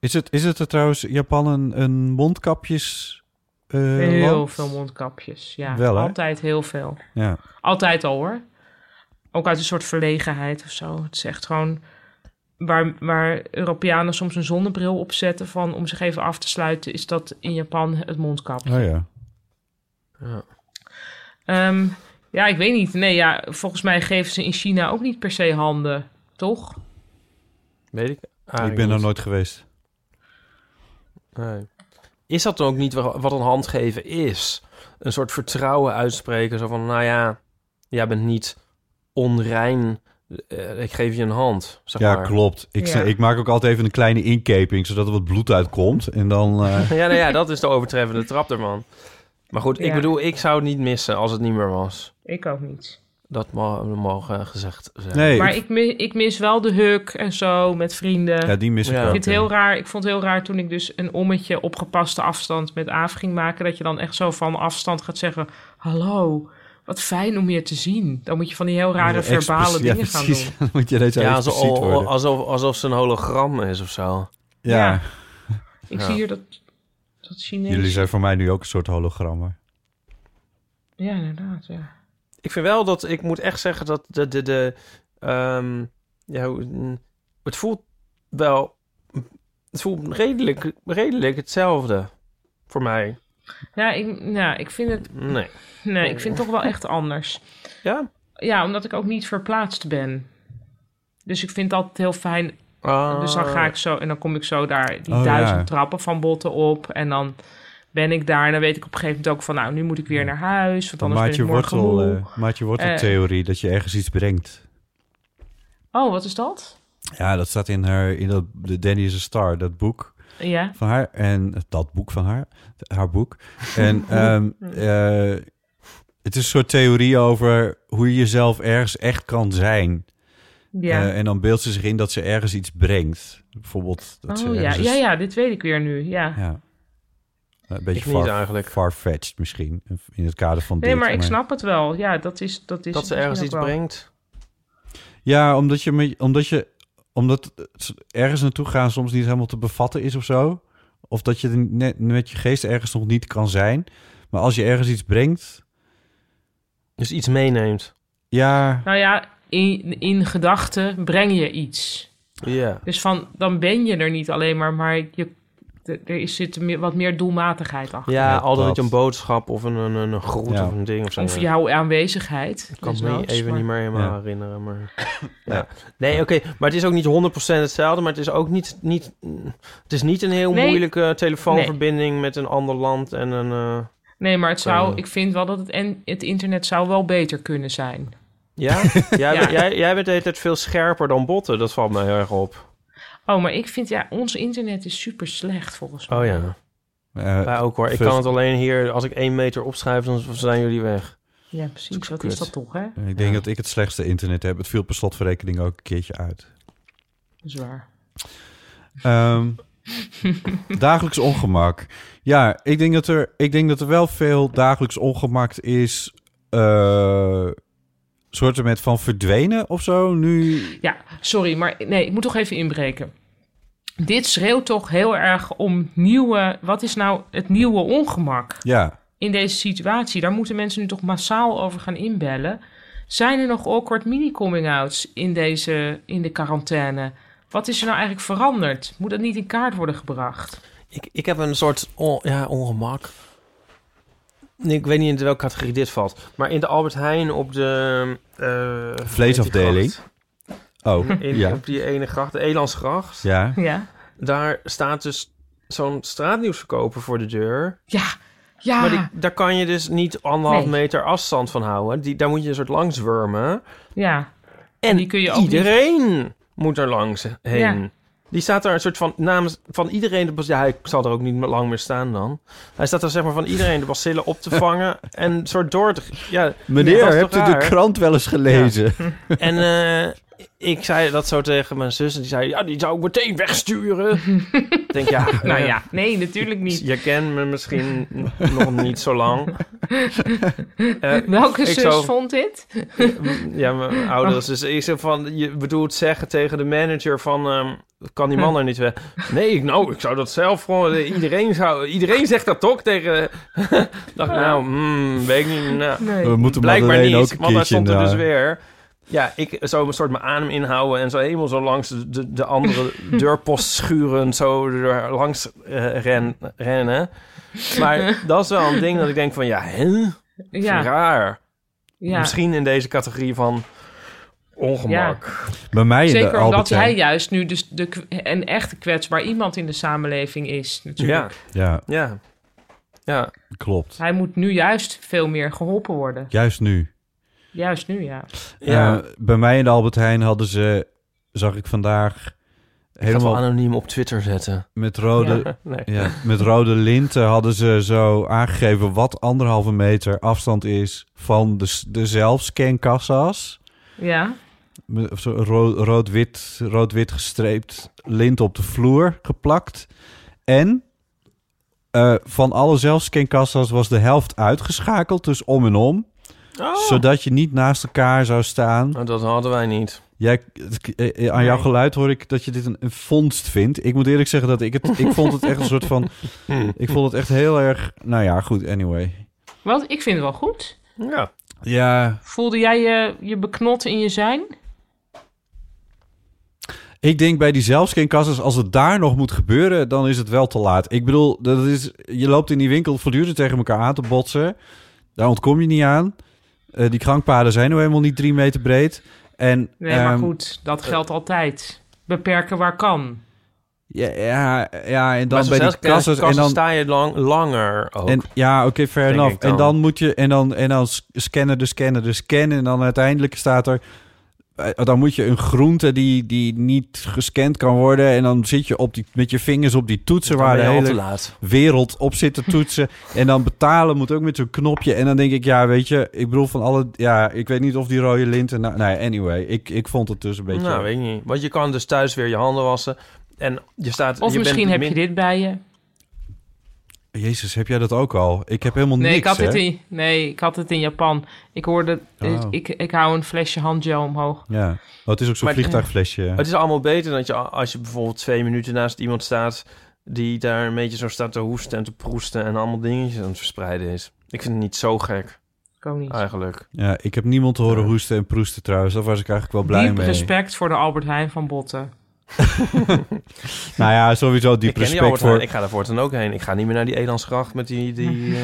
Speaker 4: Is het, is het er trouwens Japan een, een mondkapjes... eh,
Speaker 5: heel
Speaker 4: land?
Speaker 5: veel mondkapjes. Ja,
Speaker 4: Wel, hè?
Speaker 5: altijd heel veel.
Speaker 4: Ja.
Speaker 5: Altijd al hoor. Ook uit een soort verlegenheid of zo. Het is echt gewoon waar, waar Europeanen soms een zonnebril opzetten van om zich even af te sluiten, is dat in Japan het mondkapje.
Speaker 4: Oh ja.
Speaker 6: Ja.
Speaker 5: Ehm, ja, ik weet niet. Nee, ja, volgens mij geven ze in China ook niet per se handen, toch?
Speaker 6: Weet ik
Speaker 4: ik
Speaker 6: eigenlijk
Speaker 4: ben er
Speaker 6: niet.
Speaker 4: nooit geweest.
Speaker 6: Nee. Is dat dan ook niet wa- wat een handgeven is? Een soort vertrouwen uitspreken, zo van, nou ja, jij bent niet onrein, eh, ik geef je een hand, zeg
Speaker 4: Ja,
Speaker 6: maar.
Speaker 4: klopt. Ik,
Speaker 6: Ja.
Speaker 4: ik maak ook altijd even een kleine inkeping, zodat er wat bloed uitkomt. En dan... eh,
Speaker 6: [LAUGHS] ja, nou ja, dat is de overtreffende trap ervan. Maar goed, ik
Speaker 5: Ja.
Speaker 6: bedoel, ik zou het niet missen als het niet meer was.
Speaker 5: Ik ook niet.
Speaker 6: Dat ma- mogen gezegd zijn.
Speaker 4: Nee,
Speaker 5: maar ik, mi- ik mis wel de huk en zo met vrienden.
Speaker 4: Ja, die mis ik Ja. ook,
Speaker 5: vind het
Speaker 4: ja.
Speaker 5: heel raar. Ik vond het heel raar toen ik dus een ommetje op gepaste afstand met Aaf ging maken. Dat je dan echt zo van afstand gaat zeggen: Hallo, wat fijn om je te zien. Dan moet je van die heel rare
Speaker 4: Expres-
Speaker 5: verbale
Speaker 4: ja,
Speaker 5: dingen gaan
Speaker 4: precies.
Speaker 5: doen.
Speaker 4: Dan [LAUGHS] moet je ineens
Speaker 6: ja,
Speaker 4: expliciet
Speaker 6: alsof-
Speaker 4: worden.
Speaker 6: alsof, alsof ze een hologram is of zo.
Speaker 4: Ja. Ja.
Speaker 5: Ik
Speaker 6: Ja.
Speaker 5: zie hier dat, dat Chinees.
Speaker 4: Jullie zijn voor mij nu ook een soort hologrammen.
Speaker 5: Ja, inderdaad. Ja.
Speaker 6: Ik vind wel dat, ik moet echt zeggen dat de, de, de ehm, ja, hoe- mm, het voelt wel, het voelt redelijk, redelijk hetzelfde voor mij.
Speaker 5: Ja, ik, nou, ik vind het.
Speaker 6: Nee.
Speaker 5: Nee, ik vind het toch wel echt anders.
Speaker 6: Ja?
Speaker 5: Ja, omdat ik ook niet verplaatst ben. Dus ik vind het altijd heel fijn.
Speaker 6: Ah.
Speaker 5: Dus dan
Speaker 4: Oh.
Speaker 5: ga ik zo en dan kom ik zo daar die
Speaker 11: Oh,
Speaker 5: duizend
Speaker 11: ja.
Speaker 5: trappen van botten op. En dan ben ik daar. En dan weet ik op een gegeven moment ook van, nou, nu moet ik weer naar huis. Want
Speaker 4: Dan
Speaker 5: anders
Speaker 4: maat
Speaker 5: ben ik
Speaker 4: je,
Speaker 5: morgen
Speaker 4: wortel,
Speaker 5: moe.
Speaker 4: eh, maat je
Speaker 5: Eh,
Speaker 4: worteltheorie dat je ergens iets brengt. eh.
Speaker 5: oh, wat is dat?
Speaker 4: Ja, dat staat in haar in dat de Danny is a Star, dat boek
Speaker 5: Ja.
Speaker 4: van haar en dat boek van haar, haar boek.
Speaker 5: [LAUGHS]
Speaker 4: En ehm, eh, het is een soort theorie over hoe je jezelf ergens echt kan zijn.
Speaker 5: Ja.
Speaker 4: Eh, en dan beeldt ze zich in dat ze ergens iets brengt. Bijvoorbeeld dat ze
Speaker 5: oh ja.
Speaker 4: ergens-
Speaker 5: ja, ja, dit weet ik weer nu. Ja.
Speaker 4: Ja. Een beetje
Speaker 6: Ik niet
Speaker 4: far, farfetched misschien, in het kader van
Speaker 5: Nee,
Speaker 4: dit,
Speaker 5: maar ik snap het wel. Ja, dat is. Dat, is
Speaker 6: Dat ze
Speaker 5: het misschien
Speaker 6: ergens
Speaker 5: ook
Speaker 6: iets
Speaker 5: wel.
Speaker 6: brengt.
Speaker 4: Ja, omdat je, met- omdat je omdat het ergens naartoe gaan soms niet helemaal te bevatten is of zo. Of dat je er net met je geest ergens nog niet kan zijn. Maar als je ergens iets brengt.
Speaker 6: Dus iets meeneemt.
Speaker 4: Ja,
Speaker 5: Nou ja, in, in gedachten breng je iets.
Speaker 6: Ja.
Speaker 5: Dus van, dan ben je er niet alleen maar, maar je, er- er is- zit meer- wat meer doelmatigheid achter.
Speaker 6: Ja, altijd
Speaker 4: dat.
Speaker 6: een boodschap of een, een, een groet
Speaker 4: Ja.
Speaker 6: of een ding of zo.
Speaker 5: Of jouw aanwezigheid. Dus
Speaker 6: Ik kan me
Speaker 5: desnoods,
Speaker 6: even
Speaker 5: maar-
Speaker 6: niet meer helemaal
Speaker 4: Ja.
Speaker 6: herinneren. Maar... Ja. Nee, oké. Maar het is ook niet 100% hetzelfde. Maar het is ook niet... niet het is niet een heel
Speaker 5: Nee.
Speaker 6: moeilijke telefoonverbinding met een ander land en een... eh,
Speaker 5: Nee, maar het zou,
Speaker 6: Eh.
Speaker 5: ik vind wel dat het, en, het internet zou wel beter kunnen zijn.
Speaker 6: Ja? Jij, Jij, jij bent de hele tijd veel scherper dan botten. Dat valt mij heel erg op.
Speaker 5: Oh, maar ik vind, ja, ons internet is super slecht volgens mij.
Speaker 6: Oh ja.
Speaker 4: eh,
Speaker 6: Wij ook hoor. Ik
Speaker 4: first-
Speaker 6: kan het alleen hier... Als ik één meter opschuif, dan zijn jullie weg.
Speaker 5: Ja, precies. Wat
Speaker 6: kut.
Speaker 5: is dat toch, hè?
Speaker 4: Ik denk dat ik het slechtste internet heb. Het viel per slotverrekening ook een keertje uit.
Speaker 5: Zwaar.
Speaker 4: Ehm, dagelijks ongemak. Ja, ik denk, dat er, ik denk dat er wel veel dagelijks ongemak is. eh soorten met van verdwenen of zo. Nu.
Speaker 5: Ja, sorry, maar nee, ik moet toch even inbreken. Dit schreeuwt toch heel erg om nieuwe... Wat is nou het nieuwe ongemak
Speaker 4: Ja.
Speaker 5: in deze situatie? Daar moeten mensen nu toch massaal over gaan inbellen. Zijn er nog awkward mini-coming-outs in, deze- in de quarantaine? Wat is er nou eigenlijk veranderd? Moet dat niet in kaart worden gebracht? [LAUGHS]
Speaker 6: Ik, ik heb een soort on- ja, ongemak. Nee, Ik weet niet in welke categorie dit valt. Maar in de Albert Heijn op de... eh,
Speaker 4: Vleesafdeling. Oh,
Speaker 6: In,
Speaker 4: ja.
Speaker 6: Op die ene gracht, de Elandsgracht.
Speaker 4: Ja.
Speaker 5: Ja.
Speaker 6: Daar staat dus zo'n straatnieuwsverkoper voor de deur.
Speaker 5: Ja, ja.
Speaker 6: Maar die- daar kan je dus niet anderhalf
Speaker 5: Ah. Nee.
Speaker 6: meter afstand van houden. Die, daar moet je een soort langs wurmen.
Speaker 5: Ja.
Speaker 6: En
Speaker 5: die kun je ook niet-
Speaker 6: Iedereen moet er langs heen.
Speaker 5: Ja.
Speaker 6: Die staat daar een soort van namens van iedereen de bas- Ja, hij zal er ook niet meer lang meer staan dan. Hij staat er zeg maar van iedereen de bacillen
Speaker 5: [LAUGHS]
Speaker 6: op te vangen en een soort door te. Ja, dat
Speaker 4: Meneer,
Speaker 6: is toch
Speaker 4: hebt u de
Speaker 6: raar?
Speaker 4: krant wel eens gelezen?
Speaker 6: En eh, ik zei dat zo tegen mijn zus en die zei: Ja, die zou ik meteen wegsturen. ik denk ja.
Speaker 5: [LAUGHS] Nou
Speaker 6: eh,
Speaker 5: ja, nee, natuurlijk niet.
Speaker 6: Je kent me misschien n- nog niet zo lang. Eh,
Speaker 5: [LAUGHS] Welke
Speaker 6: ik
Speaker 5: zus
Speaker 6: zou-
Speaker 5: vond dit?
Speaker 6: Ja, mijn ouders. Dus ik zei van, je bedoelt zeggen tegen de manager van, ehm, kan die
Speaker 4: Hm.
Speaker 6: man er niet weg? Nee, ik, nou, ik zou dat zelf gewoon, eh, iedereen, zou, iedereen zegt dat toch tegen, [LAUGHS] dacht nou, hmm, weet ik niet. Nou,
Speaker 5: Nee.
Speaker 4: [LAUGHS] We moeten
Speaker 6: Blijkbaar
Speaker 4: Madeleine
Speaker 6: niet,
Speaker 4: ook een
Speaker 6: want hij
Speaker 4: keertje in eh,
Speaker 6: stond er
Speaker 4: de...
Speaker 6: dus weer. Ja, ik zou een soort mijn adem inhouden en zo helemaal zo langs de, de, de
Speaker 4: [LAUGHS]
Speaker 6: andere deurpost schuren, zo er langs eh, ren, rennen.
Speaker 4: [LAUGHS]
Speaker 6: Maar dat is wel een ding dat ik denk van, ja, hè?
Speaker 5: Ja.
Speaker 6: Raar.
Speaker 5: Ja.
Speaker 6: Misschien in deze categorie van ongemak.
Speaker 4: Bij mij in de
Speaker 5: Zeker omdat
Speaker 4: Albert Heijn.
Speaker 5: hij juist nu dus de, k- een echt kwetsbaar iemand in de samenleving is,
Speaker 6: Ja.
Speaker 5: natuurlijk.
Speaker 4: Ja,
Speaker 6: ja. Ja.
Speaker 4: klopt.
Speaker 5: Hij moet nu juist veel meer geholpen worden.
Speaker 4: Juist nu.
Speaker 5: Juist nu, ja.
Speaker 6: Ja.
Speaker 4: Eh, bij mij in de Albert Heijn hadden ze, zag ik vandaag,
Speaker 6: Helemaal
Speaker 4: helemaal
Speaker 6: anoniem op Twitter zetten.
Speaker 4: met rode,
Speaker 6: Ja,
Speaker 4: ja.
Speaker 6: [LAUGHS] nee.
Speaker 4: met rode linten hadden ze zo aangegeven wat anderhalve meter afstand is van de, s- de zelfscankassa's.
Speaker 5: Ja,
Speaker 4: Met zo ro- Rood-wit rood gestreept lint op de vloer geplakt. En eh, van alle zelfscankassa's was de helft uitgeschakeld, dus om en om.
Speaker 6: Oh.
Speaker 4: Zodat je niet naast elkaar zou staan.
Speaker 6: Nou, dat hadden wij niet.
Speaker 4: Jij, het- eh, aan jouw geluid hoor ik dat je dit een, een vondst vindt. Ik moet eerlijk zeggen dat ik het... Ik vond het echt een soort van... Ik vond het echt heel erg... Nou ja, goed, anyway.
Speaker 5: wat ik vind het wel goed.
Speaker 6: Ja.
Speaker 4: Ja,
Speaker 5: Voelde jij je, je beknot in je zijn?
Speaker 4: ik denk bij die zelfscankassas... als het daar nog moet gebeuren, dan is het wel te laat. Ik bedoel, dat is, je loopt in die winkel voortdurend tegen elkaar aan te botsen. Daar ontkom je niet aan. Eh, die krankpaden zijn nou helemaal niet drie meter breed. En,
Speaker 5: Nee, maar
Speaker 4: ehm,
Speaker 5: goed, dat geldt altijd. Beperken waar kan.
Speaker 4: Ja, ja, ja,
Speaker 6: Maar
Speaker 4: en dan bij die kassas... En
Speaker 6: kassen eh,
Speaker 4: dan,
Speaker 6: sta je lang, langer ook.
Speaker 4: En, ja, oké, fair
Speaker 6: Denk
Speaker 4: enough.
Speaker 6: ik dan.
Speaker 4: En dan moet je en dan en dan s- scannen, de scannen, de scannen en dan uiteindelijk staat er eh, dan moet je een groente die, die niet gescand kan worden en dan zit je op die, met je vingers op die toetsen
Speaker 6: Dan
Speaker 4: waar de
Speaker 6: ben je al
Speaker 4: hele
Speaker 6: te laat.
Speaker 4: wereld op zit te toetsen en dan betalen moet ook met zo'n knopje en dan denk ik ja, weet je, ik bedoel van alle ja, ik weet niet of die rode linten nou, nee, anyway, ik, ik vond het dus een beetje
Speaker 6: Nou, weet ik niet. Want je kan dus thuis weer je handen wassen. En je staat...
Speaker 5: Of
Speaker 6: je
Speaker 5: misschien
Speaker 6: bent
Speaker 5: heb
Speaker 6: min-
Speaker 5: je dit bij je.
Speaker 4: Jezus, heb jij dat ook al? Ik heb helemaal
Speaker 5: Nee,
Speaker 4: niks.
Speaker 5: ik had
Speaker 4: hè?
Speaker 5: het in, nee, ik had het in Japan. Ik hoorde, eh,
Speaker 4: Oh.
Speaker 5: ik, ik hou een flesje handgel omhoog.
Speaker 4: Ja. Oh, het is ook zo'n
Speaker 6: Maar-
Speaker 4: vliegtuigflesje.
Speaker 6: Het is allemaal beter dan je, als je bijvoorbeeld twee minuten naast iemand staat... die daar een beetje zo staat te hoesten en te proesten... en allemaal dingetjes aan het verspreiden is. Ik vind het niet zo gek,
Speaker 5: Ik ook niet.
Speaker 6: eigenlijk.
Speaker 4: Ja, Oh, ik heb niemand te horen hoesten en proesten trouwens. Daar was ik eigenlijk wel blij
Speaker 5: Diep
Speaker 4: mee. [LAUGHS]
Speaker 5: respect voor de Albert Heijn van Botten.
Speaker 4: nou ja, sowieso diep
Speaker 6: ik ken die
Speaker 4: respect
Speaker 6: Albert Heijn.
Speaker 4: voor...
Speaker 6: Ik ga er voortaan ook heen. Ik ga niet meer naar die Elandsgracht met die...
Speaker 5: [LAUGHS]
Speaker 6: die eh,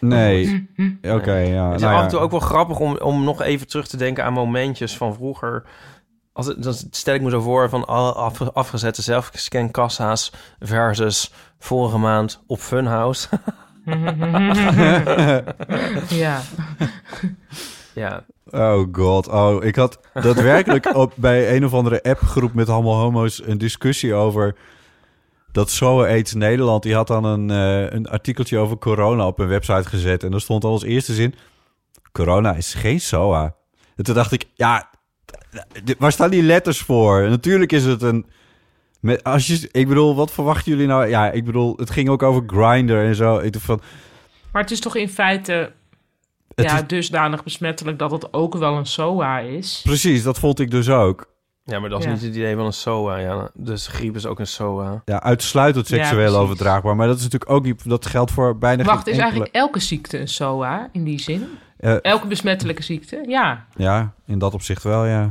Speaker 4: Nee, oké, ja.
Speaker 6: Het is
Speaker 4: nou
Speaker 6: af
Speaker 4: ja.
Speaker 6: en toe ook wel grappig om, om nog even terug te denken aan momentjes van vroeger. Als het, dan stel ik me zo voor van alle af, afgezette zelfscankassa's versus vorige maand op Funhouse. [LAUGHS]
Speaker 4: [LAUGHS]
Speaker 5: ja.
Speaker 6: ja.
Speaker 4: Oh god, oh, ik had daadwerkelijk op, bij een of andere appgroep met allemaal homo's een discussie over dat Zo Aids Nederland, die had dan een, eh, een artikeltje over corona op een website gezet en daar stond al als eerste zin, corona is geen SOA. En toen dacht ik, ja, d- waar staan die letters voor? Natuurlijk is het een... Met, als je, ik bedoel, wat verwachten jullie nou? Ja, ik bedoel, het ging ook over Grinder en zo. Ik dacht van,
Speaker 5: Maar het is toch in feite ja, dusdanig besmettelijk dat het ook wel een SOA is.
Speaker 4: precies, dat vond ik dus ook.
Speaker 6: Ja, maar dat is
Speaker 5: Ja.
Speaker 6: niet het idee van een SOA. Ja. Dus griep is ook een SOA.
Speaker 4: Ja, uitsluitend
Speaker 5: Ja,
Speaker 4: seksueel
Speaker 5: precies.
Speaker 4: overdraagbaar. Maar dat is natuurlijk ook niet... Dat geldt voor bijna
Speaker 5: Wacht,
Speaker 4: geen
Speaker 5: is
Speaker 4: enkele-
Speaker 5: eigenlijk elke ziekte een SOA in die zin?
Speaker 4: Eh,
Speaker 5: elke besmettelijke ziekte? Ja.
Speaker 4: Ja, in dat opzicht wel, ja.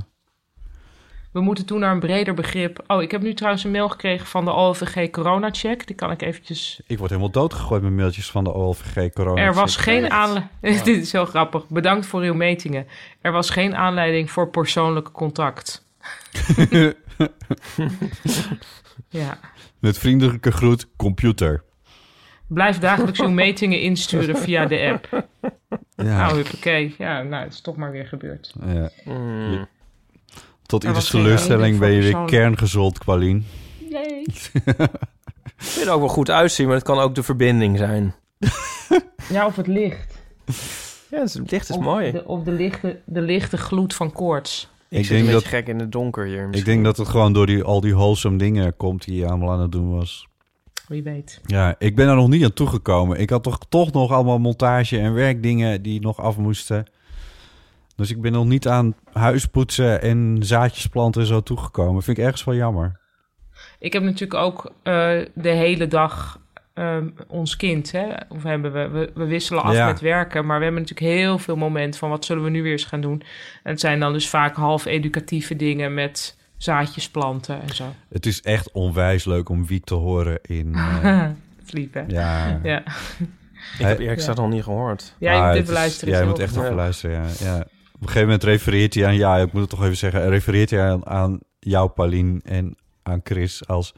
Speaker 5: We moeten toen naar een breder begrip. Oh, ik heb nu trouwens een mail gekregen van de OVG Corona Check. Die kan ik eventjes
Speaker 4: Ik word helemaal doodgegooid met mailtjes van de OLVG corona.
Speaker 5: Er was geen [LAUGHS] aanleiding.
Speaker 4: Ja.
Speaker 5: Dit is heel grappig. Bedankt voor uw metingen. Er was geen aanleiding voor
Speaker 6: [LAUGHS]
Speaker 5: persoonlijk contact. ja.
Speaker 4: Met vriendelijke groet, computer.
Speaker 5: Blijf dagelijks uw metingen insturen via de
Speaker 6: [LAUGHS]
Speaker 5: app.
Speaker 4: Ja.
Speaker 5: Nou, huppakee. Ja, nou, het is toch maar weer gebeurd.
Speaker 4: Ja.
Speaker 6: Hmm.
Speaker 5: Mm.
Speaker 4: Je- Tot
Speaker 5: Er was
Speaker 4: ieders
Speaker 5: geen
Speaker 4: teleurstelling
Speaker 5: reden
Speaker 4: ben je
Speaker 5: voor
Speaker 4: weer
Speaker 5: persoonlijk-
Speaker 4: kerngezold, Qualien.
Speaker 5: Jee.
Speaker 6: Het kan er ook wel goed uitzien, maar het kan ook de verbinding zijn.
Speaker 5: Ja, of het licht.
Speaker 6: Ja, het licht is
Speaker 5: Of
Speaker 6: mooi.
Speaker 5: de- of de lichte, de lichte gloed van koorts.
Speaker 6: Ik,
Speaker 4: Ik
Speaker 6: zit
Speaker 4: denk
Speaker 6: een beetje
Speaker 4: dat-
Speaker 6: gek in het donker hier.
Speaker 4: Ik denk dat het gewoon door die, al die wholesome dingen komt die je allemaal aan het doen was.
Speaker 5: Wie weet.
Speaker 4: Ja, ik ben er nog niet aan toegekomen. Ik had toch, toch nog allemaal montage en werkdingen die nog af moesten. Dus ik ben nog niet aan huispoetsen en zaadjes planten en zo toegekomen. Vind ik ergens wel jammer.
Speaker 5: Ik heb natuurlijk ook eh, de hele dag ehm, ons kind. Hè? Of hebben we, we, we wisselen af
Speaker 11: Ja.
Speaker 5: met werken. Maar we hebben natuurlijk heel veel momenten van wat zullen we nu weer eens gaan doen. En het zijn dan dus vaak half educatieve dingen met zaadjes planten en zo.
Speaker 4: Het is echt onwijs leuk om Wiek te horen in...
Speaker 5: [LAUGHS]
Speaker 4: eh,
Speaker 5: Sleep, hè?
Speaker 4: Ja.
Speaker 5: ja.
Speaker 6: Ik heb
Speaker 5: Ja.
Speaker 6: eerlijk gezegd nog niet gehoord.
Speaker 5: Ja, je moet
Speaker 4: Ah,
Speaker 5: even
Speaker 4: het is- Ja,
Speaker 5: luisteren, is
Speaker 4: je
Speaker 5: heel
Speaker 4: moet echt
Speaker 5: goed.
Speaker 4: even luisteren, ja. ja. Op een gegeven moment refereert hij aan... Ja, ik moet het toch even zeggen. Refereert hij aan, aan jou, Paulien, en aan Chris als...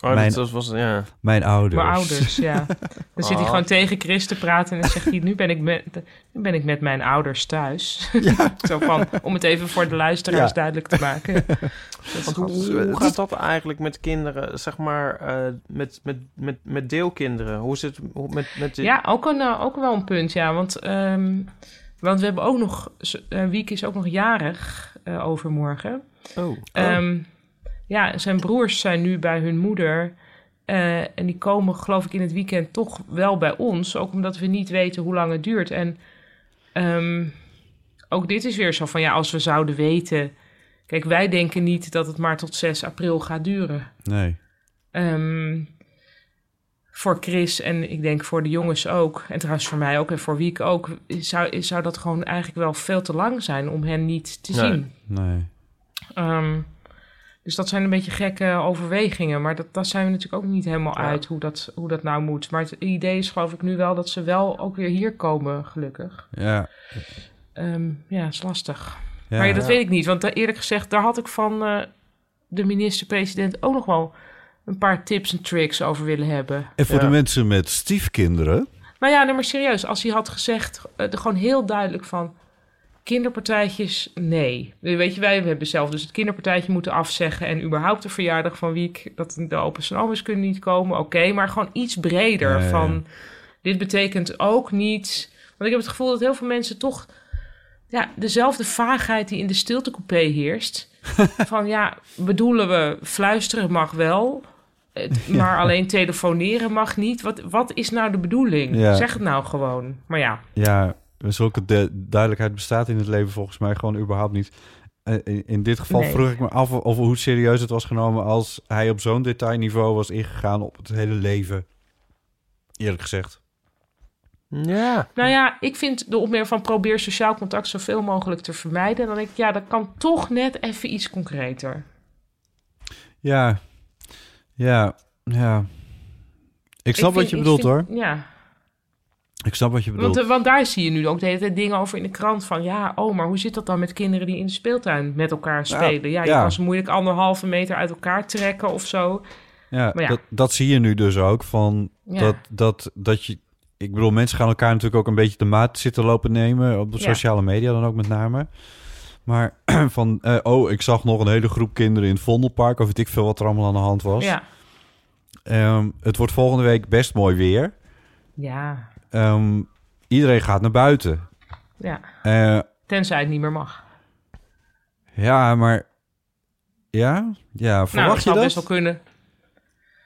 Speaker 6: Oh, dat was- was- ja.
Speaker 4: Mijn ouders.
Speaker 5: Mijn
Speaker 4: [LAUGHS]
Speaker 5: ouders, ja. Dan zit hij
Speaker 4: Ah.
Speaker 5: gewoon tegen Chris te praten en dan zegt hij... nu ben ik met, nu ben ik met mijn ouders thuis. [LAUGHS] Zo van, om het even voor de luisteraars
Speaker 6: Ja.
Speaker 5: duidelijk te
Speaker 4: [LAUGHS]
Speaker 5: maken.
Speaker 6: Want hoe, hoe gaat dat eigenlijk met kinderen, zeg maar, eh, met, met, met, met deelkinderen? Hoe zit het hoe- met, met de...
Speaker 5: Ja, ook, een, eh, ook wel een punt, ja. Want, ehm, want we hebben ook nog... z- eh Wiek is ook nog jarig eh, overmorgen.
Speaker 6: Oh. oh.
Speaker 5: Ehm, ja, zijn broers zijn nu bij hun moeder. eh, en die komen, geloof ik, in het weekend toch wel bij ons. Ook omdat we niet weten hoe lang het duurt. En ehm, ook dit is weer zo van, ja, als we zouden weten... Kijk, wij denken niet dat het maar tot 6 april gaat duren.
Speaker 4: Nee.
Speaker 5: Ehm, voor Chris en ik denk voor de jongens ook, en trouwens voor mij ook en voor Wiek ook, zou, zou dat gewoon eigenlijk wel veel te lang zijn om hen niet te zien.
Speaker 4: Nee.
Speaker 5: Ehm, dus dat zijn een beetje gekke overwegingen, maar dat, dat zijn we natuurlijk ook niet helemaal uit hoe dat, hoe dat nou moet. Maar het idee is geloof ik nu wel dat ze wel ook weer hier komen, gelukkig.
Speaker 4: Ja.
Speaker 5: Ehm, ja, is lastig.
Speaker 4: Ja.
Speaker 5: maar ja, dat
Speaker 4: Ja.
Speaker 5: weet ik niet. Want eh, eerlijk gezegd, daar had ik van eh, de minister-president ook nog wel een paar tips en tricks over willen hebben.
Speaker 4: En voor de mensen met stiefkinderen...
Speaker 5: Nou ja, nee, maar serieus, als hij had gezegd, eh, er gewoon heel duidelijk van. Kinderpartijtjes, nee. Weet je, wij hebben zelf dus het kinderpartijtje moeten afzeggen. En überhaupt de verjaardag van Wiek, dat de opa's en oma's kunnen niet komen. Oké, maar gewoon iets breder
Speaker 11: Ja, ja, ja.
Speaker 5: van... Dit betekent ook niet... Want ik heb het gevoel dat heel veel mensen toch... Ja, dezelfde vaagheid die in de stiltecoupé
Speaker 4: [LAUGHS]
Speaker 5: heerst. van ja, bedoelen we, fluisteren mag
Speaker 4: [LAUGHS]
Speaker 5: wel... het-
Speaker 11: Ja.
Speaker 5: maar alleen telefoneren mag niet. Wat, wat is nou de bedoeling?
Speaker 4: Ja.
Speaker 5: Zeg het nou gewoon. Maar ja,
Speaker 4: Ja, zulke de duidelijkheid bestaat in het leven volgens mij gewoon überhaupt niet. Eh, in, in dit geval
Speaker 5: Nee.
Speaker 4: vroeg ik me af of, of hoe serieus het was genomen als hij op zo'n detailniveau was ingegaan op het hele leven. Eerlijk gezegd.
Speaker 6: Ja.
Speaker 5: Nou ja, ik vind de opmerking van probeer sociaal contact zoveel mogelijk te vermijden. Dan denk ik, ja, dat kan toch net even iets concreter.
Speaker 4: Ja, ja, ja. Ik snap wat
Speaker 5: vind-
Speaker 4: je bedoelt
Speaker 5: vind-
Speaker 4: hoor.
Speaker 5: Ja,
Speaker 4: Ik snap wat je bedoelt.
Speaker 5: want, eh, want daar zie je nu ook de hele tijd dingen over in de krant van... ja, oh, maar hoe zit dat dan met kinderen die in de speeltuin met elkaar spelen? Ja, je
Speaker 4: ja.
Speaker 5: kan ze moeilijk anderhalve meter uit elkaar trekken of zo.
Speaker 4: Ja,
Speaker 5: Maar ja.
Speaker 4: Dat, dat zie je nu dus ook. Van
Speaker 5: Ja.
Speaker 4: dat, dat, dat je, ik bedoel, mensen gaan elkaar natuurlijk ook een beetje de maat zitten lopen nemen. Op de
Speaker 5: Ja.
Speaker 4: sociale media dan ook met name. Maar [CLEARS THROAT] van, eh, oh, ik zag nog een hele groep kinderen in het Vondelpark. Of weet ik veel wat er allemaal aan de hand was.
Speaker 5: Ja.
Speaker 4: Ehm, het wordt volgende week best mooi weer.
Speaker 5: Ja,
Speaker 4: Ehm, iedereen gaat naar buiten.
Speaker 5: ja.
Speaker 4: Eh,
Speaker 5: Tenzij het niet meer mag. Nou,
Speaker 4: ja, maar... Ja? Ja,
Speaker 5: nou, dat
Speaker 4: verwacht
Speaker 5: zou
Speaker 4: je
Speaker 5: best
Speaker 4: dat?
Speaker 5: wel kunnen.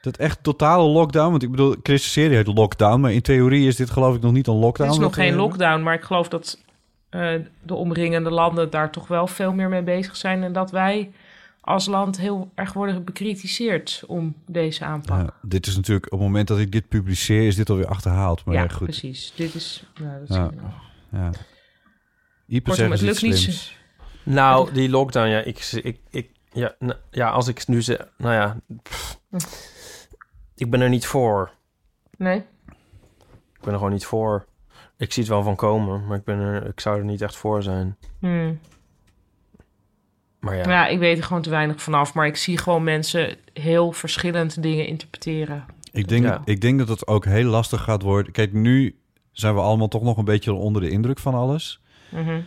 Speaker 4: Dat echt totale lockdown? Want ik bedoel, Christus serie heet Lockdown. Maar in theorie is dit geloof ik nog niet een
Speaker 5: Het
Speaker 4: lockdown. eh,
Speaker 5: is nog
Speaker 4: wat we
Speaker 5: geen
Speaker 4: hebben.
Speaker 5: lockdown, maar ik geloof dat eh, de omringende landen daar toch wel veel meer mee bezig zijn. En dat wij als land heel erg worden bekritiseerd om deze aanpak.
Speaker 4: Ja, dit is natuurlijk, op het moment dat ik dit publiceer, is dit alweer achterhaald. Maar
Speaker 5: ja,
Speaker 4: ja, goed.
Speaker 5: precies. Dit is. Nou, dat is
Speaker 4: Ja, ja. Ieper
Speaker 5: Kortom,
Speaker 4: zegt
Speaker 5: het
Speaker 4: iets
Speaker 5: lukt niet.
Speaker 4: slims.
Speaker 6: Nou, die lockdown, ja, ik, ik, ik ja, nou, ja, als ik nu zeg, nou ja, pff, ik ben er niet voor.
Speaker 5: Nee.
Speaker 6: Ik ben er gewoon niet voor. Ik zie het wel van komen, maar ik, ben er, ik zou er niet echt voor zijn.
Speaker 5: Hmm.
Speaker 6: Maar ja,
Speaker 5: Nou Ja. ik weet er gewoon te weinig vanaf. Maar ik zie gewoon mensen heel verschillend dingen interpreteren.
Speaker 4: Ik denk,
Speaker 5: Ja.
Speaker 4: ik denk dat het ook heel lastig gaat worden. Kijk, nu zijn we allemaal toch nog een beetje onder de indruk van alles.
Speaker 5: Mhm.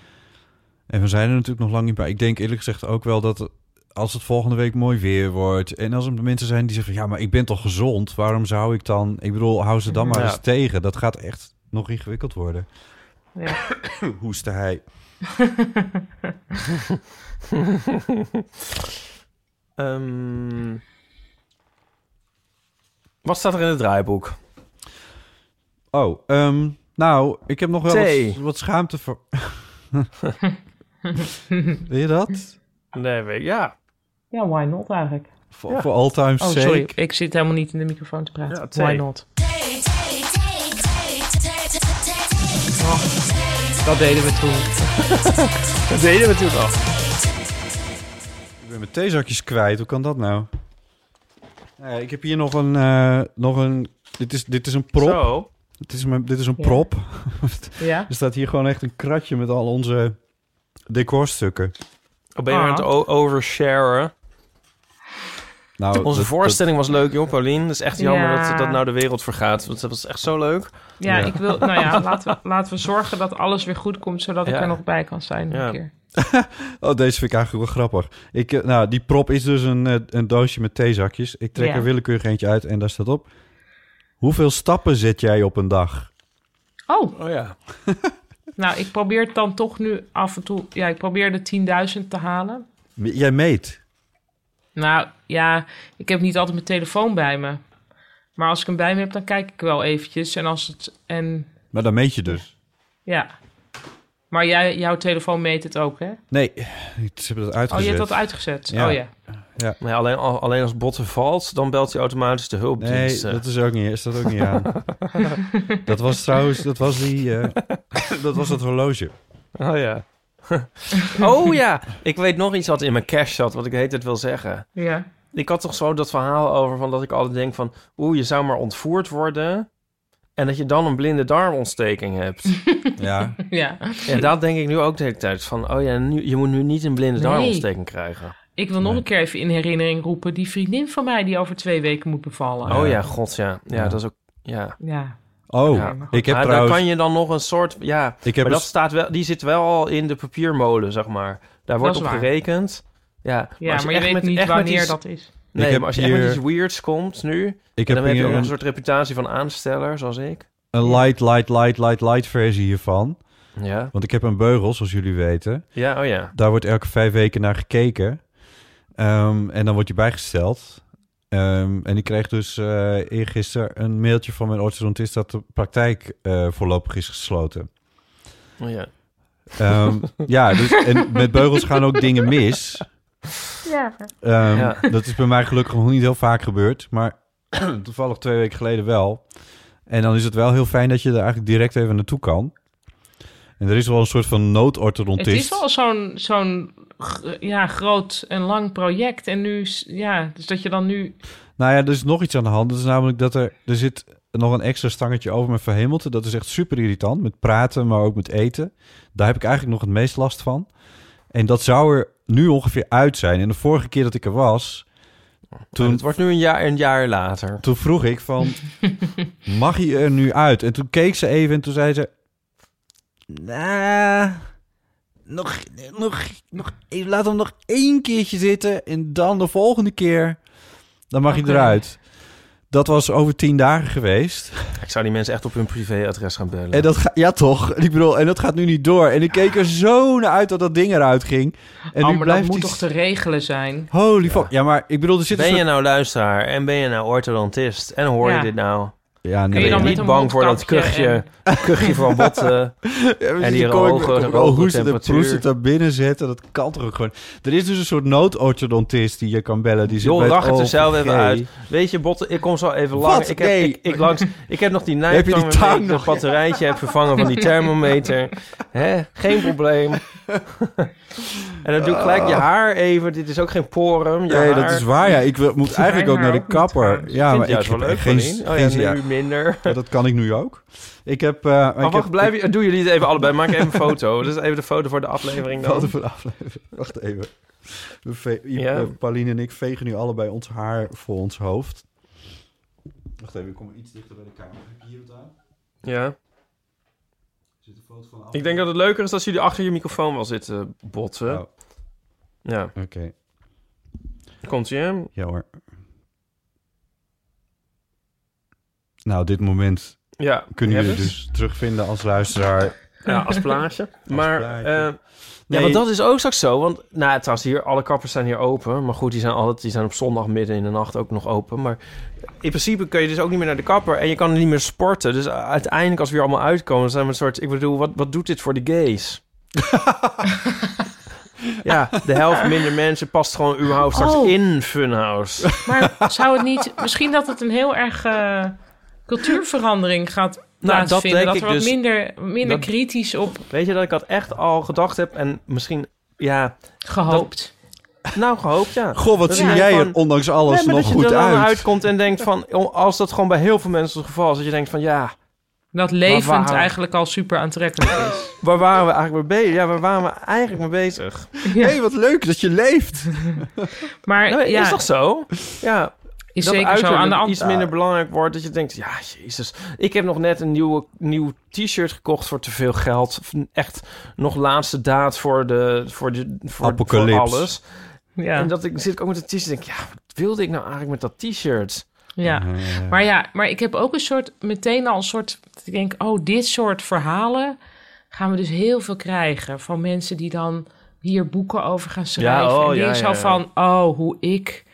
Speaker 4: En we zijn er natuurlijk nog lang niet bij. Ik denk eerlijk gezegd ook wel dat als het volgende week mooi weer wordt... en als er mensen zijn die zeggen... ja, maar ik ben toch gezond? Waarom zou ik dan... Ik bedoel, hou ze dan maar
Speaker 6: Ja.
Speaker 4: eens tegen. Dat gaat echt nog ingewikkeld worden. [COUGHS]
Speaker 5: Ja.
Speaker 4: Hoeste hij.
Speaker 6: [LAUGHS] Ehm, wat staat er in het draaiboek?
Speaker 4: Oh, ehm, nou, ik heb nog wel
Speaker 6: Thee.
Speaker 4: wat, wat schaamte voor... Wil je dat?
Speaker 6: Nee, weet ik, ja.
Speaker 5: Ja, why not eigenlijk?
Speaker 4: Voor, voor all time's
Speaker 5: Oh,
Speaker 4: sake.
Speaker 5: sorry. Ik zit helemaal niet in de microfoon te praten.
Speaker 4: thee.
Speaker 5: why not?
Speaker 6: Dat deden we toen. [LAUGHS] dat deden we toen al.
Speaker 4: Ik ben mijn theezakjes kwijt. Hoe kan dat nou? Nou ja, ik heb hier nog een... eh, nog een dit, is, dit is een prop.
Speaker 6: Zo.
Speaker 4: Dit is, mijn, dit is een
Speaker 6: Ja.
Speaker 4: prop.
Speaker 5: Ja.
Speaker 4: er staat hier gewoon echt een kratje met al onze decorstukken.
Speaker 6: Oh, ben je weer aan het
Speaker 4: Ah.
Speaker 6: o- oversharen?
Speaker 4: Nou,
Speaker 6: Onze
Speaker 4: dat-
Speaker 6: voorstelling was leuk, joh, Paulien. Het is echt jammer
Speaker 5: Ja.
Speaker 6: dat, dat nou de wereld vergaat. Want dat was echt zo leuk.
Speaker 5: Ja, ik wil, nou ja, [LAUGHS] laten we, laten we zorgen dat alles weer goed komt, zodat ik
Speaker 6: Ja.
Speaker 5: er nog bij kan zijn.
Speaker 6: Ja.
Speaker 5: Een keer.
Speaker 4: Oh, deze vind ik eigenlijk wel grappig. Ik, eh, nou, die prop is dus een, eh, een doosje met theezakjes. Ik trek
Speaker 5: Ja.
Speaker 4: er willekeurig eentje uit en daar staat op. Hoeveel stappen zet jij op een dag?
Speaker 5: Oh.
Speaker 6: oh ja.
Speaker 5: nou, ik probeer het dan toch nu af en toe. Ja, ik probeer de 10.000 te halen.
Speaker 4: M- Jij meet.
Speaker 5: Nou ja, ik heb niet altijd mijn telefoon bij me. Maar als ik hem bij me heb, dan kijk ik wel eventjes. En als het. En
Speaker 4: Maar dan meet je dus.
Speaker 5: ja. Maar jij, jouw telefoon meet het ook, hè?
Speaker 4: Nee, ze hebben dat uitgezet.
Speaker 5: Oh, je hebt dat uitgezet. Oh ja.
Speaker 4: Ja.
Speaker 6: Maar ja, alleen, al- alleen als botten valt, dan belt hij automatisch de
Speaker 4: Nee,
Speaker 6: hulpdienst. eh.
Speaker 4: dat is ook niet, is dat ook niet aan.
Speaker 5: [LAUGHS]
Speaker 4: dat was trouwens, dat was die, eh, [LAUGHS] dat was dat horloge.
Speaker 6: Oh ja. [LAUGHS] oh ja, ik weet nog iets wat in mijn cash zat, wat ik heet het wil zeggen.
Speaker 5: Ja.
Speaker 6: Ik had toch zo dat verhaal over van dat ik altijd denk van... oeh, je zou maar ontvoerd worden... en dat je dan een blinde darmontsteking hebt.
Speaker 4: ja.
Speaker 5: [LAUGHS] Ja.
Speaker 6: En dat denk ik nu ook de hele tijd. Van, oh ja, nu, je moet nu niet een blinde
Speaker 5: Nee.
Speaker 6: darmontsteking krijgen.
Speaker 5: Ik wil nog een keer even in herinnering roepen die vriendin van mij die over twee weken moet bevallen.
Speaker 6: Oh ja, god ja. Ja,
Speaker 4: Ja.
Speaker 6: dat is ook... Ja.
Speaker 5: Ja.
Speaker 4: Oh,
Speaker 6: Ja.
Speaker 4: ik heb
Speaker 6: Maar
Speaker 4: trouwens...
Speaker 6: Dan kan je dan nog een soort... Ja,
Speaker 4: Ik heb
Speaker 6: maar dat
Speaker 4: eens-
Speaker 6: staat wel, die zit wel al in de papiermolen, zeg maar. Daar wordt
Speaker 5: is
Speaker 6: op
Speaker 5: waar.
Speaker 6: gerekend. Ja,
Speaker 5: Ja,
Speaker 6: als
Speaker 5: maar je
Speaker 6: echt
Speaker 5: weet niet
Speaker 6: echt
Speaker 5: wanneer
Speaker 6: iets-
Speaker 5: dat is.
Speaker 6: Nee,
Speaker 4: Ik heb
Speaker 6: maar als je echt
Speaker 4: hier-
Speaker 6: met iets weirds komt nu...
Speaker 4: heb
Speaker 6: dan heb je
Speaker 4: hier
Speaker 6: ook
Speaker 4: een-
Speaker 6: een soort reputatie van aansteller, zoals ik.
Speaker 4: Een light, light, light, light, light versie hiervan.
Speaker 6: Ja.
Speaker 4: Want ik heb een beugel, zoals jullie weten.
Speaker 6: Ja, oh ja.
Speaker 4: Daar wordt elke vijf weken naar gekeken. Ehm, en dan word je bijgesteld. Ehm, en ik kreeg dus eh eergisteren een mailtje van mijn orthodontist... dat de praktijk eh, voorlopig is gesloten.
Speaker 6: Oh ja.
Speaker 4: Ehm, ja, dus, en met beugels gaan ook dingen mis.
Speaker 5: Ja.
Speaker 4: Ehm,
Speaker 6: Ja.
Speaker 4: Dat is bij mij gelukkig nog niet heel vaak gebeurd. Maar [CLEARS THROAT] toevallig twee weken geleden wel. En dan is het wel heel fijn dat je er eigenlijk direct even naartoe kan. En er is wel een soort van
Speaker 5: Het is
Speaker 4: noodorthodontist.
Speaker 5: wel zo'n zo'n g- ja, groot en lang project. En nu, s- ja, dus dat je dan nu...
Speaker 4: Nou ja, er is nog iets aan de hand. Dat is namelijk dat er, er zit nog een extra stangetje over met verhemelte. Dat is echt super irritant. Met praten, maar ook met eten. Daar heb ik eigenlijk nog het meest last van. En dat zou er nu ongeveer uit zijn. En de vorige keer dat ik er was... Toen,
Speaker 6: Het wordt nu een jaar, een jaar later.
Speaker 4: toen vroeg ik van,
Speaker 5: [LAUGHS]
Speaker 4: mag je er nu uit? En toen keek ze even en toen zei ze... Nou, nog, nog, nog, laat hem nog één keertje zitten en dan de volgende keer, dan mag je
Speaker 6: Oké.
Speaker 4: eruit. Dat was over tien dagen geweest.
Speaker 6: Ik zou die mensen echt op hun privéadres gaan bellen.
Speaker 4: En dat ga- ja toch, ik bedoel, en dat gaat nu niet door. En ik keek er zo naar uit dat dat ding eruit ging. En
Speaker 5: oh,
Speaker 4: nu
Speaker 5: maar dat
Speaker 4: blijft
Speaker 5: moet
Speaker 4: die...
Speaker 5: toch te regelen zijn?
Speaker 4: Holy fuck. Ja, maar ik bedoel, er zit een
Speaker 6: ben je
Speaker 4: soort-
Speaker 6: nou luisteraar en ben je nou orthodontist en hoor
Speaker 5: Ja.
Speaker 6: je dit nou?
Speaker 4: Ja,
Speaker 6: ben je
Speaker 5: dan met
Speaker 6: niet
Speaker 5: een
Speaker 6: bang voor dat
Speaker 5: mondkapje
Speaker 6: kuchje, kuchje
Speaker 4: [LAUGHS]
Speaker 6: van botten en die hoge,
Speaker 4: Al
Speaker 6: hoge
Speaker 4: hoesten en proesten
Speaker 6: temperatuur?
Speaker 4: daar binnen zetten, dat kan toch ook gewoon. Er is dus een soort noodorthodontist die je kan bellen. Die zit
Speaker 6: Joh,
Speaker 4: bij het
Speaker 6: rach het er zelf
Speaker 4: OVG.
Speaker 6: even uit. Weet je, botten, ik kom zo even
Speaker 4: Wat?
Speaker 6: lang. Ik heb,
Speaker 4: Nee.
Speaker 6: ik, ik langs, ik heb nog die
Speaker 4: Heb je die
Speaker 6: nijptang
Speaker 4: tang
Speaker 6: waarmee ik
Speaker 4: nog?
Speaker 6: dat batterijtje heb vervangen van die thermometer. Hè? Geen
Speaker 4: [LAUGHS]
Speaker 6: probleem. en dan doe ik gelijk je haar even. Dit is ook geen porum. Je
Speaker 4: Nee,
Speaker 6: haar.
Speaker 4: dat is waar. Ja, ik wil- moet eigenlijk ook naar de kapper. Ja,
Speaker 6: Vind
Speaker 4: maar
Speaker 6: je
Speaker 4: ik
Speaker 6: het wel
Speaker 4: heb
Speaker 6: leuk,
Speaker 4: geen,
Speaker 6: Paulien? Oh ja,
Speaker 4: geen
Speaker 6: nu
Speaker 4: ja.
Speaker 6: minder. [LAUGHS]
Speaker 4: Ja, dat kan ik nu ook. Ik heb. eh, ik
Speaker 6: Maar wacht,
Speaker 4: heb-
Speaker 6: blijf je, doen jullie het even allebei. Maak even een foto. [LAUGHS] Dus even de foto voor de
Speaker 4: [LAUGHS]
Speaker 6: aflevering dan.
Speaker 4: Foto voor de aflevering. Wacht even. We ve- I-
Speaker 6: Ja.
Speaker 4: eh, Pauline en ik vegen nu allebei ons haar voor ons hoofd. Wacht even, ik kom iets dichter bij de camera. Heb je hier wat aan?
Speaker 6: Ja.
Speaker 4: Zit een foto van
Speaker 6: Ik denk dat het leuker is als jullie achter je microfoon wel zitten botsen.
Speaker 4: Oh.
Speaker 6: Ja.
Speaker 4: Oké,
Speaker 6: Komt ie, hè?
Speaker 4: ja hoor. Nou, dit moment
Speaker 6: Ja.
Speaker 4: kunnen jullie
Speaker 6: hebben ze.
Speaker 4: dus terugvinden als luisteraar.
Speaker 6: Ja, als
Speaker 4: [LAUGHS]
Speaker 6: plaatje. maar,
Speaker 4: plaatje.
Speaker 6: eh,
Speaker 4: Nee.
Speaker 6: ja, want dat is ook straks zo. Want, nou, trouwens, hier, alle kappers zijn hier open. Maar goed, die zijn, altijd, die zijn op zondag midden in de nacht ook nog open. Maar in principe kun je dus ook niet meer naar de kapper. En je kan niet meer sporten. Dus uh, uiteindelijk, als we hier allemaal uitkomen, zijn we een soort... Ik bedoel, wat, wat doet dit voor de
Speaker 4: [LAUGHS]
Speaker 6: gays? ja, de helft minder mensen past gewoon überhaupt straks
Speaker 5: Oh.
Speaker 6: in Funhouse. [LAUGHS]
Speaker 5: Maar zou het niet... Misschien dat het een heel erg eh, cultuurverandering gaat
Speaker 6: Nou, dat
Speaker 5: plaatsvinden.
Speaker 6: denk
Speaker 5: dat,
Speaker 6: ik
Speaker 5: er wat
Speaker 6: dus.
Speaker 5: minder, minder
Speaker 6: Dat-
Speaker 5: kritisch op
Speaker 6: Weet je dat ik dat echt al gedacht heb en misschien... Ja,
Speaker 5: gehoopt.
Speaker 6: nou gehoopt, ja.
Speaker 4: Goh, wat
Speaker 6: Dat
Speaker 4: zie
Speaker 6: ik
Speaker 4: jij
Speaker 6: van-
Speaker 4: er ondanks alles
Speaker 6: Nee, maar
Speaker 4: nog
Speaker 6: dat je
Speaker 4: goed
Speaker 6: er dan
Speaker 4: uit.
Speaker 6: uitkomt en denkt van... oh, als dat gewoon bij heel veel mensen het geval is... dat je denkt van ja,
Speaker 5: Dat levend
Speaker 6: waarom?
Speaker 5: eigenlijk al super aantrekkelijk
Speaker 6: [LAUGHS]
Speaker 5: is.
Speaker 6: waar waren we eigenlijk mee bezig? Ja, waar waren we eigenlijk mee bezig?
Speaker 5: Ja.
Speaker 4: hey, wat leuk dat je
Speaker 6: [LAUGHS]
Speaker 4: leeft.
Speaker 5: Maar
Speaker 6: Nou,
Speaker 5: ja,
Speaker 6: Is toch zo? Ja,
Speaker 5: is
Speaker 6: dat
Speaker 5: zeker zo
Speaker 6: uiterlijk
Speaker 5: aan de
Speaker 6: iets
Speaker 5: andere.
Speaker 6: minder belangrijk wordt... dat je denkt, ja, jezus. Ik heb nog net een nieuwe, nieuw t-shirt gekocht voor te veel geld. Echt nog laatste daad voor, de, voor, de, voor, voor
Speaker 4: Apocalypse.
Speaker 6: alles.
Speaker 5: Ja.
Speaker 6: En dat ik, zit ik ook met dat t-shirt en denk... ja, wat wilde ik nou eigenlijk met dat t-shirt?
Speaker 5: Ja. Maar ja, maar ik heb ook een soort, meteen al een soort, dat ik denk, oh, dit soort verhalen gaan we dus heel veel krijgen van mensen die dan hier boeken over gaan schrijven.
Speaker 6: oh,
Speaker 5: en die
Speaker 6: ja,
Speaker 5: zo
Speaker 6: ja, ja.
Speaker 5: van, oh, hoe ik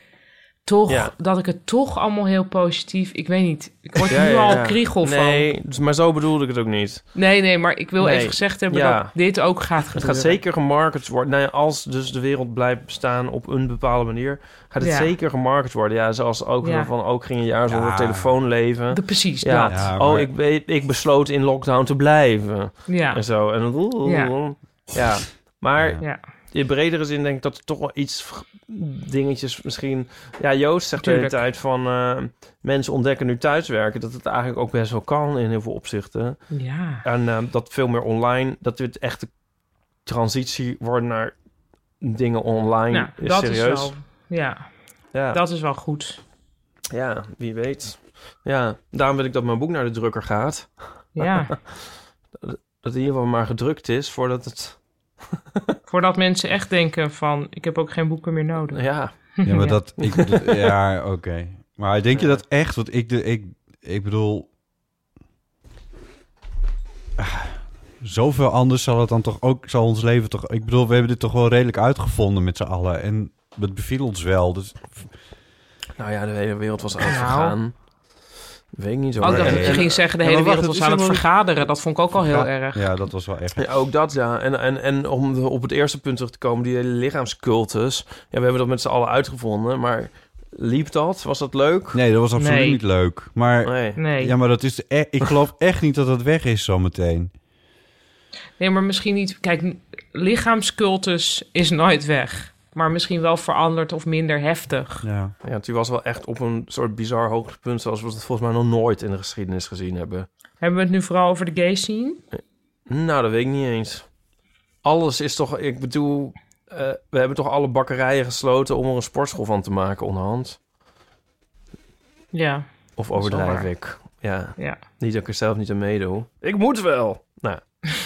Speaker 5: toch,
Speaker 6: Ja.
Speaker 5: dat ik het toch allemaal heel positief, ik weet niet, ik word
Speaker 6: Ja,
Speaker 5: nu
Speaker 6: ja,
Speaker 5: al
Speaker 6: ja.
Speaker 5: kriegel van.
Speaker 6: Nee, dus- maar zo bedoelde ik het ook niet.
Speaker 5: Nee, nee, maar ik wil
Speaker 6: Nee.
Speaker 5: even gezegd hebben
Speaker 6: Ja.
Speaker 5: dat dit ook gaat
Speaker 6: Het
Speaker 5: gebeuren.
Speaker 6: gaat zeker gemarket worden. Nou ja, als dus de wereld blijft bestaan op een bepaalde manier, gaat het
Speaker 5: Ja.
Speaker 6: zeker gemarket worden. Ja, zoals ook
Speaker 5: Ja.
Speaker 6: van ook ging een jaar zonder
Speaker 4: Ja.
Speaker 6: telefoon leven.
Speaker 5: De, precies,
Speaker 6: ja.
Speaker 5: dat.
Speaker 4: Ja,
Speaker 6: oh,
Speaker 4: maar-
Speaker 6: ik, be- ik besloot in lockdown te blijven.
Speaker 5: Ja,
Speaker 6: En zo. En dan-
Speaker 5: Ja.
Speaker 6: ja. Maar
Speaker 4: Ja.
Speaker 5: ja.
Speaker 6: in bredere zin denk ik dat er toch wel iets v- dingetjes misschien. Ja, Joost zegt de hele
Speaker 5: Tuurlijk.
Speaker 6: tijd van eh, mensen ontdekken nu thuiswerken. Dat het eigenlijk ook best wel kan in heel veel opzichten.
Speaker 5: ja.
Speaker 6: En ehm, dat veel meer online, dat dit echt de transitie wordt naar dingen online.
Speaker 5: Nou,
Speaker 6: is
Speaker 5: dat
Speaker 6: serieus.
Speaker 5: is wel, ja,
Speaker 6: ja.
Speaker 5: dat is wel goed.
Speaker 6: ja, wie weet. Ja, daarom wil ik dat mijn boek naar de drukker gaat.
Speaker 5: Ja.
Speaker 6: Dat het in ieder geval maar gedrukt is voordat het.
Speaker 5: Voordat mensen echt denken van, ik heb ook geen boeken meer nodig.
Speaker 6: Ja,
Speaker 4: Ja, maar
Speaker 5: [LAUGHS] Ja.
Speaker 4: dat... Ik, bedoel- ja, oké. Maar denk je dat echt? Want ik, de, ik, ik bedoel... ah, Zoveel anders zal het dan toch ook... Zal ons leven toch... Ik bedoel, we hebben dit toch wel redelijk uitgevonden met z'n allen. En het beviel ons wel. Dus
Speaker 6: nou ja, de hele wereld was overgegaan. Weet ik niet hoor.
Speaker 5: Oh, dat
Speaker 6: En-
Speaker 5: ik
Speaker 6: en-
Speaker 5: ging zeggen, de
Speaker 4: Ja,
Speaker 5: hele
Speaker 4: maar wacht,
Speaker 5: wereld
Speaker 4: het
Speaker 5: was
Speaker 4: is
Speaker 5: aan het
Speaker 4: helemaal
Speaker 5: vergaderen. Dat vond ik ook al heel
Speaker 4: Ja,
Speaker 5: erg.
Speaker 4: Ja, dat was wel echt...
Speaker 6: Ja, ook dat, ja. En, en, en om de- op het eerste punt terug te komen, die hele lichaamscultus. Ja, we hebben dat met z'n allen uitgevonden, maar liep dat? Was dat leuk?
Speaker 4: Nee, dat was absoluut
Speaker 5: Nee.
Speaker 4: niet leuk. Maar... e-
Speaker 6: Nee.
Speaker 5: Nee. [LAUGHS]
Speaker 4: Ja, maar dat is... de- eh, ik geloof echt niet dat dat weg is zometeen.
Speaker 5: Nee, maar misschien niet. Kijk, n- lichaamscultus is nooit weg. Maar misschien wel veranderd of minder heftig.
Speaker 4: Ja.
Speaker 6: ja, toen was wel echt op een soort bizar hoogtepunt... zoals we het volgens mij nog nooit in de geschiedenis gezien hebben.
Speaker 5: Hebben we het nu vooral over de gay scene?
Speaker 6: Nou, dat weet ik niet eens. Alles is toch... Ik bedoel, eh, we hebben toch alle bakkerijen gesloten... om er een sportschool van te maken onderhand?
Speaker 5: Ja.
Speaker 6: Of
Speaker 5: Dat is wel
Speaker 6: overdrijf
Speaker 5: waar.
Speaker 6: ik? Ja.
Speaker 5: Ja.
Speaker 6: Niet dat ik er zelf niet aan meedoe. Ik moet wel!
Speaker 5: [LAUGHS]
Speaker 6: Nou,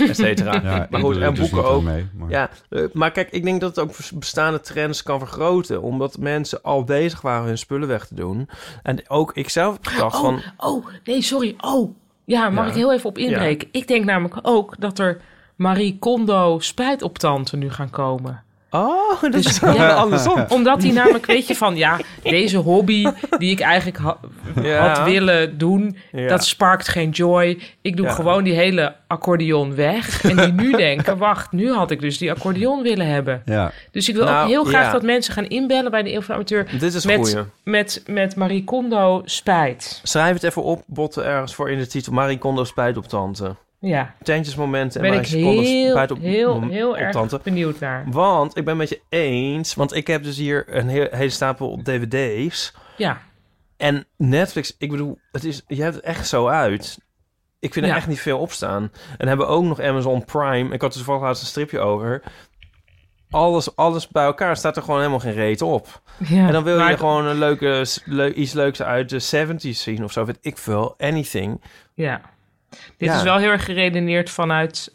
Speaker 6: et cetera.
Speaker 4: Ja,
Speaker 6: maar
Speaker 4: ik doe
Speaker 6: goed,
Speaker 4: er
Speaker 6: en
Speaker 4: dus
Speaker 6: boeken
Speaker 4: niet aan
Speaker 6: ook.
Speaker 4: mee, maar-
Speaker 6: Ja, eh, maar kijk, ik denk dat het ook vers- bestaande trends kan vergroten. Omdat mensen al bezig waren hun spullen weg te doen. En ook ik zelf dacht
Speaker 5: oh,
Speaker 6: van...
Speaker 5: oh, nee, sorry. Oh, ja, mag
Speaker 6: Ja.
Speaker 5: ik heel even op inbreken? Ik denk namelijk ook dat er Marie Kondo spijtoptanten nu gaan komen.
Speaker 6: Oh, dat
Speaker 5: is
Speaker 6: andersom.
Speaker 5: Dus- [LAUGHS] Omdat die namelijk, weet je, van ja, deze hobby die ik eigenlijk ha-
Speaker 6: Ja.
Speaker 5: had willen doen,
Speaker 6: Ja.
Speaker 5: dat sparkt geen joy. Ik doe
Speaker 6: Ja.
Speaker 5: gewoon die hele accordeon weg. En die
Speaker 6: [LAUGHS]
Speaker 5: nu denken, wacht, nu had ik dus die accordeon willen hebben.
Speaker 4: Ja.
Speaker 5: Dus ik wil
Speaker 6: Nou,
Speaker 5: ook heel graag
Speaker 6: ja.
Speaker 5: dat mensen gaan inbellen bij de Eeuw van de Amateur.
Speaker 6: Dit is een
Speaker 5: met,
Speaker 6: goeie.
Speaker 5: met, met Marie Kondo spijt.
Speaker 6: Schrijf het even op, botten ergens voor in de titel. Marie Kondo spijt op tante.
Speaker 5: Ja.
Speaker 6: Tentjesmomenten en
Speaker 5: ben ik
Speaker 6: Marie Kondo
Speaker 5: heel,
Speaker 6: spijt op,
Speaker 5: heel,
Speaker 6: mom-
Speaker 5: heel
Speaker 6: op
Speaker 5: erg
Speaker 6: tante.
Speaker 5: benieuwd naar.
Speaker 6: Want ik ben met je eens, want ik heb dus hier een heel- hele stapel dvd's.
Speaker 5: Ja.
Speaker 6: En Netflix, ik bedoel, het is, je hebt het echt zo uit. Ik vind er
Speaker 5: Ja.
Speaker 6: echt niet veel op staan. En hebben we ook nog Amazon Prime. Ik had er toevallig laatst een stripje over. Alles, alles bij elkaar staat er gewoon helemaal geen reet op.
Speaker 5: Ja,
Speaker 6: en dan wil
Speaker 5: maar-
Speaker 6: je gewoon een leuke, s- leu- iets leuks uit de 70s zien of zo. Weet ik veel. Anything.
Speaker 5: Ja. Dit
Speaker 6: Ja.
Speaker 5: is wel heel erg geredeneerd vanuit...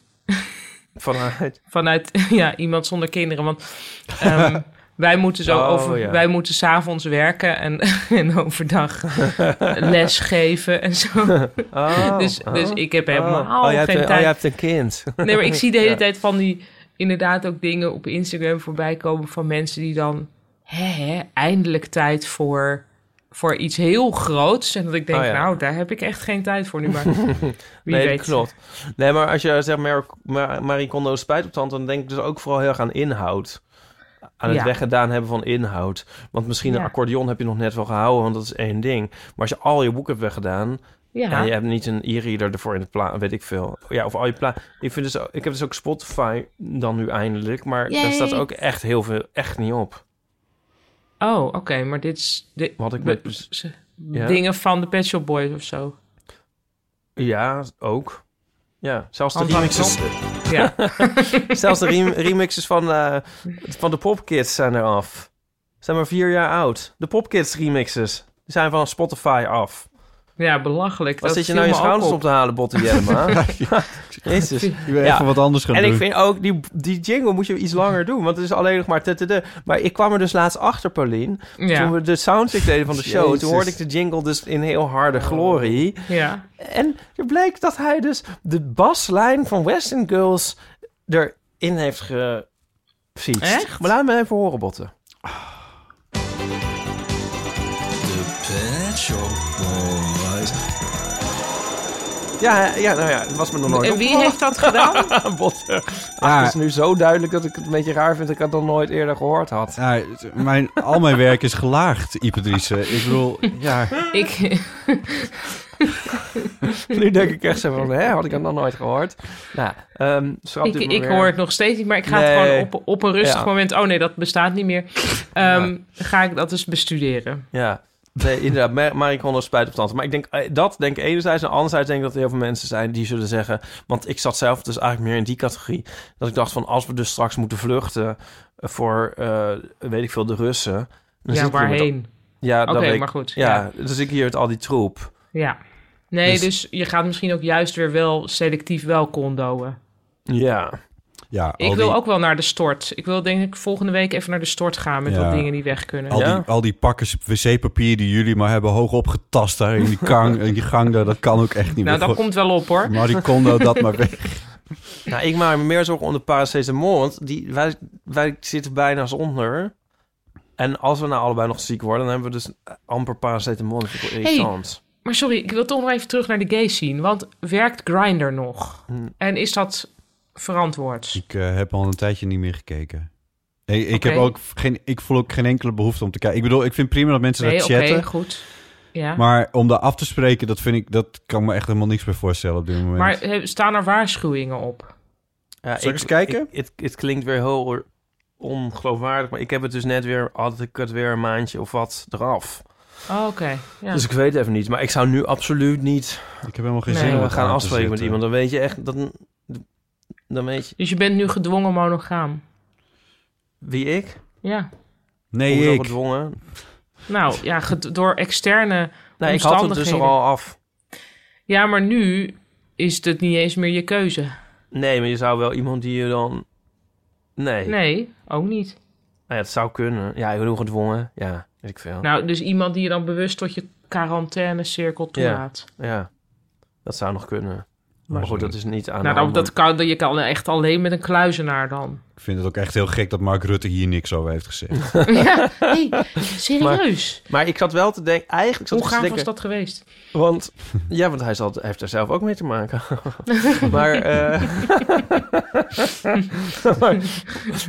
Speaker 6: Vanuit?
Speaker 5: vanuit, ja, iemand zonder kinderen. Want
Speaker 6: [LAUGHS]
Speaker 5: ehm, wij moeten zo
Speaker 6: Oh,
Speaker 5: over...
Speaker 6: ja.
Speaker 5: Wij moeten s'avonds werken en, [LAUGHS] en
Speaker 6: [LAUGHS]
Speaker 5: overdag les geven en zo.
Speaker 6: Oh,
Speaker 5: [LAUGHS] dus, dus
Speaker 6: oh,
Speaker 5: ik heb helemaal
Speaker 6: oh, je hebt
Speaker 5: geen
Speaker 6: een- oh,
Speaker 5: tijd.
Speaker 6: je hebt een kind.
Speaker 5: Nee, maar ik zie de
Speaker 6: [LAUGHS]
Speaker 5: hele
Speaker 6: Ja.
Speaker 5: tijd van die... Inderdaad ook dingen op Instagram voorbij komen van mensen die dan... Hè, hè, eindelijk tijd voor... Voor iets heel groots. En dat ik denk,
Speaker 6: Oh, ja.
Speaker 5: nou, daar heb ik echt geen tijd voor nu. Maar
Speaker 6: [LAUGHS]
Speaker 5: wie
Speaker 6: nee,
Speaker 5: weet.
Speaker 6: dat klopt. Nee, maar als je zegt Mar Mar- Marie Kondo spijt op tante, dan denk ik dus ook vooral heel erg aan inhoud. Aan het
Speaker 5: Ja.
Speaker 6: weggedaan hebben van inhoud. Want misschien een
Speaker 5: Ja.
Speaker 6: accordeon heb je nog net wel gehouden, want dat is één ding. Maar als je al je boeken hebt weggedaan
Speaker 5: Ja.
Speaker 6: en je hebt niet een e-reader ervoor in de plaat, weet ik veel. Ja, of al je plaat. Ik, vind dus, ook- ik heb dus ook Spotify dan nu eindelijk, maar daar
Speaker 5: Yay.
Speaker 6: staat ook echt heel veel, echt niet op.
Speaker 5: Oh, oké, maar dit is... Dit,
Speaker 6: Wat ik dus-
Speaker 5: we-
Speaker 6: met-
Speaker 5: z-
Speaker 6: Ja.
Speaker 5: Dingen van de Pet Shop Boys of zo.
Speaker 6: Ja, ook. Ja, zelfs de
Speaker 5: Anton
Speaker 6: remixes.
Speaker 5: Knop.
Speaker 6: [LAUGHS]
Speaker 5: Ja.
Speaker 6: zelfs de rem- remixes van, eh, van de Popkids zijn er af. Zijn maar vier jaar oud. De Popkids remixes die zijn van Spotify af.
Speaker 5: Ja, belachelijk.
Speaker 6: Wat
Speaker 5: dat
Speaker 6: zit je
Speaker 5: viel
Speaker 6: nou je
Speaker 5: me ook
Speaker 6: schouders op. te halen, Botte Jellema? [LAUGHS] Jezus.
Speaker 4: Ik wil even wat anders gaan
Speaker 6: en
Speaker 4: doen.
Speaker 6: ik vind ook, die, die jingle moet je iets langer doen. Want het is alleen nog maar... tutudu. Maar ik kwam er dus laatst achter, Paulien.
Speaker 5: Ja.
Speaker 6: Toen we de soundcheck deden van de show.
Speaker 5: Jezus.
Speaker 6: Toen hoorde ik de jingle dus in heel harde glorie.
Speaker 5: Ja.
Speaker 6: En er bleek dat hij dus de baslijn van Western Girls erin heeft gefietst.
Speaker 11: Echt?
Speaker 6: Maar laat me even horen, Botten.
Speaker 11: Pet Shop Boys.
Speaker 6: Ja, ja, nou ja, het was me nog nooit
Speaker 5: En wie heeft dat
Speaker 6: [LAUGHS]
Speaker 5: gedaan?
Speaker 6: Botten. Ach,
Speaker 4: Ah,
Speaker 6: het is nu zo duidelijk dat ik het een beetje raar vind dat ik het nog nooit eerder gehoord
Speaker 5: [LAUGHS]
Speaker 6: had.
Speaker 4: Ja, het- mijn, al mijn werk is gelaagd, Ipedrice. Ik bedoel,
Speaker 5: [LAUGHS]
Speaker 4: ja.
Speaker 5: ik...
Speaker 6: nu denk ik echt zo van, hè, had ik dat nog nooit gehoord? Nou, ehm schrap
Speaker 5: Ik,
Speaker 6: dit maar
Speaker 5: ik
Speaker 6: weer.
Speaker 5: hoor het nog steeds niet, maar ik ga
Speaker 6: Nee.
Speaker 5: het gewoon op, op een rustig
Speaker 6: Ja.
Speaker 5: moment... Oh nee, dat bestaat niet
Speaker 6: [LAUGHS]
Speaker 5: meer. Ehm, Ga ik dat eens bestuderen.
Speaker 6: Ja, nee, inderdaad. Mar- Marie Kondo spijt op tante. Maar ik denk eh, dat denk ik enerzijds. En anderzijds denk ik dat er heel veel mensen zijn die zullen zeggen... Want ik zat zelf dus eigenlijk meer in die categorie. Dat ik dacht van als we dus straks moeten vluchten voor, eh, weet ik veel, de Russen. dan
Speaker 5: Ja,
Speaker 6: zit ik hier met al-
Speaker 5: waarheen?
Speaker 6: Ja, dat
Speaker 5: Oké,
Speaker 6: weet ik.
Speaker 5: maar goed,
Speaker 6: Ja,
Speaker 5: ja.
Speaker 6: dus ik hier met al die troep.
Speaker 5: Ja. Nee,
Speaker 6: Dus-
Speaker 5: dus... je gaat misschien ook juist weer wel selectief wel condoen.
Speaker 6: Ja.
Speaker 4: Ja,
Speaker 5: Ik
Speaker 4: al
Speaker 5: wil
Speaker 4: die-
Speaker 5: ook wel naar de stort. Ik wil denk ik volgende week even naar de stort gaan met
Speaker 4: Ja.
Speaker 5: wat dingen die weg kunnen.
Speaker 4: Al, die, al die pakken wc-papier die jullie maar hebben hoog opgetast daar in die, gang, in die gang daar, dat kan ook echt niet
Speaker 5: Nou,
Speaker 4: meer.
Speaker 5: dat komt wel op hoor.
Speaker 4: Marie Kondo, dat
Speaker 5: [LAUGHS]
Speaker 4: maar weg.
Speaker 6: Nou, ik maak me meer zorgen om de paracetamol. Want die, wij, wij zitten bijna zonder. En als we nou allebei nog ziek worden... dan hebben we dus amper paracetamol. Dat vind ik wel
Speaker 5: Hey,
Speaker 6: irritant.
Speaker 5: Maar sorry, ik wil toch nog even terug naar de gay scene. Want werkt Grindr nog?
Speaker 6: Hmm.
Speaker 5: En is dat verantwoord?
Speaker 4: Ik eh, heb al een tijdje niet meer gekeken. Ik, ik, heb
Speaker 5: Oké.
Speaker 4: ook geen, ik voel ook geen enkele behoefte om te kijken. Ik bedoel, ik vind prima dat mensen
Speaker 5: Nee,
Speaker 4: dat
Speaker 5: oké,
Speaker 4: chatten.
Speaker 5: goed. Ja. Maar,
Speaker 4: Maar om daar af te spreken, dat, vind ik, dat kan ik me echt helemaal niks bij voorstellen op dit moment.
Speaker 5: eh, staan er waarschuwingen op?
Speaker 4: Zullen we eens kijken?
Speaker 6: ik- Het het klinkt weer heel ongeloofwaardig, maar ik heb het dus net weer, had ik het weer een maandje of wat eraf.
Speaker 5: Oh, Oké. ja.
Speaker 6: Dus ik weet even niet, maar ik zou nu absoluut niet.
Speaker 4: Ik heb helemaal
Speaker 5: geen zin om
Speaker 6: We
Speaker 5: het
Speaker 6: gaan
Speaker 5: aan te
Speaker 6: afspreken met
Speaker 5: zitten.
Speaker 6: iemand, dan weet je echt. Dan, dan weet je.
Speaker 5: Dus je bent nu gedwongen monogaam.
Speaker 6: Wie ik?
Speaker 5: Ja.
Speaker 4: Nee,
Speaker 6: Hoezo
Speaker 4: ik.
Speaker 6: gedwongen.
Speaker 5: Nou ja, ged- door externe
Speaker 6: Nee, ik had het
Speaker 5: omstandigheden.
Speaker 6: dus er al af.
Speaker 5: Ja, maar nu is het niet eens meer je keuze.
Speaker 6: Nee, maar je zou wel iemand die je dan. Nee.
Speaker 5: Nee, ook niet.
Speaker 6: Nou ja, het zou kunnen. Ja, heel gedwongen. Ja, weet ik veel.
Speaker 5: Nou, dus iemand die je dan bewust tot je quarantainecirkel
Speaker 6: ja.
Speaker 5: toelaat.
Speaker 6: ja, dat zou nog kunnen. Maar goed, dat is niet aan.
Speaker 5: nou,
Speaker 6: de
Speaker 5: dan-
Speaker 6: hand.
Speaker 5: dat kan, je kan echt alleen met een kluizenaar dan.
Speaker 4: Ik vind het ook echt heel gek dat Mark Rutte hier niks over heeft gezegd.
Speaker 5: [LAUGHS]
Speaker 6: [LAUGHS]
Speaker 5: ja, hey, serieus.
Speaker 6: Maar, maar ik zat wel te denken, eigenlijk zat
Speaker 5: Hoe
Speaker 6: ik te
Speaker 5: gaaf
Speaker 6: denken,
Speaker 5: was dat geweest?
Speaker 6: Want, ja, want hij zal, heeft er zelf ook mee te
Speaker 5: [LAUGHS]
Speaker 6: maken. maar, eh [LAUGHS] maar,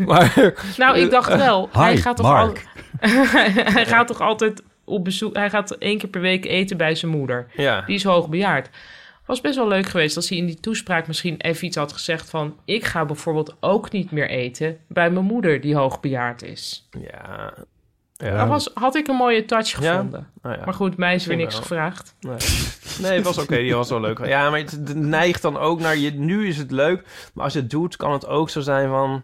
Speaker 6: maar-
Speaker 5: Nou, ik dacht wel.
Speaker 6: Eh, Hi,
Speaker 5: hij gaat toch
Speaker 6: Mark.
Speaker 5: al- [LAUGHS] hij gaat toch altijd op bezoek. Hij gaat één keer per week eten bij zijn moeder.
Speaker 6: Ja.
Speaker 5: Die is hoogbejaard. Was best wel leuk geweest als hij in die toespraak misschien even iets had gezegd van: ik ga bijvoorbeeld ook niet meer eten bij mijn moeder die hoogbejaard is.
Speaker 6: Ja.
Speaker 5: Dat was, had ik een mooie touch
Speaker 6: Ja?
Speaker 5: gevonden.
Speaker 6: Nou ja,
Speaker 5: Maar goed, mij is
Speaker 6: misschien
Speaker 5: weer niks
Speaker 6: wel.
Speaker 5: gevraagd.
Speaker 6: Nee, nee het was oké, die was wel leuk. Ja, maar het neigt dan ook naar je. Nu is het leuk, maar als je het doet, kan het ook zo zijn van.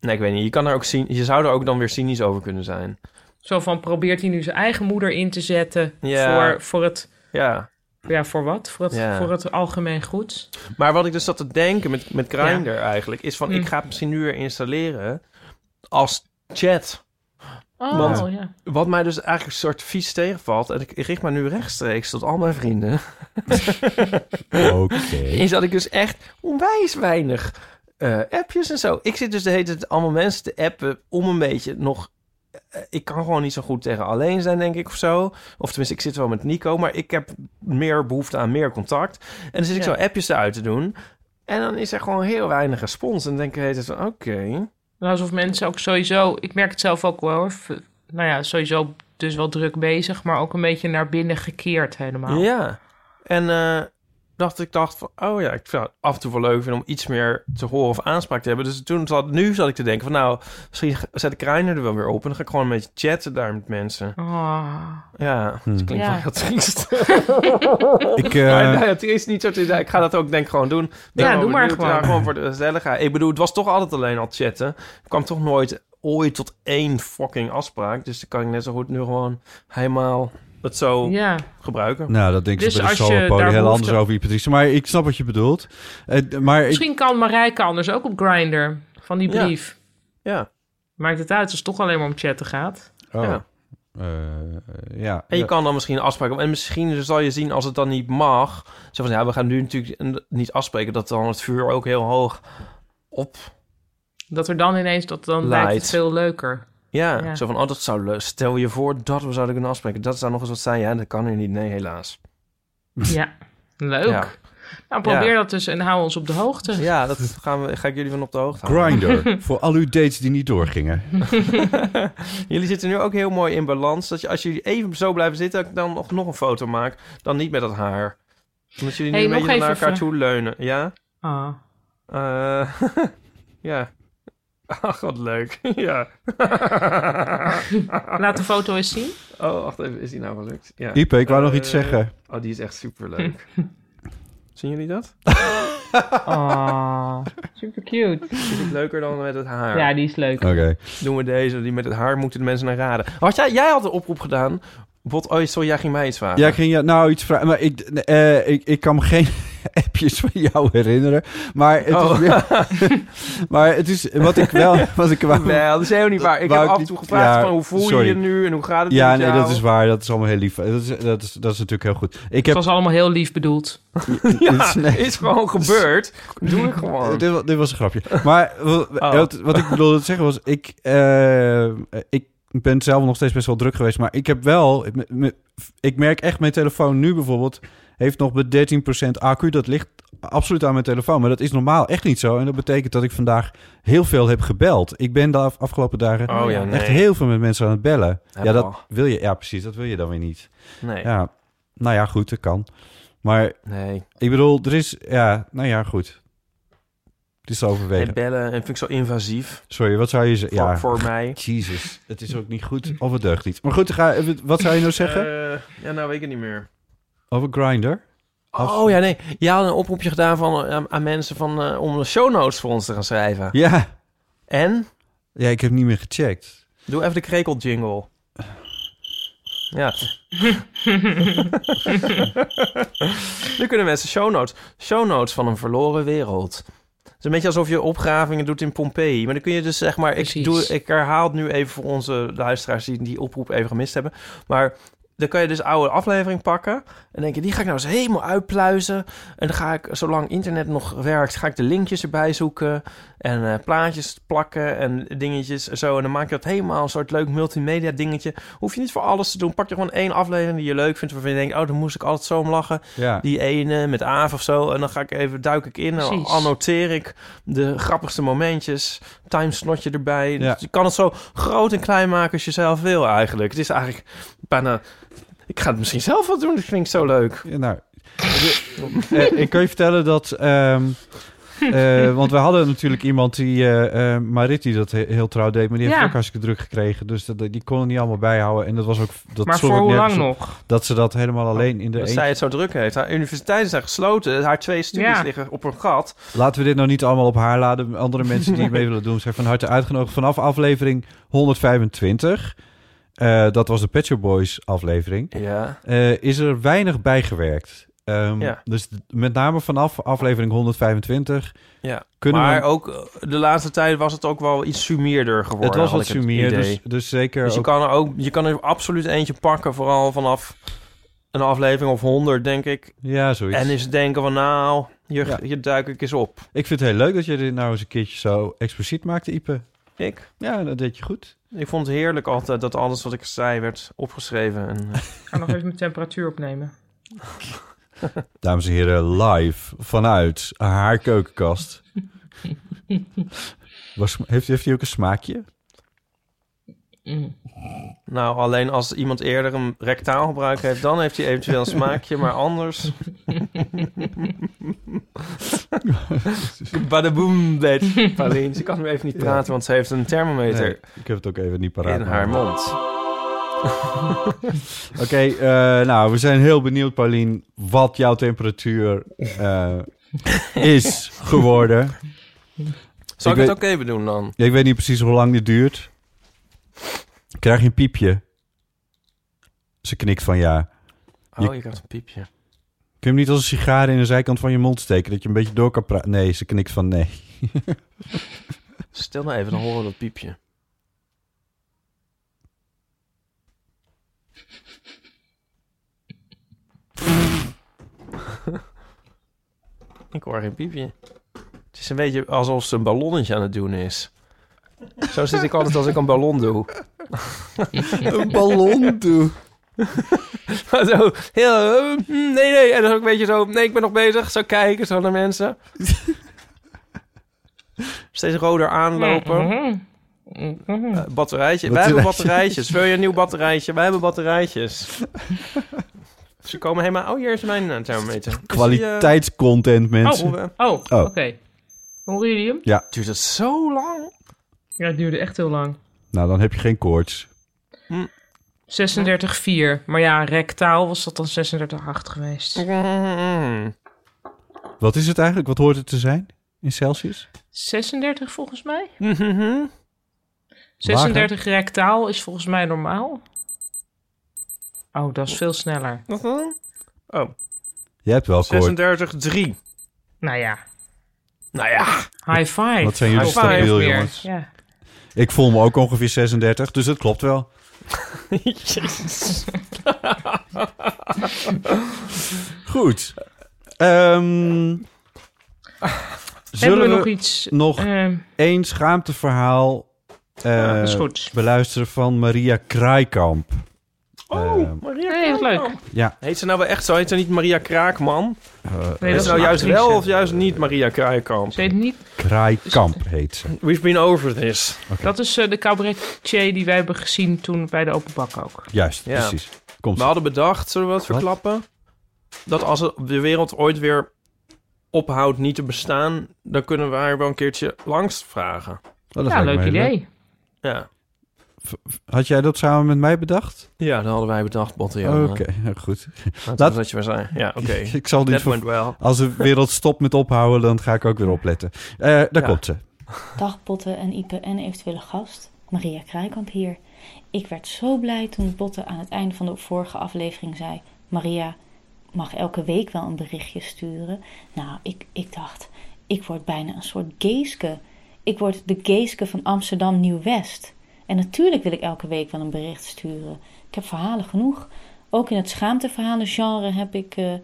Speaker 6: Nee, ik weet niet. Je, kan er ook zien, je zou er ook dan weer cynisch over kunnen zijn.
Speaker 5: Zo van probeert hij nu zijn eigen moeder in te zetten
Speaker 6: Ja.
Speaker 5: voor, voor het.
Speaker 6: Ja.
Speaker 5: Ja, voor wat? Voor het,
Speaker 6: Ja.
Speaker 5: voor het algemeen goed.
Speaker 6: Maar wat ik dus zat te denken met, met Grindr eigenlijk, is van
Speaker 5: Hm.
Speaker 6: ik ga het misschien nu weer installeren als chat.
Speaker 5: Oh,
Speaker 6: Want
Speaker 5: ja.
Speaker 6: wat mij dus eigenlijk een soort vies tegenvalt, en ik ik richt me nu rechtstreeks tot al mijn vrienden,
Speaker 4: Oké.
Speaker 6: is dat ik dus echt onwijs weinig eh, appjes en zo. Ik zit dus de hele tijd allemaal mensen te appen om een beetje nog... eh, Ik kan gewoon niet zo goed tegen alleen zijn, denk ik, of zo. Of tenminste, ik zit wel met Nico, maar ik heb meer behoefte aan meer contact. En dan zit ik
Speaker 5: Ja.
Speaker 6: zo appjes eruit te doen. En dan is er gewoon heel weinig respons. En dan denk ik de hele tijd van, oké...
Speaker 5: Nou, alsof mensen ook sowieso, ik merk het zelf ook wel hoor. v- Nou ja, sowieso dus wel druk bezig, maar ook een beetje naar binnen gekeerd helemaal.
Speaker 6: Ja. En eh, dacht ik dacht van, oh ja, ik vind het af en toe wel leuk vinden om iets meer te horen of aanspraak te hebben. Dus toen zat, nu zat ik te denken van, nou, misschien g- zet ik Reiner er wel weer op en dan ga ik gewoon een beetje chatten daar met mensen.
Speaker 5: Ah.
Speaker 6: Ja, het klinkt
Speaker 5: Ja.
Speaker 6: wel heel
Speaker 5: [LAUGHS]
Speaker 6: triest.
Speaker 4: Hm. Ik, eh,
Speaker 6: Maar nee, het is niet zo triest. Ik ga dat ook denk ik gewoon doen. Ik ben
Speaker 5: Ja,
Speaker 6: wel
Speaker 5: doe maar
Speaker 6: benieuwd.
Speaker 5: gewoon.
Speaker 6: Ja, gewoon voor de gezelligheid. Ik bedoel, het was toch altijd alleen al chatten. Ik kwam toch nooit ooit tot één fucking afspraak. Dus dan kan ik net zo goed nu gewoon helemaal het zo
Speaker 5: Ja.
Speaker 6: gebruiken.
Speaker 4: Nou, dat denk ik
Speaker 5: Dus
Speaker 4: dus bij de
Speaker 5: als je
Speaker 4: solopolie
Speaker 5: daar
Speaker 4: heel
Speaker 5: behoefte-
Speaker 4: anders over hypothese. Maar ik snap wat je bedoelt. Eh, d- maar ik,
Speaker 5: Misschien kan Marijke anders ook op Grindr van die
Speaker 6: Ja.
Speaker 5: brief.
Speaker 6: Ja.
Speaker 5: Maakt het uit als het toch alleen maar om chatten gaat.
Speaker 4: oh,
Speaker 6: Ja.
Speaker 4: Eh, ja.
Speaker 6: En je
Speaker 4: Ja.
Speaker 6: kan dan misschien afspraken. En misschien zal je zien als het dan niet mag. Zo van ja, we gaan nu natuurlijk n- niet afspreken. Dat dan het vuur ook heel hoog op.
Speaker 5: Dat er dan ineens, dat dan lijkt het
Speaker 6: Light.
Speaker 5: veel leuker.
Speaker 6: Ja,
Speaker 5: Ja.
Speaker 6: zo van oh, dat zou leuk. Stel je voor dat we zouden kunnen afspreken. Dat zou nog eens wat zijn. Ja, dat kan nu niet. Nee, helaas.
Speaker 5: Ja, leuk.
Speaker 6: Ja.
Speaker 5: Nou, probeer
Speaker 6: Ja.
Speaker 5: dat dus en hou ons op de hoogte.
Speaker 6: Ja, dat gaan we, ga ik jullie van op de hoogte houden.
Speaker 4: Grindr, voor al uw dates die niet doorgingen.
Speaker 6: [LAUGHS] jullie zitten nu ook heel mooi in balans. Dat je, als jullie even zo blijven zitten, dat ik dan nog, nog een foto maak. Dan niet met dat haar. Omdat jullie nu
Speaker 5: Hey,
Speaker 6: een
Speaker 5: nog
Speaker 6: beetje naar
Speaker 5: even
Speaker 6: elkaar
Speaker 5: vra-
Speaker 6: toe leunen. Ja?
Speaker 5: Ah.
Speaker 6: Eh, [LAUGHS] ja. Ach, wat leuk. [LAUGHS] ja.
Speaker 5: Laat de foto eens
Speaker 6: [LAUGHS]
Speaker 5: zien.
Speaker 6: Oh, wacht even. Is die nou gelukt? Ja.
Speaker 4: Ipe, ik wou nog
Speaker 6: Eh,
Speaker 4: iets zeggen.
Speaker 6: Oh, die is echt superleuk. Zien jullie dat?
Speaker 5: Ah, super cute.
Speaker 6: Is het leuker dan met het haar?
Speaker 5: Ja, die is leuk.
Speaker 4: Oké.
Speaker 6: Doen we deze, die met het haar moeten de mensen naar raden. Had jij, jij had een oproep gedaan. Bot, oh, sorry, jij ging mij iets vragen.
Speaker 4: Ja, ik
Speaker 6: [LAUGHS]
Speaker 4: ging je nou iets vragen. Maar ik, eh, ik, ik kan me geen [LAUGHS] appjes van jou herinneren. Maar het
Speaker 6: Oh.
Speaker 4: is [LAUGHS] meer- maar het is wat ik wel. Wat ik wou,
Speaker 6: Nee, dat is helemaal niet waar. Ik
Speaker 4: wou
Speaker 6: heb af en
Speaker 4: niet-
Speaker 6: toe gevraagd
Speaker 4: ja,
Speaker 6: van hoe voel
Speaker 4: sorry.
Speaker 6: je je nu en hoe gaat het
Speaker 4: Ja,
Speaker 6: met
Speaker 4: nee,
Speaker 6: jou?
Speaker 4: dat is waar. Dat is allemaal heel lief. Dat is, dat is, dat is natuurlijk heel goed. Ik
Speaker 5: Het
Speaker 4: heb,
Speaker 5: was allemaal heel lief bedoeld.
Speaker 6: [LAUGHS] Ja,
Speaker 4: Nee.
Speaker 6: is gewoon gebeurd. Doe ik
Speaker 4: [LAUGHS]
Speaker 6: gewoon.
Speaker 4: Eh, dit, wa- dit was een grapje. Maar [LAUGHS] wa-
Speaker 6: Oh.
Speaker 4: eh, wat, wat ik bedoelde te zeggen was... Ik, eh, ik ben zelf nog steeds best wel druk geweest. Maar ik heb wel... me- me- Ik merk echt mijn telefoon nu bijvoorbeeld... heeft nog bij 13% accu. Dat ligt absoluut aan mijn telefoon. Maar dat is normaal echt niet zo. En dat betekent dat ik vandaag heel veel heb gebeld. Ik ben de af- afgelopen dagen
Speaker 6: Oh ja,
Speaker 4: echt
Speaker 6: nee.
Speaker 4: heel veel met mensen aan het bellen.
Speaker 6: Heb
Speaker 4: ja,
Speaker 6: al.
Speaker 4: dat wil je, ja, precies. Dat wil je dan weer niet.
Speaker 6: Nee.
Speaker 4: Ja, nou ja, goed, dat kan. Maar
Speaker 6: Nee.
Speaker 4: ik bedoel, er is... Ja, nou ja, goed. Het is te overwegen.
Speaker 6: Het bellen en vind ik zo invasief.
Speaker 4: Sorry, wat zou je zeggen?
Speaker 6: Voor-
Speaker 4: Ja,
Speaker 6: voor mij.
Speaker 4: Jezus, het is ook niet goed of het deugt niet. Maar goed, dan ga, wat zou je nou zeggen?
Speaker 6: Eh, ja, nou weet ik het niet meer.
Speaker 4: Over Grinder?
Speaker 6: Oh ja, nee. Je had een oproepje gedaan van, eh, aan, aan mensen van, eh, om show notes voor ons te gaan schrijven.
Speaker 4: Ja.
Speaker 6: En?
Speaker 4: Ja, ik heb niet meer gecheckt.
Speaker 6: Doe even de krekel jingle. Ja. nu kunnen mensen show notes. Show notes van een verloren wereld. Het is een beetje alsof je opgravingen doet in Pompeii. Maar dan kun je dus zeg maar... Ik, doe, ik herhaal het nu even voor onze luisteraars die die oproep even gemist hebben. Maar dan kan je dus oude aflevering pakken. En denk je, die ga ik nou eens helemaal uitpluizen. En dan ga ik, zolang internet nog werkt, ga ik de linkjes erbij zoeken. En eh, plaatjes plakken en dingetjes en zo. En dan maak je dat helemaal een soort leuk multimedia dingetje. Hoef je niet voor alles te doen. Pak je gewoon één aflevering die je leuk vindt. Waarvan je denkt, oh, dan moest ik altijd zo om lachen.
Speaker 4: Ja.
Speaker 6: Die ene met Aaf of zo. En dan ga ik even, duik ik in. En
Speaker 4: Precies.
Speaker 6: annoteer ik de grappigste momentjes. Timeslotje erbij.
Speaker 4: Ja.
Speaker 6: Dus je kan het zo groot en klein maken als je zelf wil eigenlijk. Het is eigenlijk bijna... Ik ga het misschien zelf wel doen. Dat vind ik zo leuk.
Speaker 4: nou... Eh, ik kan je vertellen dat. ehm, eh, want we hadden natuurlijk iemand die. eh, eh, Marit die dat he- heel trouw deed. Maar die heeft
Speaker 5: Ja.
Speaker 4: ook hartstikke druk gekregen. Dus dat, die kon het niet allemaal bijhouden. En dat was ook. Dat
Speaker 5: Maar
Speaker 4: sloeg
Speaker 5: voor
Speaker 4: ook
Speaker 5: hoe
Speaker 4: nergens
Speaker 5: lang
Speaker 4: op,
Speaker 5: nog?
Speaker 4: Dat ze Oh, dat helemaal alleen in de.
Speaker 6: dat
Speaker 4: eentje-
Speaker 6: zij het zo druk heeft. Haar universiteiten zijn gesloten. Haar twee studies
Speaker 5: Ja.
Speaker 6: liggen op een gat.
Speaker 4: Laten we dit nou niet allemaal op haar laden. Andere
Speaker 6: [LAUGHS]
Speaker 4: mensen die mee willen doen zijn van harte uitgenodigd. Vanaf aflevering 125. eh, dat was de Pet Shop Boys aflevering.
Speaker 6: Ja.
Speaker 4: eh, is er weinig bijgewerkt. Ehm,
Speaker 6: Ja.
Speaker 4: Dus d- met name vanaf aflevering 125
Speaker 6: Ja.
Speaker 4: kunnen we
Speaker 6: maar ook eh, de laatste tijd was het ook wel iets sumierder geworden.
Speaker 4: Het was
Speaker 6: had
Speaker 4: wat
Speaker 6: ik
Speaker 4: sumier,
Speaker 6: idee.
Speaker 4: dus- dus zeker
Speaker 6: Dus je,
Speaker 4: ook-
Speaker 6: kan er ook, je kan er absoluut eentje pakken, vooral vanaf een aflevering of 100, denk ik.
Speaker 4: Ja, zoiets.
Speaker 6: En eens denken van, nou, hier, hier duik ik eens op.
Speaker 4: Ik vind het heel leuk dat je dit nou eens een keertje zo expliciet maakte, Ipe.
Speaker 6: Ik?
Speaker 4: Ja, dat deed je goed.
Speaker 6: Ik vond het heerlijk altijd dat alles wat ik zei werd opgeschreven. En, eh,
Speaker 5: Ik ga nog even mijn temperatuur opnemen.
Speaker 4: Dames en heren, live vanuit haar keukenkast. Was, heeft, heeft hij ook een smaakje?
Speaker 5: Mm.
Speaker 6: nou, alleen als iemand eerder een rectaal gebruik heeft, dan heeft hij eventueel een smaakje, maar
Speaker 4: [LAUGHS]
Speaker 6: anders... Badaboom, bitch.
Speaker 4: [LAUGHS]
Speaker 6: Paulien, ze kan nu even niet praten, want ze heeft een thermometer.
Speaker 4: Nee, ik heb het ook even niet paraat.
Speaker 6: In haar
Speaker 4: maar-
Speaker 6: mond.
Speaker 4: Oké, eh, nou, we zijn heel benieuwd, Paulien, wat jouw temperatuur eh, is geworden.
Speaker 6: Zal ik
Speaker 4: weet-
Speaker 6: het ook even doen dan?
Speaker 4: Ja, ik weet niet precies hoe lang dit duurt. Krijg je een piepje? Ze knikt van ja.
Speaker 6: Oh, je krijgt een piepje.
Speaker 4: Kun je hem niet als een sigaar in de zijkant van je mond steken, dat je een beetje door kan praten? Nee, ze knikt van nee.
Speaker 6: Stil nou even, dan horen we dat piepje. [LAUGHS] Ik hoor geen piepje. Het is een beetje alsof ze een ballonnetje aan het doen is. Zo zit ik altijd als ik een ballon doe. [LAUGHS]
Speaker 4: Een ballon doe.
Speaker 6: zo, heel, eh, mm, nee, nee. En dan ook een beetje zo, nee, ik ben nog bezig. Zo kijken, zo naar mensen. Steeds roder aanlopen.
Speaker 5: mm-hmm.
Speaker 6: Eh, batterijtje. Wij hebben
Speaker 4: Batterijtje.
Speaker 6: batterijtjes. Wil je een nieuw batterijtje? Wij hebben batterijtjes. Ze komen helemaal... Oh, hier is mijn eh, thermometer. Is die, eh,
Speaker 4: Kwaliteitscontent, mensen.
Speaker 6: Oh,
Speaker 5: Oh, oké. Horen jullie hem?
Speaker 4: Ja,
Speaker 6: Duurt het zo lang? [LAUGHS]
Speaker 5: Ja, het duurde echt heel lang.
Speaker 4: nou dan heb je geen koorts.
Speaker 5: 36,4. Maar ja, rectaal was dat dan 36,8 geweest.
Speaker 4: Wat is het eigenlijk? Wat hoort het te zijn in Celsius?
Speaker 5: 36 volgens mij?
Speaker 6: Mhm.
Speaker 5: 36 rectaal is volgens mij normaal. Oh, dat is veel sneller.
Speaker 6: Wat dan? Oh,
Speaker 4: Jij hebt wel koorts.
Speaker 6: 36,3.
Speaker 5: Nou ja.
Speaker 6: Nou ja.
Speaker 5: High five.
Speaker 4: Wat zijn jullie
Speaker 5: High five.
Speaker 4: stabiel,
Speaker 5: Weer.
Speaker 4: jongens.
Speaker 5: Ja.
Speaker 4: Ik voel me ook ongeveer 36, dus dat klopt
Speaker 5: [LAUGHS]
Speaker 4: wel. Goed. Ehm zullen
Speaker 5: we
Speaker 4: we
Speaker 5: nog iets,
Speaker 4: Nog
Speaker 5: ehm,
Speaker 4: één schaamteverhaal eh,
Speaker 5: Ja, is goed.
Speaker 4: beluisteren van Maria Kraaikamp. Oh.
Speaker 6: Maria
Speaker 5: Nee, wat leuk.
Speaker 4: ja.
Speaker 6: Eh, Heet ze nou wel echt zo? Heet ze niet Maria Kraakman?
Speaker 4: Eh,
Speaker 5: dat
Speaker 6: heet
Speaker 5: is
Speaker 6: ze nou
Speaker 5: een
Speaker 6: juist
Speaker 5: actrice.
Speaker 6: wel of juist niet Maria Kraakman?
Speaker 5: Ze heet niet...
Speaker 4: Kraaikamp heet ze.
Speaker 6: We've been over this.
Speaker 5: Dat is eh, de cabaretier die wij hebben gezien toen bij de open bak ook.
Speaker 4: Juist,
Speaker 6: Ja.
Speaker 4: precies. Komt.
Speaker 6: We hadden bedacht, zullen we wat verklappen? Dat als het- de wereld ooit weer ophoudt niet te bestaan, dan kunnen we haar wel een keertje langs vragen.
Speaker 4: Oh, dat Ja, lijkt me leuk heel idee.
Speaker 6: Ja.
Speaker 4: Had jij dat samen met mij bedacht?
Speaker 6: ja, dat hadden wij bedacht, Botte. ja.
Speaker 4: Oké, [LAUGHS] goed.
Speaker 6: Laten
Speaker 4: Laat-
Speaker 6: we dat je weer zijn. [LAUGHS] Ja, oké.
Speaker 4: ik zal
Speaker 6: That
Speaker 4: niet
Speaker 6: went well.
Speaker 4: Als de wereld stopt met ophouden, dan ga ik ook weer opletten. Eh daar komt ze.
Speaker 9: Dag Botte en Ipe en eventuele gast, Maria Kraaikamp hier. Ik werd zo blij toen Botte aan het einde van de vorige aflevering zei... Maria mag elke week wel een berichtje sturen. Nou, ik, ik dacht, ik word bijna een soort geeske. Ik word de geeske van Amsterdam Nieuw-West. En natuurlijk wil ik elke week wel een bericht sturen. Ik heb verhalen genoeg. Ook in het schaamteverhalengenre heb ik... eh,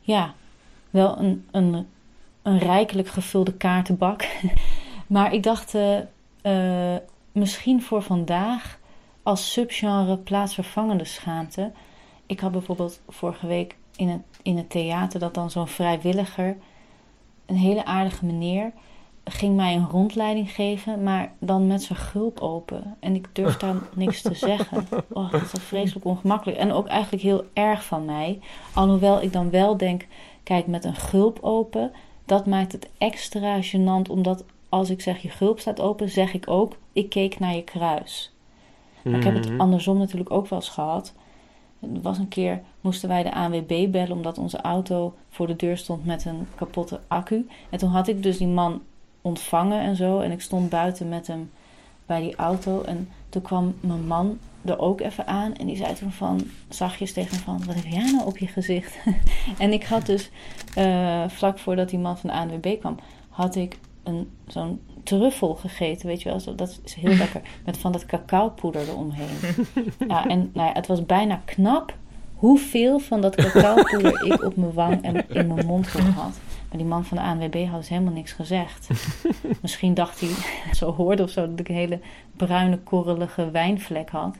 Speaker 9: ja, wel een, een, een rijkelijk gevulde kaartenbak. maar ik dacht eh, eh, misschien voor vandaag als subgenre plaatsvervangende schaamte. Ik had bijvoorbeeld vorige week in het, in het theater dat dan zo'n vrijwilliger, een hele aardige meneer, ging mij een rondleiding geven, maar dan met zijn gulp open. En ik durf daar niks te zeggen. Oh, dat is wel vreselijk ongemakkelijk. En ook eigenlijk heel erg van mij. Alhoewel ik dan wel denk, kijk, met een gulp open, dat maakt het extra gênant, omdat als ik zeg je gulp staat open, zeg ik ook, ik keek naar je kruis. Maar ik heb het
Speaker 6: Hmm.
Speaker 12: Mhm.
Speaker 9: andersom natuurlijk ook wel eens gehad. Er was een keer, moesten wij de ANWB bellen omdat onze auto voor de deur stond met een kapotte accu. En toen had ik dus die man ontvangen en zo. En ik stond buiten met hem bij die auto. En toen kwam mijn man er ook even aan. En die zei toen van, zachtjes tegen hem van, wat heb jij nou op je gezicht? [LAUGHS] en ik had dus, eh, vlak voordat die man van de ANWB kwam, had ik een, zo'n truffel gegeten. Weet je wel, Zo- dat is heel lekker. Met van dat cacaopoeder eromheen. [LAUGHS] ja, en nou ja, het was bijna knap hoeveel van dat cacaopoeder ik op mijn wang en in mijn mond heb gehad. Maar die man van de ANWB had dus helemaal niks gezegd. Misschien dacht hij, [LAUGHS] zo hoorde of zo, dat ik een hele bruine, korrelige wijnvlek had.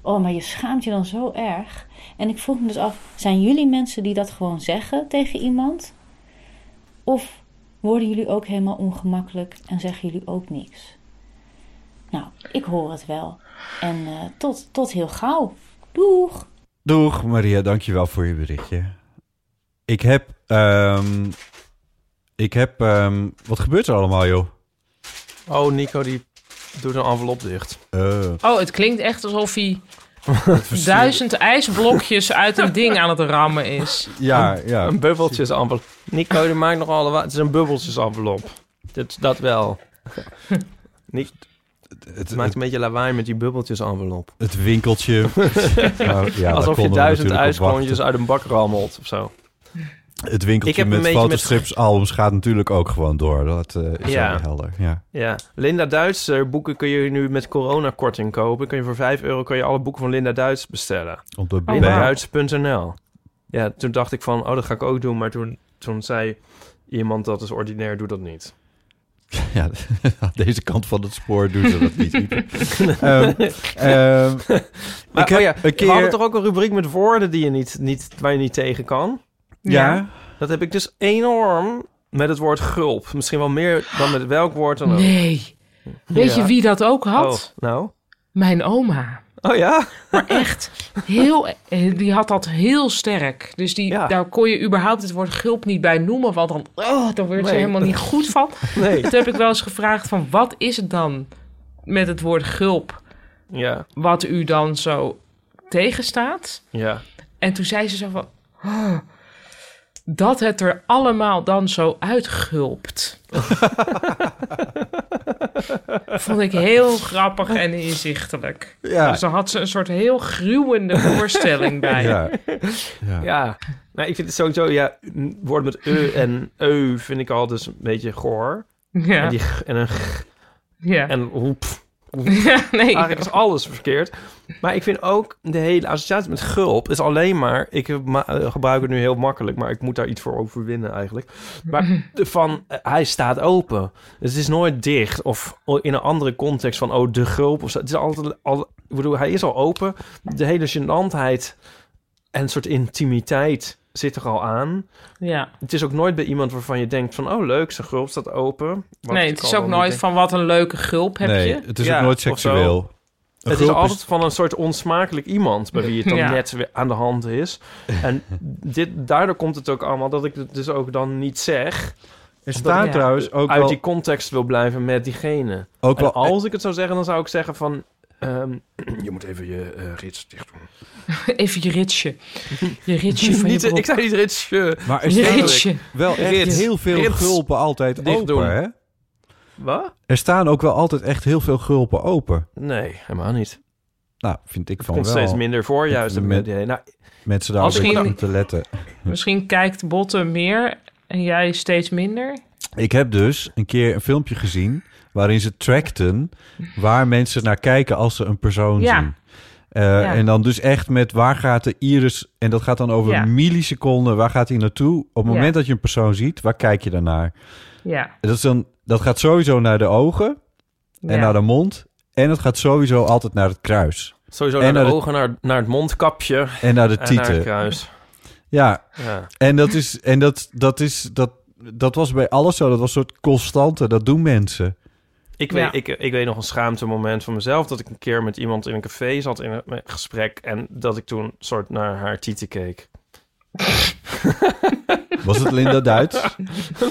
Speaker 9: Oh, maar je schaamt je dan zo erg. En ik vroeg me dus af, zijn jullie mensen die dat gewoon zeggen tegen iemand? Of worden jullie ook helemaal ongemakkelijk en zeggen jullie ook niks? Nou, ik hoor het wel. En eh, tot, tot heel gauw. Doeg!
Speaker 4: Doeg Maria, dankjewel voor je berichtje. Ik heb... ehm, ik heb... ehm, wat gebeurt er allemaal, joh?
Speaker 6: Oh, Nico die doet een envelop dicht.
Speaker 4: Eh,
Speaker 5: Oh, het klinkt echt alsof hij duizend ijsblokjes uit een ding aan het rammen is.
Speaker 4: ja, ja.
Speaker 6: Een bubbeltjesenvelop. Nico die maakt nogal... de wa- Het is een bubbeltjesenvelop. Dat, dat wel. Niet,
Speaker 4: het,
Speaker 6: maakt een beetje lawaai met die bubbeltjesenvelop. [LAUGHS]
Speaker 4: Het winkeltje. Nou, ja, daar
Speaker 6: Alsof je
Speaker 4: konden
Speaker 6: duizend
Speaker 4: we natuurlijk op
Speaker 6: ijsklontjes
Speaker 4: wachten.
Speaker 6: uit een bak rammelt of zo. Ik
Speaker 4: Het
Speaker 6: heb
Speaker 4: winkeltje
Speaker 6: een
Speaker 4: met
Speaker 6: beetje met-
Speaker 4: fotostrips, albums gaat natuurlijk ook gewoon door. Dat eh, is ja. helder. Ja.
Speaker 6: ja. Linda Duitser boeken kun je nu met coronakorting kopen. Kun je voor 5 euro kun je alle boeken van Linda Duits bestellen.
Speaker 4: Op de bank.
Speaker 6: LindaDuits.nl. Ja, toen dacht ik van, oh, dat ga ik ook doen. Maar toen, toen zei iemand dat is ordinair, doe dat niet.
Speaker 4: [LAUGHS] Ja, aan deze kant van het spoor doen ze dat niet.
Speaker 6: [LAUGHS]
Speaker 4: Ipe. Ehm, ehm,
Speaker 6: Maar,
Speaker 4: ik heb
Speaker 6: oh ja,
Speaker 4: een
Speaker 6: We
Speaker 4: keer...
Speaker 6: hadden toch ook een rubriek met woorden die je niet, niet, waar je niet tegen kan?
Speaker 4: Ja.
Speaker 6: Dat heb ik dus enorm met het woord gulp. Misschien wel meer dan met welk woord dan ook.
Speaker 5: Nee. Weet je
Speaker 6: Ja.
Speaker 5: wie dat ook had?
Speaker 6: Oh, nou?
Speaker 5: Mijn oma.
Speaker 6: Oh ja? [LAUGHS]
Speaker 5: Maar echt, heel, eh, die had dat heel sterk. Dus die, daar kon je überhaupt het woord gulp niet bij noemen. Want dan, oh, dan werd ze
Speaker 6: Nee.
Speaker 5: helemaal niet goed van.
Speaker 6: Nee.
Speaker 5: Toen heb ik wel eens gevraagd van wat is het dan met het woord gulp...
Speaker 6: Ja,
Speaker 5: wat u dan zo tegenstaat?
Speaker 6: ja.
Speaker 5: En toen zei ze zo van... "Oh, dat het er allemaal dan zo uitgulpt. [LAUGHS] Vond ik heel grappig en inzichtelijk.
Speaker 6: Ja.
Speaker 5: Dus daar had ze een soort heel gruwende voorstelling bij.
Speaker 6: Ja. [LAUGHS]
Speaker 4: Ja.
Speaker 6: Nou, ik vind het sowieso, ja, n- woorden met e en eu vind ik al dus een beetje goor.
Speaker 5: Ja.
Speaker 6: En, die, g- en een g-
Speaker 5: Ja.
Speaker 6: En hoep.
Speaker 5: Ja, [LAUGHS] nee.
Speaker 6: Eigenlijk is alles verkeerd. Maar ik vind ook de hele associatie met gulp is alleen maar... Ik heb ma- eh, gebruik het nu heel makkelijk, maar ik moet daar iets voor overwinnen eigenlijk. Maar de- van, eh, hij staat open. Dus het is nooit dicht of in een andere context van, oh, de gulp of zo. Het is altijd, al, ik bedoel, hij is al open. De hele gênantheid en een soort intimiteit zit er al aan.
Speaker 5: Ja.
Speaker 6: Het is ook nooit bij iemand waarvan je denkt van... oh leuk, zijn gulp staat open. Wat
Speaker 5: nee,
Speaker 6: ik
Speaker 5: het
Speaker 6: al
Speaker 5: is ook
Speaker 6: dan
Speaker 5: nooit
Speaker 6: niet
Speaker 5: van wat een leuke gulp heb
Speaker 4: Nee,
Speaker 5: je.
Speaker 4: het is ook nooit
Speaker 6: of zo.
Speaker 4: seksueel. Een
Speaker 6: het is
Speaker 4: gulp is-
Speaker 6: altijd van een soort onsmakelijk iemand bij wie het dan
Speaker 4: Ja.
Speaker 6: net weer aan de hand
Speaker 4: [LAUGHS]
Speaker 6: is. En dit, daardoor komt het ook allemaal dat ik het dus ook dan niet zeg.
Speaker 4: Er
Speaker 6: Omdat
Speaker 4: staat
Speaker 6: ik
Speaker 4: trouwens ook
Speaker 6: uit
Speaker 4: wel-
Speaker 6: die context wil blijven met diegene.
Speaker 4: Ook
Speaker 6: En
Speaker 4: wel-
Speaker 6: als ik het zou zeggen, dan zou ik zeggen van... ehm, je moet even je eh, rits dicht doen.
Speaker 5: [LAUGHS] Even je ritsje. Je ritsje van
Speaker 6: [LAUGHS] Niet-
Speaker 5: je broek.
Speaker 6: ik zei niet ritsje.
Speaker 4: Maar er
Speaker 5: je
Speaker 4: staan
Speaker 5: ritsje.
Speaker 4: wel echt
Speaker 6: Rits.
Speaker 4: heel veel
Speaker 6: Rits.
Speaker 4: gulpen altijd
Speaker 6: Dicht
Speaker 4: open,
Speaker 6: doen.
Speaker 4: hè?
Speaker 6: Wat?
Speaker 4: Er staan ook wel altijd echt heel veel gulpen open.
Speaker 6: Nee, helemaal niet.
Speaker 4: Nou, vind ik van
Speaker 6: komt
Speaker 4: wel.
Speaker 6: steeds minder voor, juist, dat
Speaker 4: Met,
Speaker 6: idee. Nou,
Speaker 4: mensen daar ook
Speaker 5: misschien-
Speaker 4: op te letten.
Speaker 5: Misschien kijkt Botten meer en jij steeds minder.
Speaker 4: Ik heb dus een keer een filmpje gezien waarin ze trackten waar mensen naar kijken als ze een persoon
Speaker 5: Ja.
Speaker 4: zien. Eh,
Speaker 5: Ja.
Speaker 4: En dan dus echt met waar gaat de iris, en dat gaat dan over
Speaker 5: Ja.
Speaker 4: milliseconden, waar gaat hij naartoe? Op het
Speaker 5: Ja.
Speaker 4: moment dat je een persoon ziet, waar kijk je dan naar?
Speaker 5: Ja.
Speaker 4: Dat, is dan, dat gaat sowieso naar de ogen en nou,
Speaker 5: Ja.
Speaker 4: naar de mond. En het gaat sowieso altijd naar het kruis.
Speaker 6: Sowieso
Speaker 4: En
Speaker 6: naar de,
Speaker 4: het-
Speaker 6: ogen, naar, naar het mondkapje.
Speaker 4: En naar de
Speaker 6: En
Speaker 4: tieten.
Speaker 6: Eh, het kruis.
Speaker 4: Ja.
Speaker 6: Ja.
Speaker 4: En dat is, en dat, dat is, dat, dat was bij alles zo. Dat was een soort constante. Dat doen mensen.
Speaker 6: Ik,
Speaker 4: Ja.
Speaker 6: weet, ik, ik weet nog een schaamte moment van mezelf... dat ik een keer met iemand in een café zat in een gesprek... en dat ik toen soort naar haar tieten keek. [LAUGHS]
Speaker 4: Was het Linda [LAUGHS] Duits?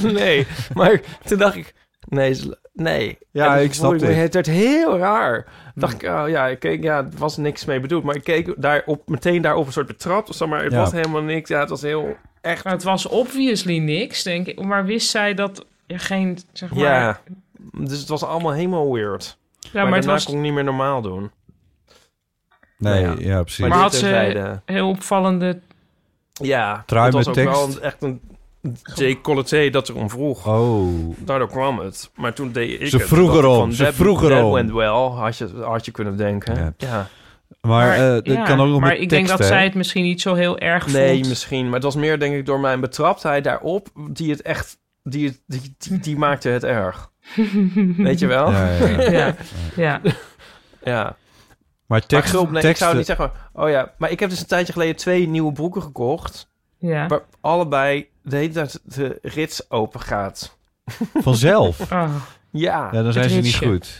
Speaker 6: nee, maar toen dacht ik... Nee, ze- nee.
Speaker 4: Ja,
Speaker 6: En toen
Speaker 4: ik snap
Speaker 6: voelde me-
Speaker 4: dit. Hmm.
Speaker 6: Het werd heel raar. Dacht ik, oh ja, ik keek, ja, er was niks mee bedoeld. Maar ik keek daarop, meteen daarop een soort betrapt of zo. Maar het
Speaker 5: Ja.
Speaker 6: was helemaal niks. Ja, het was heel... Echt.
Speaker 5: Maar het was obviously niks, denk ik. Maar wist zij dat je geen, zeg maar...
Speaker 6: Ja, dus het was allemaal helemaal weird. Ja, maar,
Speaker 5: maar het
Speaker 6: daarna
Speaker 5: was-
Speaker 6: kon ik niet meer normaal doen.
Speaker 4: Nee, ja,
Speaker 6: Nou
Speaker 4: precies.
Speaker 5: Maar, had ze
Speaker 6: terzijde.
Speaker 5: heel opvallende...
Speaker 6: Ja,
Speaker 4: Trui
Speaker 6: het was
Speaker 4: met
Speaker 6: ook wel
Speaker 4: tekst.
Speaker 6: een- echt een J. Colleté dat erom vroeg.
Speaker 4: Oh.
Speaker 6: Daardoor kwam het. Maar toen deed ik
Speaker 4: Ze
Speaker 6: het.
Speaker 4: vroeg
Speaker 6: Toen dacht ik
Speaker 4: erom,
Speaker 6: van,
Speaker 4: ze
Speaker 6: that-
Speaker 4: vroeg
Speaker 6: that
Speaker 4: erom.
Speaker 6: went well, had je, had je kunnen denken. Ja.
Speaker 4: Maar, eh dat
Speaker 5: ja,
Speaker 4: kan ook nog
Speaker 5: maar
Speaker 4: met
Speaker 5: ik denk
Speaker 4: tekst,
Speaker 5: dat
Speaker 4: hè?
Speaker 5: zij het misschien niet zo heel erg
Speaker 6: Nee,
Speaker 5: vond.
Speaker 6: misschien. Maar het was meer denk ik door mijn betraptheid daarop... die het echt... die, het- die, die, die maakte het erg. Weet je wel?
Speaker 4: Ja,
Speaker 6: [LAUGHS]
Speaker 4: ja, ja.
Speaker 5: Ja. Ja.
Speaker 6: Ja.
Speaker 4: Maar tekst,
Speaker 6: Maar gulp, nee, ik
Speaker 4: teksten-
Speaker 6: zou niet zeggen. Oh ja, maar ik heb dus een tijdje geleden twee nieuwe broeken gekocht. [LAUGHS]
Speaker 5: Ja.
Speaker 6: Waar allebei de hele tijd de rits open gaat.
Speaker 4: [LAUGHS] Vanzelf.
Speaker 5: Ah.
Speaker 6: Ja.
Speaker 4: Ja, dan zijn ze niet goed.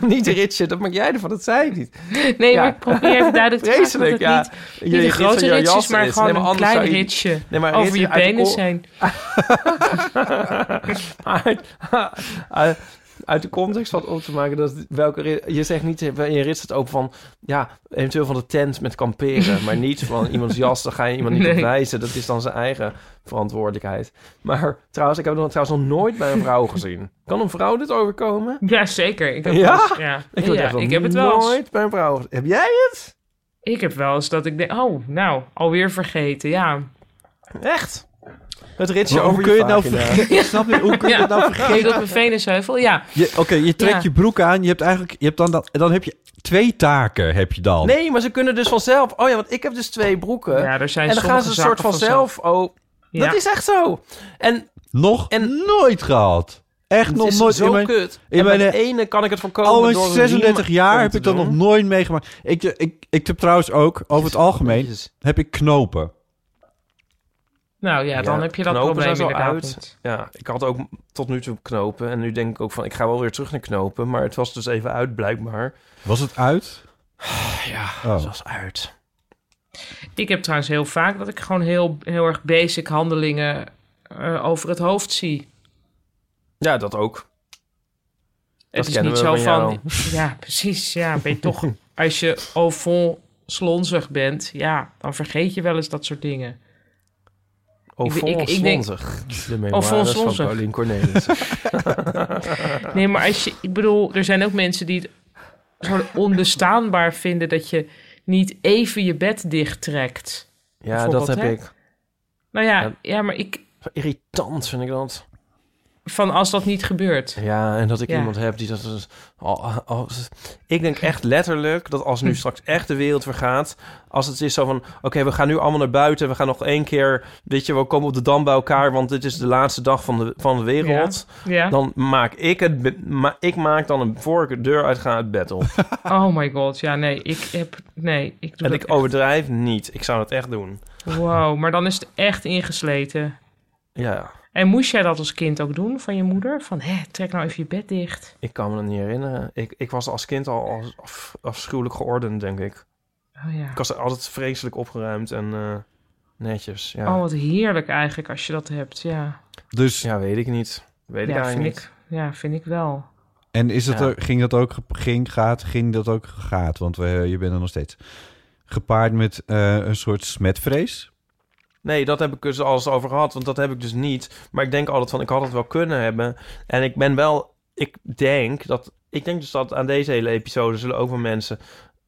Speaker 6: [LAUGHS] niet de ritsje, dat maak jij ervan, dat zei ik niet.
Speaker 5: Nee, maar ik probeer even
Speaker 6: [LAUGHS]
Speaker 5: duidelijk te maken dat
Speaker 6: Vreselijk,
Speaker 5: het
Speaker 6: ja.
Speaker 5: niet- niet
Speaker 6: Je
Speaker 5: een
Speaker 6: rits van
Speaker 5: grote
Speaker 6: jouw
Speaker 5: rits is,
Speaker 6: jas
Speaker 5: maar gewoon een
Speaker 6: anders
Speaker 5: klein
Speaker 6: zou je-
Speaker 5: ritsje
Speaker 6: Nee, maar
Speaker 5: over
Speaker 6: rits
Speaker 5: je
Speaker 6: uit de
Speaker 5: penis
Speaker 6: oor-
Speaker 5: heen.
Speaker 6: [LAUGHS] uit, uit- uit de context van op te maken dat welke rit- je zegt niet in je rit staat open van ja eventueel van de tent met kamperen, maar
Speaker 5: [LAUGHS]
Speaker 6: niet van iemands jas. Dan ga je iemand niet
Speaker 5: Nee.
Speaker 6: op wijzen. Dat is dan zijn eigen verantwoordelijkheid. Maar trouwens, ik heb nog trouwens nog nooit bij een vrouw gezien. Kan een vrouw dit overkomen?
Speaker 5: Ja, zeker. Ik heb
Speaker 6: ja,
Speaker 5: wel eens- ja.
Speaker 6: ik, word
Speaker 5: Ja,
Speaker 6: echt nog
Speaker 5: ik heb het wel eens.
Speaker 6: Nooit bij een vrouw. gezien. Heb jij het?
Speaker 5: Ik heb wel eens dat ik denk, oh, nou, alweer vergeten, ja.
Speaker 6: Echt? Het ritsje
Speaker 4: Maar hoe
Speaker 6: over
Speaker 4: kun je
Speaker 6: je
Speaker 4: het nou
Speaker 6: vagina.
Speaker 4: [LAUGHS] vergeten? Ik snap niet, hoe kun je het nou vergeten?
Speaker 5: Dat mijn venusheuvel, ja.
Speaker 4: Je- Oké, je trekt
Speaker 5: Ja.
Speaker 4: je broek aan. Je hebt eigenlijk, je hebt dan, dan, dan heb je twee taken, heb je dan.
Speaker 6: Nee, maar ze kunnen dus vanzelf. Oh ja, want ik heb dus twee broeken.
Speaker 5: Ja, er zijn
Speaker 6: en dan gaan
Speaker 5: sommige
Speaker 6: ze een soort
Speaker 5: zakken
Speaker 6: vanzelf. Oh,
Speaker 5: Ja.
Speaker 6: dat is echt zo. En
Speaker 4: Nog nooit gehad. Echt
Speaker 6: het
Speaker 4: nog
Speaker 6: is
Speaker 4: nooit.
Speaker 6: zo
Speaker 4: in mijn,
Speaker 6: kut.
Speaker 4: In
Speaker 6: en
Speaker 4: mijn, eh,
Speaker 6: bij de ene kan ik het voorkomen.
Speaker 4: al mijn
Speaker 6: door een
Speaker 4: 36
Speaker 6: riem
Speaker 4: jaar
Speaker 6: om
Speaker 4: heb
Speaker 6: te
Speaker 4: ik dat
Speaker 6: doen.
Speaker 4: nog nooit meegemaakt. Ik, eh, ik, ik heb trouwens ook, over het algemeen, heb ik knopen.
Speaker 5: Nou ja, dan
Speaker 6: Ja,
Speaker 5: heb je dat
Speaker 6: knopen
Speaker 5: probleem
Speaker 6: zijn zo
Speaker 5: inderdaad
Speaker 6: uit.
Speaker 5: niet.
Speaker 6: Ja, ik had ook tot nu toe knopen. En nu denk ik ook van, ik ga wel weer terug naar knopen. Maar het was dus even uit, blijkbaar.
Speaker 4: Was het uit?
Speaker 6: Ja,
Speaker 4: Oh.
Speaker 6: het was uit.
Speaker 5: Ik heb trouwens heel vaak dat ik gewoon heel, heel erg basic handelingen eh, over het hoofd zie.
Speaker 6: Ja, dat ook.
Speaker 5: Het
Speaker 6: Dat
Speaker 5: is
Speaker 6: kennen
Speaker 5: niet
Speaker 6: we
Speaker 5: zo
Speaker 6: van jou.
Speaker 5: van... [LAUGHS] Ja, precies. Ja, ben je
Speaker 6: [LAUGHS]
Speaker 5: toch... Als je au fond slonzig bent, ja, dan vergeet je wel eens dat soort dingen.
Speaker 6: Au
Speaker 5: Ik-
Speaker 6: fond
Speaker 5: ik- ik denk- Oh,
Speaker 6: slonzig. Oh, De
Speaker 5: Au
Speaker 6: memoires
Speaker 5: fond
Speaker 6: van
Speaker 5: slonzig.
Speaker 6: Paulien
Speaker 5: [LAUGHS]
Speaker 6: Cornelis.
Speaker 5: Nee, maar als je, ik bedoel, er zijn ook mensen die het gewoon onbestaanbaar vinden dat je niet even je bed dichttrekt.
Speaker 6: ja, dat heb
Speaker 5: Bijvoorbeeld, hè?
Speaker 6: ik.
Speaker 5: Nou ja, ja, maar ik.
Speaker 6: Irritant vind ik dat.
Speaker 5: Van als dat niet gebeurt.
Speaker 6: Ja, en dat ik
Speaker 5: Ja.
Speaker 6: iemand heb die dat... dus- oh, oh, ik denk echt letterlijk dat als
Speaker 5: Hm.
Speaker 6: nu straks echt de wereld vergaat... als het is zo van, oké, we gaan nu allemaal naar buiten... we gaan nog één keer, weet je, we komen op de dam bij elkaar... want dit is de laatste dag van de, van de wereld.
Speaker 5: Ja, ja.
Speaker 6: Dan maak ik het... be- Ma ik maak dan een voor ik de deur uit ga het bed
Speaker 5: [LAUGHS]
Speaker 6: op.
Speaker 5: Oh my god, ja, nee, ik heb. Nee, ik doe
Speaker 6: en
Speaker 5: dat
Speaker 6: ik overdrijf niet. Ik zou het echt doen.
Speaker 5: Wow, maar dan is het echt ingesleten.
Speaker 6: Ja.
Speaker 5: En moest jij dat als kind ook doen van je moeder? Van, hé, trek nou even je bed dicht.
Speaker 6: Ik kan me dat niet herinneren. Ik, ik was als kind al als- af- afschuwelijk geordend, denk ik.
Speaker 5: Oh ja.
Speaker 6: Ik was altijd vreselijk opgeruimd en eh, netjes. Ja.
Speaker 5: Oh, wat heerlijk eigenlijk als je dat hebt, ja.
Speaker 4: Dus...
Speaker 6: Ja, weet ik niet. Weet ik
Speaker 5: ja, vind
Speaker 6: eigenlijk niet.
Speaker 5: ik, ja, vind ik wel.
Speaker 4: En is dat
Speaker 5: Ja.
Speaker 4: ook- ging dat ook, ging, gaat, ging dat ook, gaat, want we, je bent er nog steeds. Gepaard met eh, een soort smetvrees?
Speaker 6: Nee, dat heb ik dus alles over gehad, want dat heb ik dus niet. Maar ik denk altijd van, ik had het wel kunnen hebben. En ik ben wel, ik denk dat, ik denk dus dat aan deze hele episode zullen ook wel mensen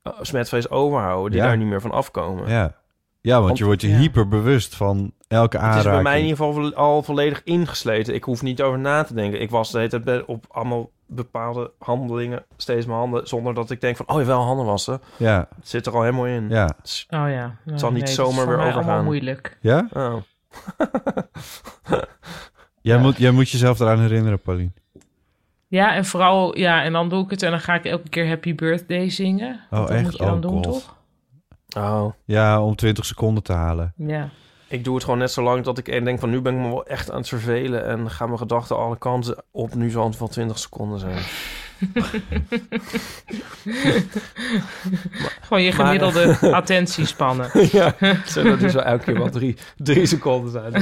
Speaker 6: eh, smetvrees overhouden die
Speaker 4: Ja.
Speaker 6: daar niet meer van afkomen.
Speaker 4: Ja, ja want je wordt je hyperbewust van elke
Speaker 6: Het is
Speaker 4: aanraking.
Speaker 6: bij mij in ieder geval vo- al volledig ingesleten. Ik hoef niet over na te denken. Ik was de hele tijd be- op allemaal bepaalde handelingen steeds mijn handen, zonder dat ik denk van, oh ja, wel handen wassen.
Speaker 4: Ja.
Speaker 6: Het zit er al helemaal in.
Speaker 4: Ja.
Speaker 6: Het is-
Speaker 5: Oh ja.
Speaker 6: Het zal
Speaker 5: Nee,
Speaker 6: niet
Speaker 5: dat is
Speaker 6: zomaar
Speaker 5: voor
Speaker 6: weer
Speaker 5: mij allemaal
Speaker 6: overgaan.
Speaker 5: moeilijk.
Speaker 4: Ja?
Speaker 6: Oh.
Speaker 4: Jij, moet, jij moet jezelf eraan herinneren, Pauline.
Speaker 5: Ja, en vooral, ja, en dan doe ik het en dan ga ik elke keer Happy Birthday zingen. Want dat
Speaker 4: echt?
Speaker 5: moet je dan
Speaker 4: Oh,
Speaker 5: doen,
Speaker 4: God.
Speaker 5: toch?
Speaker 6: Oh.
Speaker 4: Ja, om 20 seconden te halen.
Speaker 5: Ja.
Speaker 6: Ik doe het gewoon net zo lang dat ik en denk van nu ben ik me wel echt aan het vervelen en gaan mijn gedachten alle kanten op. Nu zal het wel 20 seconden zijn. [LAUGHS]
Speaker 5: [LAUGHS] Gewoon je
Speaker 6: maar-
Speaker 5: gemiddelde
Speaker 4: [LAUGHS]
Speaker 5: attentiespannen.
Speaker 6: [LAUGHS] ja, zo, dat is wel elke keer wel drie, drie seconden [LAUGHS] zijn.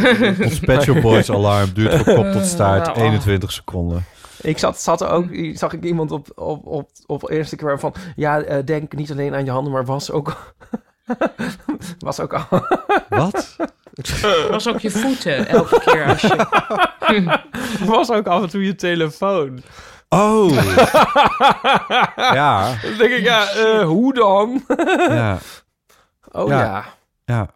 Speaker 4: Ons Pet Shop Boys alarm duurt van kop tot staart
Speaker 6: Oh.
Speaker 4: 21 seconden.
Speaker 6: Ik zat, zat er ook, zag ik iemand op, op, op, op Instagram van, ja, eh, denk niet alleen aan je handen, maar was ook... [LAUGHS] was ook al...
Speaker 4: Wat?
Speaker 5: Was ook je voeten elke keer als je...
Speaker 6: [LAUGHS] was ook af en toe je telefoon.
Speaker 4: Oh! ja.
Speaker 6: Dan denk ik, ja, eh, hoe dan?
Speaker 4: Ja.
Speaker 6: Oh ja.
Speaker 4: Ja.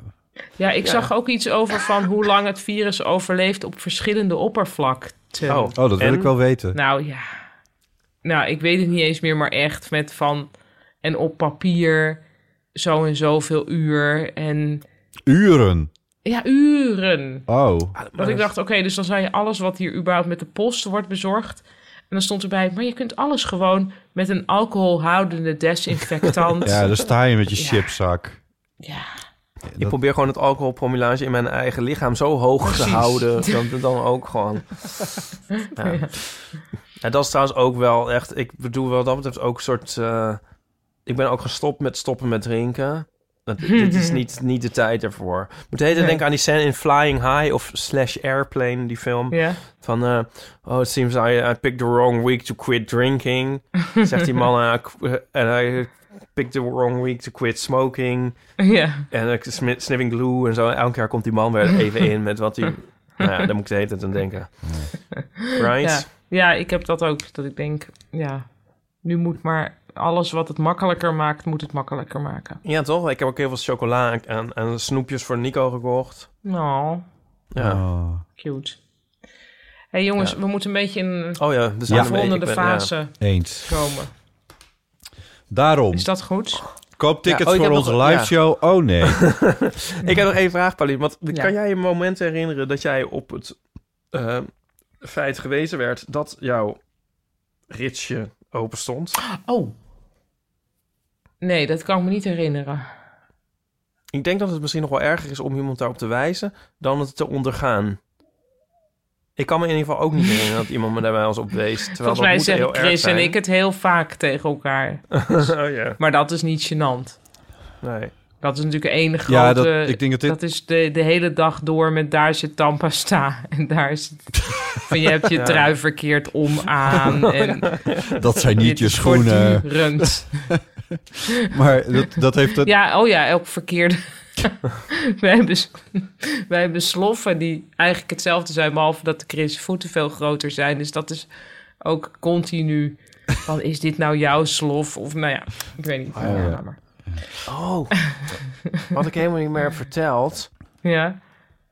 Speaker 5: Ja, ik
Speaker 6: Ja.
Speaker 5: zag ook iets over van hoe lang het virus overleeft op verschillende oppervlakten.
Speaker 4: Oh, oh, dat wil ik wel weten.
Speaker 5: Nou ja. Nou, ik weet het niet eens meer, maar echt met van... En op papier zo en zoveel uur en...
Speaker 4: Uren.
Speaker 5: Ja, uren.
Speaker 4: Oh.
Speaker 5: Dat ik dacht, oké, dus dan zou je alles wat hier überhaupt met de post wordt bezorgd. En dan stond erbij, maar je kunt alles gewoon met een alcoholhoudende desinfectant.
Speaker 4: Ja, dan sta je met je chipzak.
Speaker 6: Ik probeer gewoon het alcoholpromillage in mijn eigen lichaam zo hoog te
Speaker 5: Precies. [LAUGHS]
Speaker 6: houden. Dan, dan ook gewoon. Ja.
Speaker 5: Ja.
Speaker 6: Ja, dat is trouwens ook wel echt. Ik bedoel, wat dat betreft ook een soort. eh, ik ben ook gestopt met stoppen met drinken.
Speaker 5: [LAUGHS]
Speaker 6: Dat, dit is niet, niet de tijd ervoor. Ik Moet even
Speaker 5: Nee.
Speaker 6: denken aan die scène in Flying High of Slash Airplane, die film.
Speaker 5: Ja.
Speaker 6: Van, eh, oh, it seems I, I picked the wrong week to quit drinking. Zegt die
Speaker 5: [LAUGHS]
Speaker 6: man, eh, qu- en I picked the wrong week to quit smoking.
Speaker 5: Ja.
Speaker 6: En ik smi- sniffing glue en zo. Elke keer komt die man weer even in met wat
Speaker 5: [LAUGHS]
Speaker 6: hij... nou ja, daar moet ik de hele tijd aan denken. Right?
Speaker 5: Ja. ja, ik heb dat ook. Dat ik denk, ja, nu moet maar alles wat het makkelijker maakt, moet het makkelijker maken.
Speaker 6: Ja, toch? Ik heb ook heel veel chocola en, en snoepjes voor Nico gekocht.
Speaker 5: Nou,
Speaker 6: Ja.
Speaker 4: Oh,
Speaker 5: cute. hey, jongens, we moeten een beetje in
Speaker 6: Oh ja, we zijn een
Speaker 5: de
Speaker 6: beetje-
Speaker 5: volgende
Speaker 6: ik ben-
Speaker 5: fase
Speaker 6: ja.
Speaker 4: Eens.
Speaker 5: komen.
Speaker 4: Daarom.
Speaker 5: Is dat goed?
Speaker 4: Koop tickets
Speaker 6: Ja, oh, ik
Speaker 4: voor
Speaker 6: heb
Speaker 4: onze
Speaker 6: nog-
Speaker 4: live show.
Speaker 6: [LAUGHS]
Speaker 4: Oh nee.
Speaker 6: Ik heb nog één vraag, Pauline. Want
Speaker 5: Ja.
Speaker 6: kan jij je moment herinneren dat jij op het eh, feit gewezen werd dat jouw ritsje open stond?
Speaker 5: Oh. Nee, dat kan ik me niet herinneren.
Speaker 6: Ik denk dat het misschien nog wel erger is om iemand daarop te wijzen dan het te ondergaan. Ik kan me in ieder geval ook niet herinneren dat iemand me daarbij ons op wees. Terwijl
Speaker 5: Volgens
Speaker 6: dat
Speaker 5: mij
Speaker 6: moet
Speaker 5: zeggen
Speaker 6: heel erg
Speaker 5: Chris en
Speaker 6: zijn.
Speaker 5: ik het heel vaak tegen elkaar.
Speaker 6: [LAUGHS] Oh ja.
Speaker 5: Maar dat is niet gênant.
Speaker 6: Nee.
Speaker 5: Dat is natuurlijk één grote...
Speaker 4: Ja,
Speaker 6: eh,
Speaker 4: dat- ik denk dat dit-
Speaker 5: is de, de hele dag door met daar zit tandpasta. [LAUGHS] En daar zit... Van je hebt je
Speaker 4: [LAUGHS] Ja.
Speaker 5: trui verkeerd om
Speaker 4: [LAUGHS]
Speaker 5: aan. En
Speaker 4: Dat zijn niet
Speaker 5: dit
Speaker 4: je
Speaker 5: is
Speaker 4: schoenen. [LAUGHS]
Speaker 5: voortdurend.
Speaker 4: Maar dat, dat heeft het.
Speaker 5: Ja, oh ja, elk verkeerde... [LAUGHS] wij, hebben, s- [LAUGHS] wij hebben sloffen die eigenlijk hetzelfde zijn... behalve dat de Chris voeten veel groter zijn. Dus dat is ook continu... Van, is dit nou jouw slof? Of nou ja, ik weet niet.
Speaker 6: Oh, ja.
Speaker 5: Ja, laat maar. [LAUGHS]
Speaker 6: Oh, wat ik helemaal niet meer heb verteld.
Speaker 5: Ja.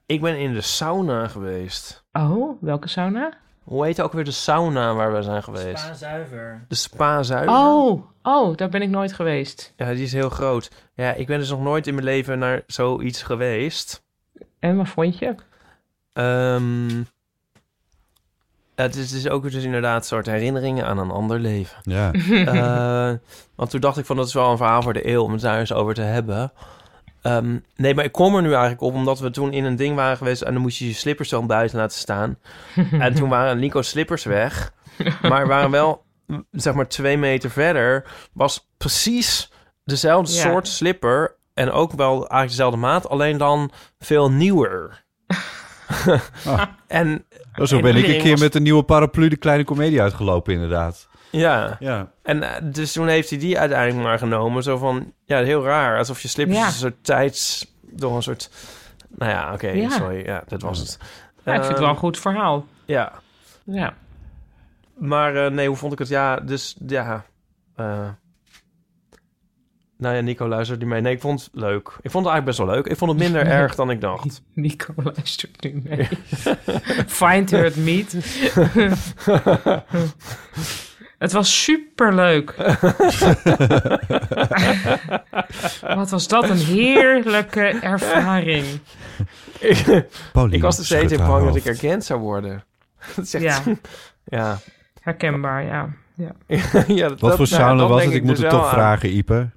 Speaker 6: Ik ben in de sauna geweest.
Speaker 5: Oh, welke sauna?
Speaker 6: Hoe heet ook weer de sauna waar we zijn geweest?
Speaker 8: Spaanzuiver.
Speaker 6: De spa-zuiver.
Speaker 5: Oh, oh, daar ben ik nooit geweest.
Speaker 6: Ja, die is heel groot. Ja, ik ben dus nog nooit in mijn leven naar zoiets geweest.
Speaker 5: En wat vond je?
Speaker 6: Ehm, het, is, het is ook dus inderdaad een soort herinneringen aan een ander leven. [LAUGHS]
Speaker 4: Ja.
Speaker 6: Eh, want toen dacht ik van, dat is wel een verhaal voor de eeuw om het daar eens over te hebben. Um, nee, maar ik kom er nu eigenlijk op omdat we toen in een ding waren geweest en dan moest je je slippers dan buiten laten staan. en toen waren Nico's slippers weg, maar waren wel zeg maar twee meter verder, was precies dezelfde
Speaker 5: Ja.
Speaker 6: soort slipper en ook wel eigenlijk dezelfde maat, alleen dan veel nieuwer. [LAUGHS] en,
Speaker 4: Zo
Speaker 6: en
Speaker 4: ben ik
Speaker 6: iedereen
Speaker 4: een keer
Speaker 6: was-
Speaker 4: met een nieuwe paraplu de kleine komedie uitgelopen, inderdaad.
Speaker 6: Ja.
Speaker 4: ja.
Speaker 6: En eh, dus toen heeft hij die uiteindelijk maar genomen. Zo van, ja, heel raar. Alsof je slippers
Speaker 5: Ja.
Speaker 6: een soort tijds... Door een soort... Nou ja, oké,
Speaker 5: Ja.
Speaker 6: sorry. Ja, dat was het.
Speaker 5: Ja, ik vind het wel een
Speaker 6: Ehm,
Speaker 5: goed verhaal.
Speaker 6: Ja.
Speaker 5: Ja.
Speaker 6: Maar eh, nee, hoe vond ik het? Ja, dus ja. eh, nou ja, Nico luistert niet mee. Nee, ik vond het leuk. Ik vond het eigenlijk best wel leuk. Ik vond het
Speaker 5: [LAUGHS]
Speaker 6: minder erg dan ik dacht.
Speaker 5: Nico [LAUGHS] luistert nu mee. Find her it meet. [LAUGHS] het was superleuk. Wat was dat een heerlijke ervaring.
Speaker 6: ik,
Speaker 4: Pauline nou.
Speaker 6: ik was dus er steeds
Speaker 4: schudt
Speaker 6: in
Speaker 4: haar
Speaker 6: bang dat ik
Speaker 4: hoofd.
Speaker 6: erkend zou worden. [LAUGHS] Dat is echt...
Speaker 5: Ja.
Speaker 6: [LAUGHS] ja.
Speaker 5: Herkenbaar, ja. ja.
Speaker 6: Ja, dat- dat-
Speaker 4: Wat voor
Speaker 6: nou,
Speaker 4: sauna
Speaker 6: dat
Speaker 4: was
Speaker 6: denk
Speaker 4: het? Ik moet
Speaker 6: dus
Speaker 4: het
Speaker 6: wel
Speaker 4: toch
Speaker 6: aan.
Speaker 4: vragen, Ipe.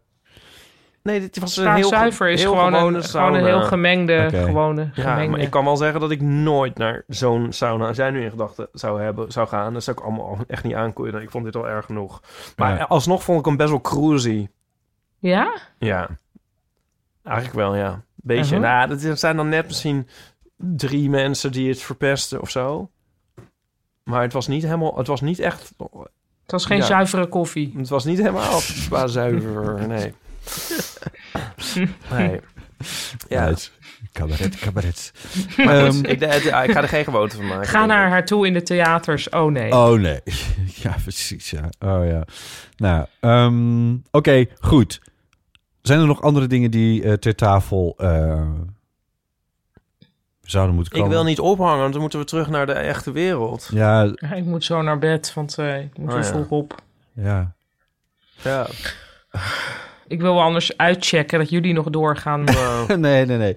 Speaker 6: Nee, dit was een
Speaker 5: Spa
Speaker 6: heel
Speaker 5: zuiver is
Speaker 6: heel
Speaker 5: gewoon een-
Speaker 6: gewone
Speaker 5: gewoon een
Speaker 6: sauna.
Speaker 5: heel gemengde, Oké. gewone,
Speaker 6: ja,
Speaker 5: gemengde.
Speaker 6: maar ik kan wel zeggen dat ik nooit naar zo'n sauna, als jij nu in gedachten zou hebben, zou gaan. Dat zou ik allemaal echt niet aankunnen. Ik vond dit al erg genoeg. Maar
Speaker 5: Ja.
Speaker 6: alsnog vond ik hem best wel cruisy.
Speaker 5: Ja?
Speaker 6: Ja. Eigenlijk wel, ja. Beetje.
Speaker 5: Uh-huh.
Speaker 6: Nou, dat is- zijn dan net misschien drie mensen die het verpesten of zo. Maar het was niet helemaal... Het was niet echt...
Speaker 5: Het was geen
Speaker 6: Ja.
Speaker 5: zuivere koffie.
Speaker 6: Het was niet helemaal [LAUGHS] qua zuiver,
Speaker 5: [LAUGHS]
Speaker 6: nee. Nee. Ja.
Speaker 4: Cabaret,
Speaker 6: [LAUGHS]
Speaker 4: cabaret.
Speaker 6: Maar goed,
Speaker 4: Ehm,
Speaker 6: ik, ah, ik ga er geen gewoonte van maken.
Speaker 5: Ga naar haar toe in de theaters. Oh nee.
Speaker 4: Oh nee. [LAUGHS] Ja, precies. Ja. Oh ja. Nou, ehm, oké, goed. Zijn er nog andere dingen die eh, ter tafel eh, zouden moeten
Speaker 6: Ik
Speaker 4: komen?
Speaker 6: wil niet ophangen, want dan moeten we terug naar de echte wereld.
Speaker 4: Ja,
Speaker 5: Ja, ik moet zo naar bed, want eh, ik moet
Speaker 6: Oh,
Speaker 5: weer
Speaker 6: ja.
Speaker 5: vroeg op.
Speaker 4: ja.
Speaker 6: Ja.
Speaker 5: Ik wil wel anders uitchecken dat jullie nog doorgaan.
Speaker 4: [LAUGHS] nee, nee, nee.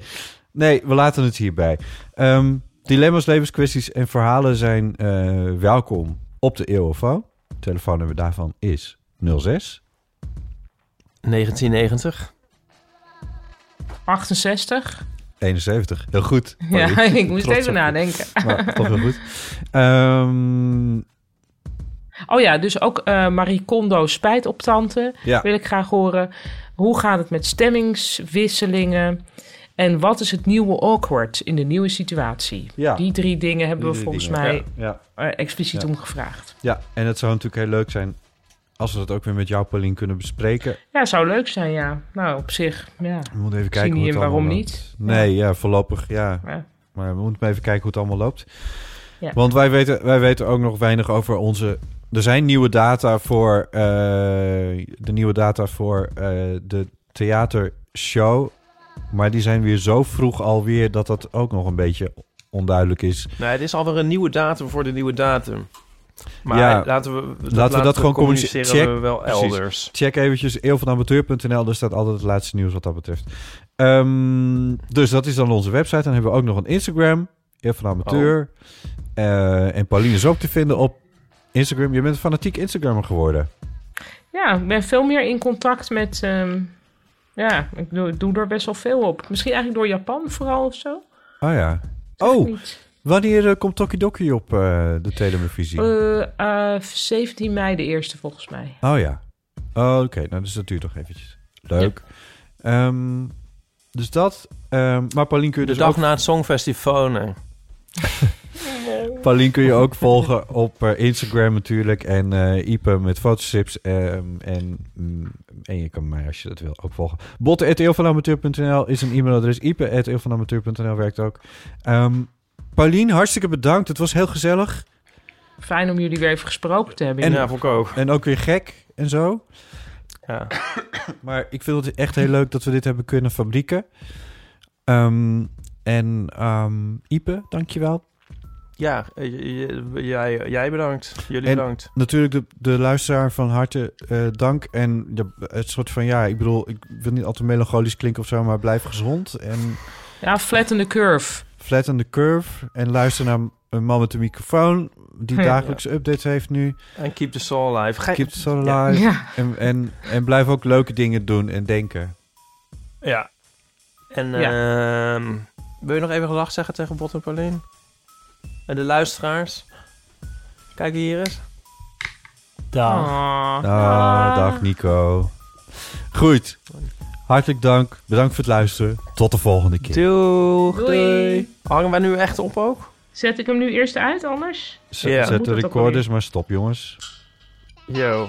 Speaker 4: Nee, we laten het hierbij. Ehm, dilemma's, levenskwesties en verhalen zijn eh, welkom op de E EOFO. Telefoonnummer daarvan is 06
Speaker 6: 1990
Speaker 5: 68?
Speaker 4: 71. Heel goed.
Speaker 5: Ja,
Speaker 4: Sorry.
Speaker 5: [LAUGHS] ik moest
Speaker 4: Oh, Trots op
Speaker 5: even
Speaker 4: je.
Speaker 5: nadenken.
Speaker 4: Maar toch heel goed. Ehm,
Speaker 5: Oh ja, dus ook eh, Marie Kondo spijt op tante.
Speaker 4: Ja.
Speaker 5: Wil ik graag horen. Hoe gaat het met stemmingswisselingen? En wat is het nieuwe awkward in de nieuwe situatie?
Speaker 4: Ja.
Speaker 5: Die drie dingen hebben we
Speaker 4: Die drie
Speaker 5: volgens
Speaker 4: dingen.
Speaker 5: mij
Speaker 4: Ja,
Speaker 5: eh, expliciet
Speaker 4: Ja.
Speaker 5: om gevraagd.
Speaker 4: ja, en het zou natuurlijk heel leuk zijn als we dat ook weer met jou, Pauline, kunnen bespreken.
Speaker 5: Ja, zou leuk zijn, ja. Nou, op zich, ja.
Speaker 4: We moeten even
Speaker 5: Ik zie
Speaker 4: kijken hoe
Speaker 5: niet
Speaker 4: het
Speaker 5: in
Speaker 4: allemaal
Speaker 5: waarom
Speaker 4: loopt.
Speaker 5: niet.
Speaker 4: Nee, ja, voorlopig, ja.
Speaker 5: Ja.
Speaker 4: Maar we moeten maar even kijken hoe het allemaal loopt.
Speaker 5: Ja.
Speaker 4: Want wij weten, wij weten ook nog weinig over onze... Er zijn nieuwe data voor, eh, de nieuwe data voor eh, de theatershow. Maar die zijn weer zo vroeg alweer dat dat ook nog een beetje onduidelijk is.
Speaker 6: Nee, het is alweer een nieuwe datum voor de nieuwe datum. Maar
Speaker 4: Ja,
Speaker 6: laten we
Speaker 4: laten, we dat gewoon
Speaker 6: communiceren
Speaker 4: communiceren. Check,
Speaker 6: we wel
Speaker 4: precies.
Speaker 6: elders.
Speaker 4: Check eventjes eeuwvanamateur.nl. Daar staat altijd het laatste nieuws wat dat betreft. Ehm, dus dat is dan onze website. Dan hebben we ook nog een Instagram. Eeuw van Amateur.
Speaker 6: Oh.
Speaker 4: Eh, en Pauline is ook te vinden op Instagram. Je bent een fanatiek Instagrammer geworden.
Speaker 5: Ja, ik ben veel meer in contact met... ehm, ja, ik doe, doe er best wel veel op. Misschien eigenlijk door Japan vooral of zo.
Speaker 4: Oh ja. Oh,
Speaker 5: niet.
Speaker 4: wanneer eh, komt Tokidoki op eh, de televisie?
Speaker 5: Eh, eh, 17 mei de eerste volgens mij.
Speaker 4: Oh ja. Oh, Oké, nou dus dat duurt nog eventjes. Leuk. Ehm, dus dat. Ehm, maar Pauline kun je
Speaker 6: De
Speaker 4: dus
Speaker 6: dag
Speaker 4: ook
Speaker 6: na het Songfestival. nee.
Speaker 4: Paulien kun je ook volgen op eh, Instagram natuurlijk. En eh Ipe met fotostrips. ehm, en, mm, en je kan mij als je dat wil ook volgen. Botte.eeuwvanamateur.nl is een e-mailadres. Ipe.eeuwvanamateur.nl werkt ook. Ehm Paulien, hartstikke bedankt. Het was heel gezellig.
Speaker 5: Fijn om jullie weer even gesproken te hebben.
Speaker 4: En,
Speaker 5: inderdaad.
Speaker 6: ook.
Speaker 4: En ook weer gek en zo.
Speaker 6: Ja.
Speaker 4: Maar ik vind het echt heel leuk dat we dit hebben kunnen fabrieken. Ehm, en ehm Ipe, dankjewel.
Speaker 6: Ja, eh, j- j- jij, jij bedankt. Jullie
Speaker 4: En
Speaker 6: bedankt.
Speaker 4: Natuurlijk de, de luisteraar van harte eh, dank. En de, het soort van, ja, ik bedoel, ik wil niet altijd melancholisch klinken of zo, maar blijf gezond. En
Speaker 5: Ja, flatten the curve.
Speaker 4: flatten the curve. En luister naar een man met een microfoon die
Speaker 5: Ja.
Speaker 4: dagelijks updates heeft nu.
Speaker 6: En keep the soul alive. Ge-
Speaker 4: Keep it so alive.
Speaker 5: Ja.
Speaker 4: En, en, en blijf ook leuke dingen doen en denken.
Speaker 6: Ja. En
Speaker 5: Ja.
Speaker 6: ehm, wil je nog even gedag zeggen tegen Bot en Paulien? En de luisteraars? Kijk wie hier is.
Speaker 8: Dag.
Speaker 5: Ah.
Speaker 4: Ah, dag Nico. Goed. Hartelijk dank. Bedankt voor het luisteren. Tot de volgende keer.
Speaker 6: Doeg.
Speaker 5: Doei. doei.
Speaker 6: Hangen wij nu echt op ook?
Speaker 5: Zet ik hem nu eerst uit anders?
Speaker 4: Z-
Speaker 6: Ja.
Speaker 4: Zet
Speaker 5: Moet
Speaker 4: de
Speaker 5: het ook
Speaker 4: recorders
Speaker 5: alweer.
Speaker 4: maar stop, jongens.
Speaker 6: Yo.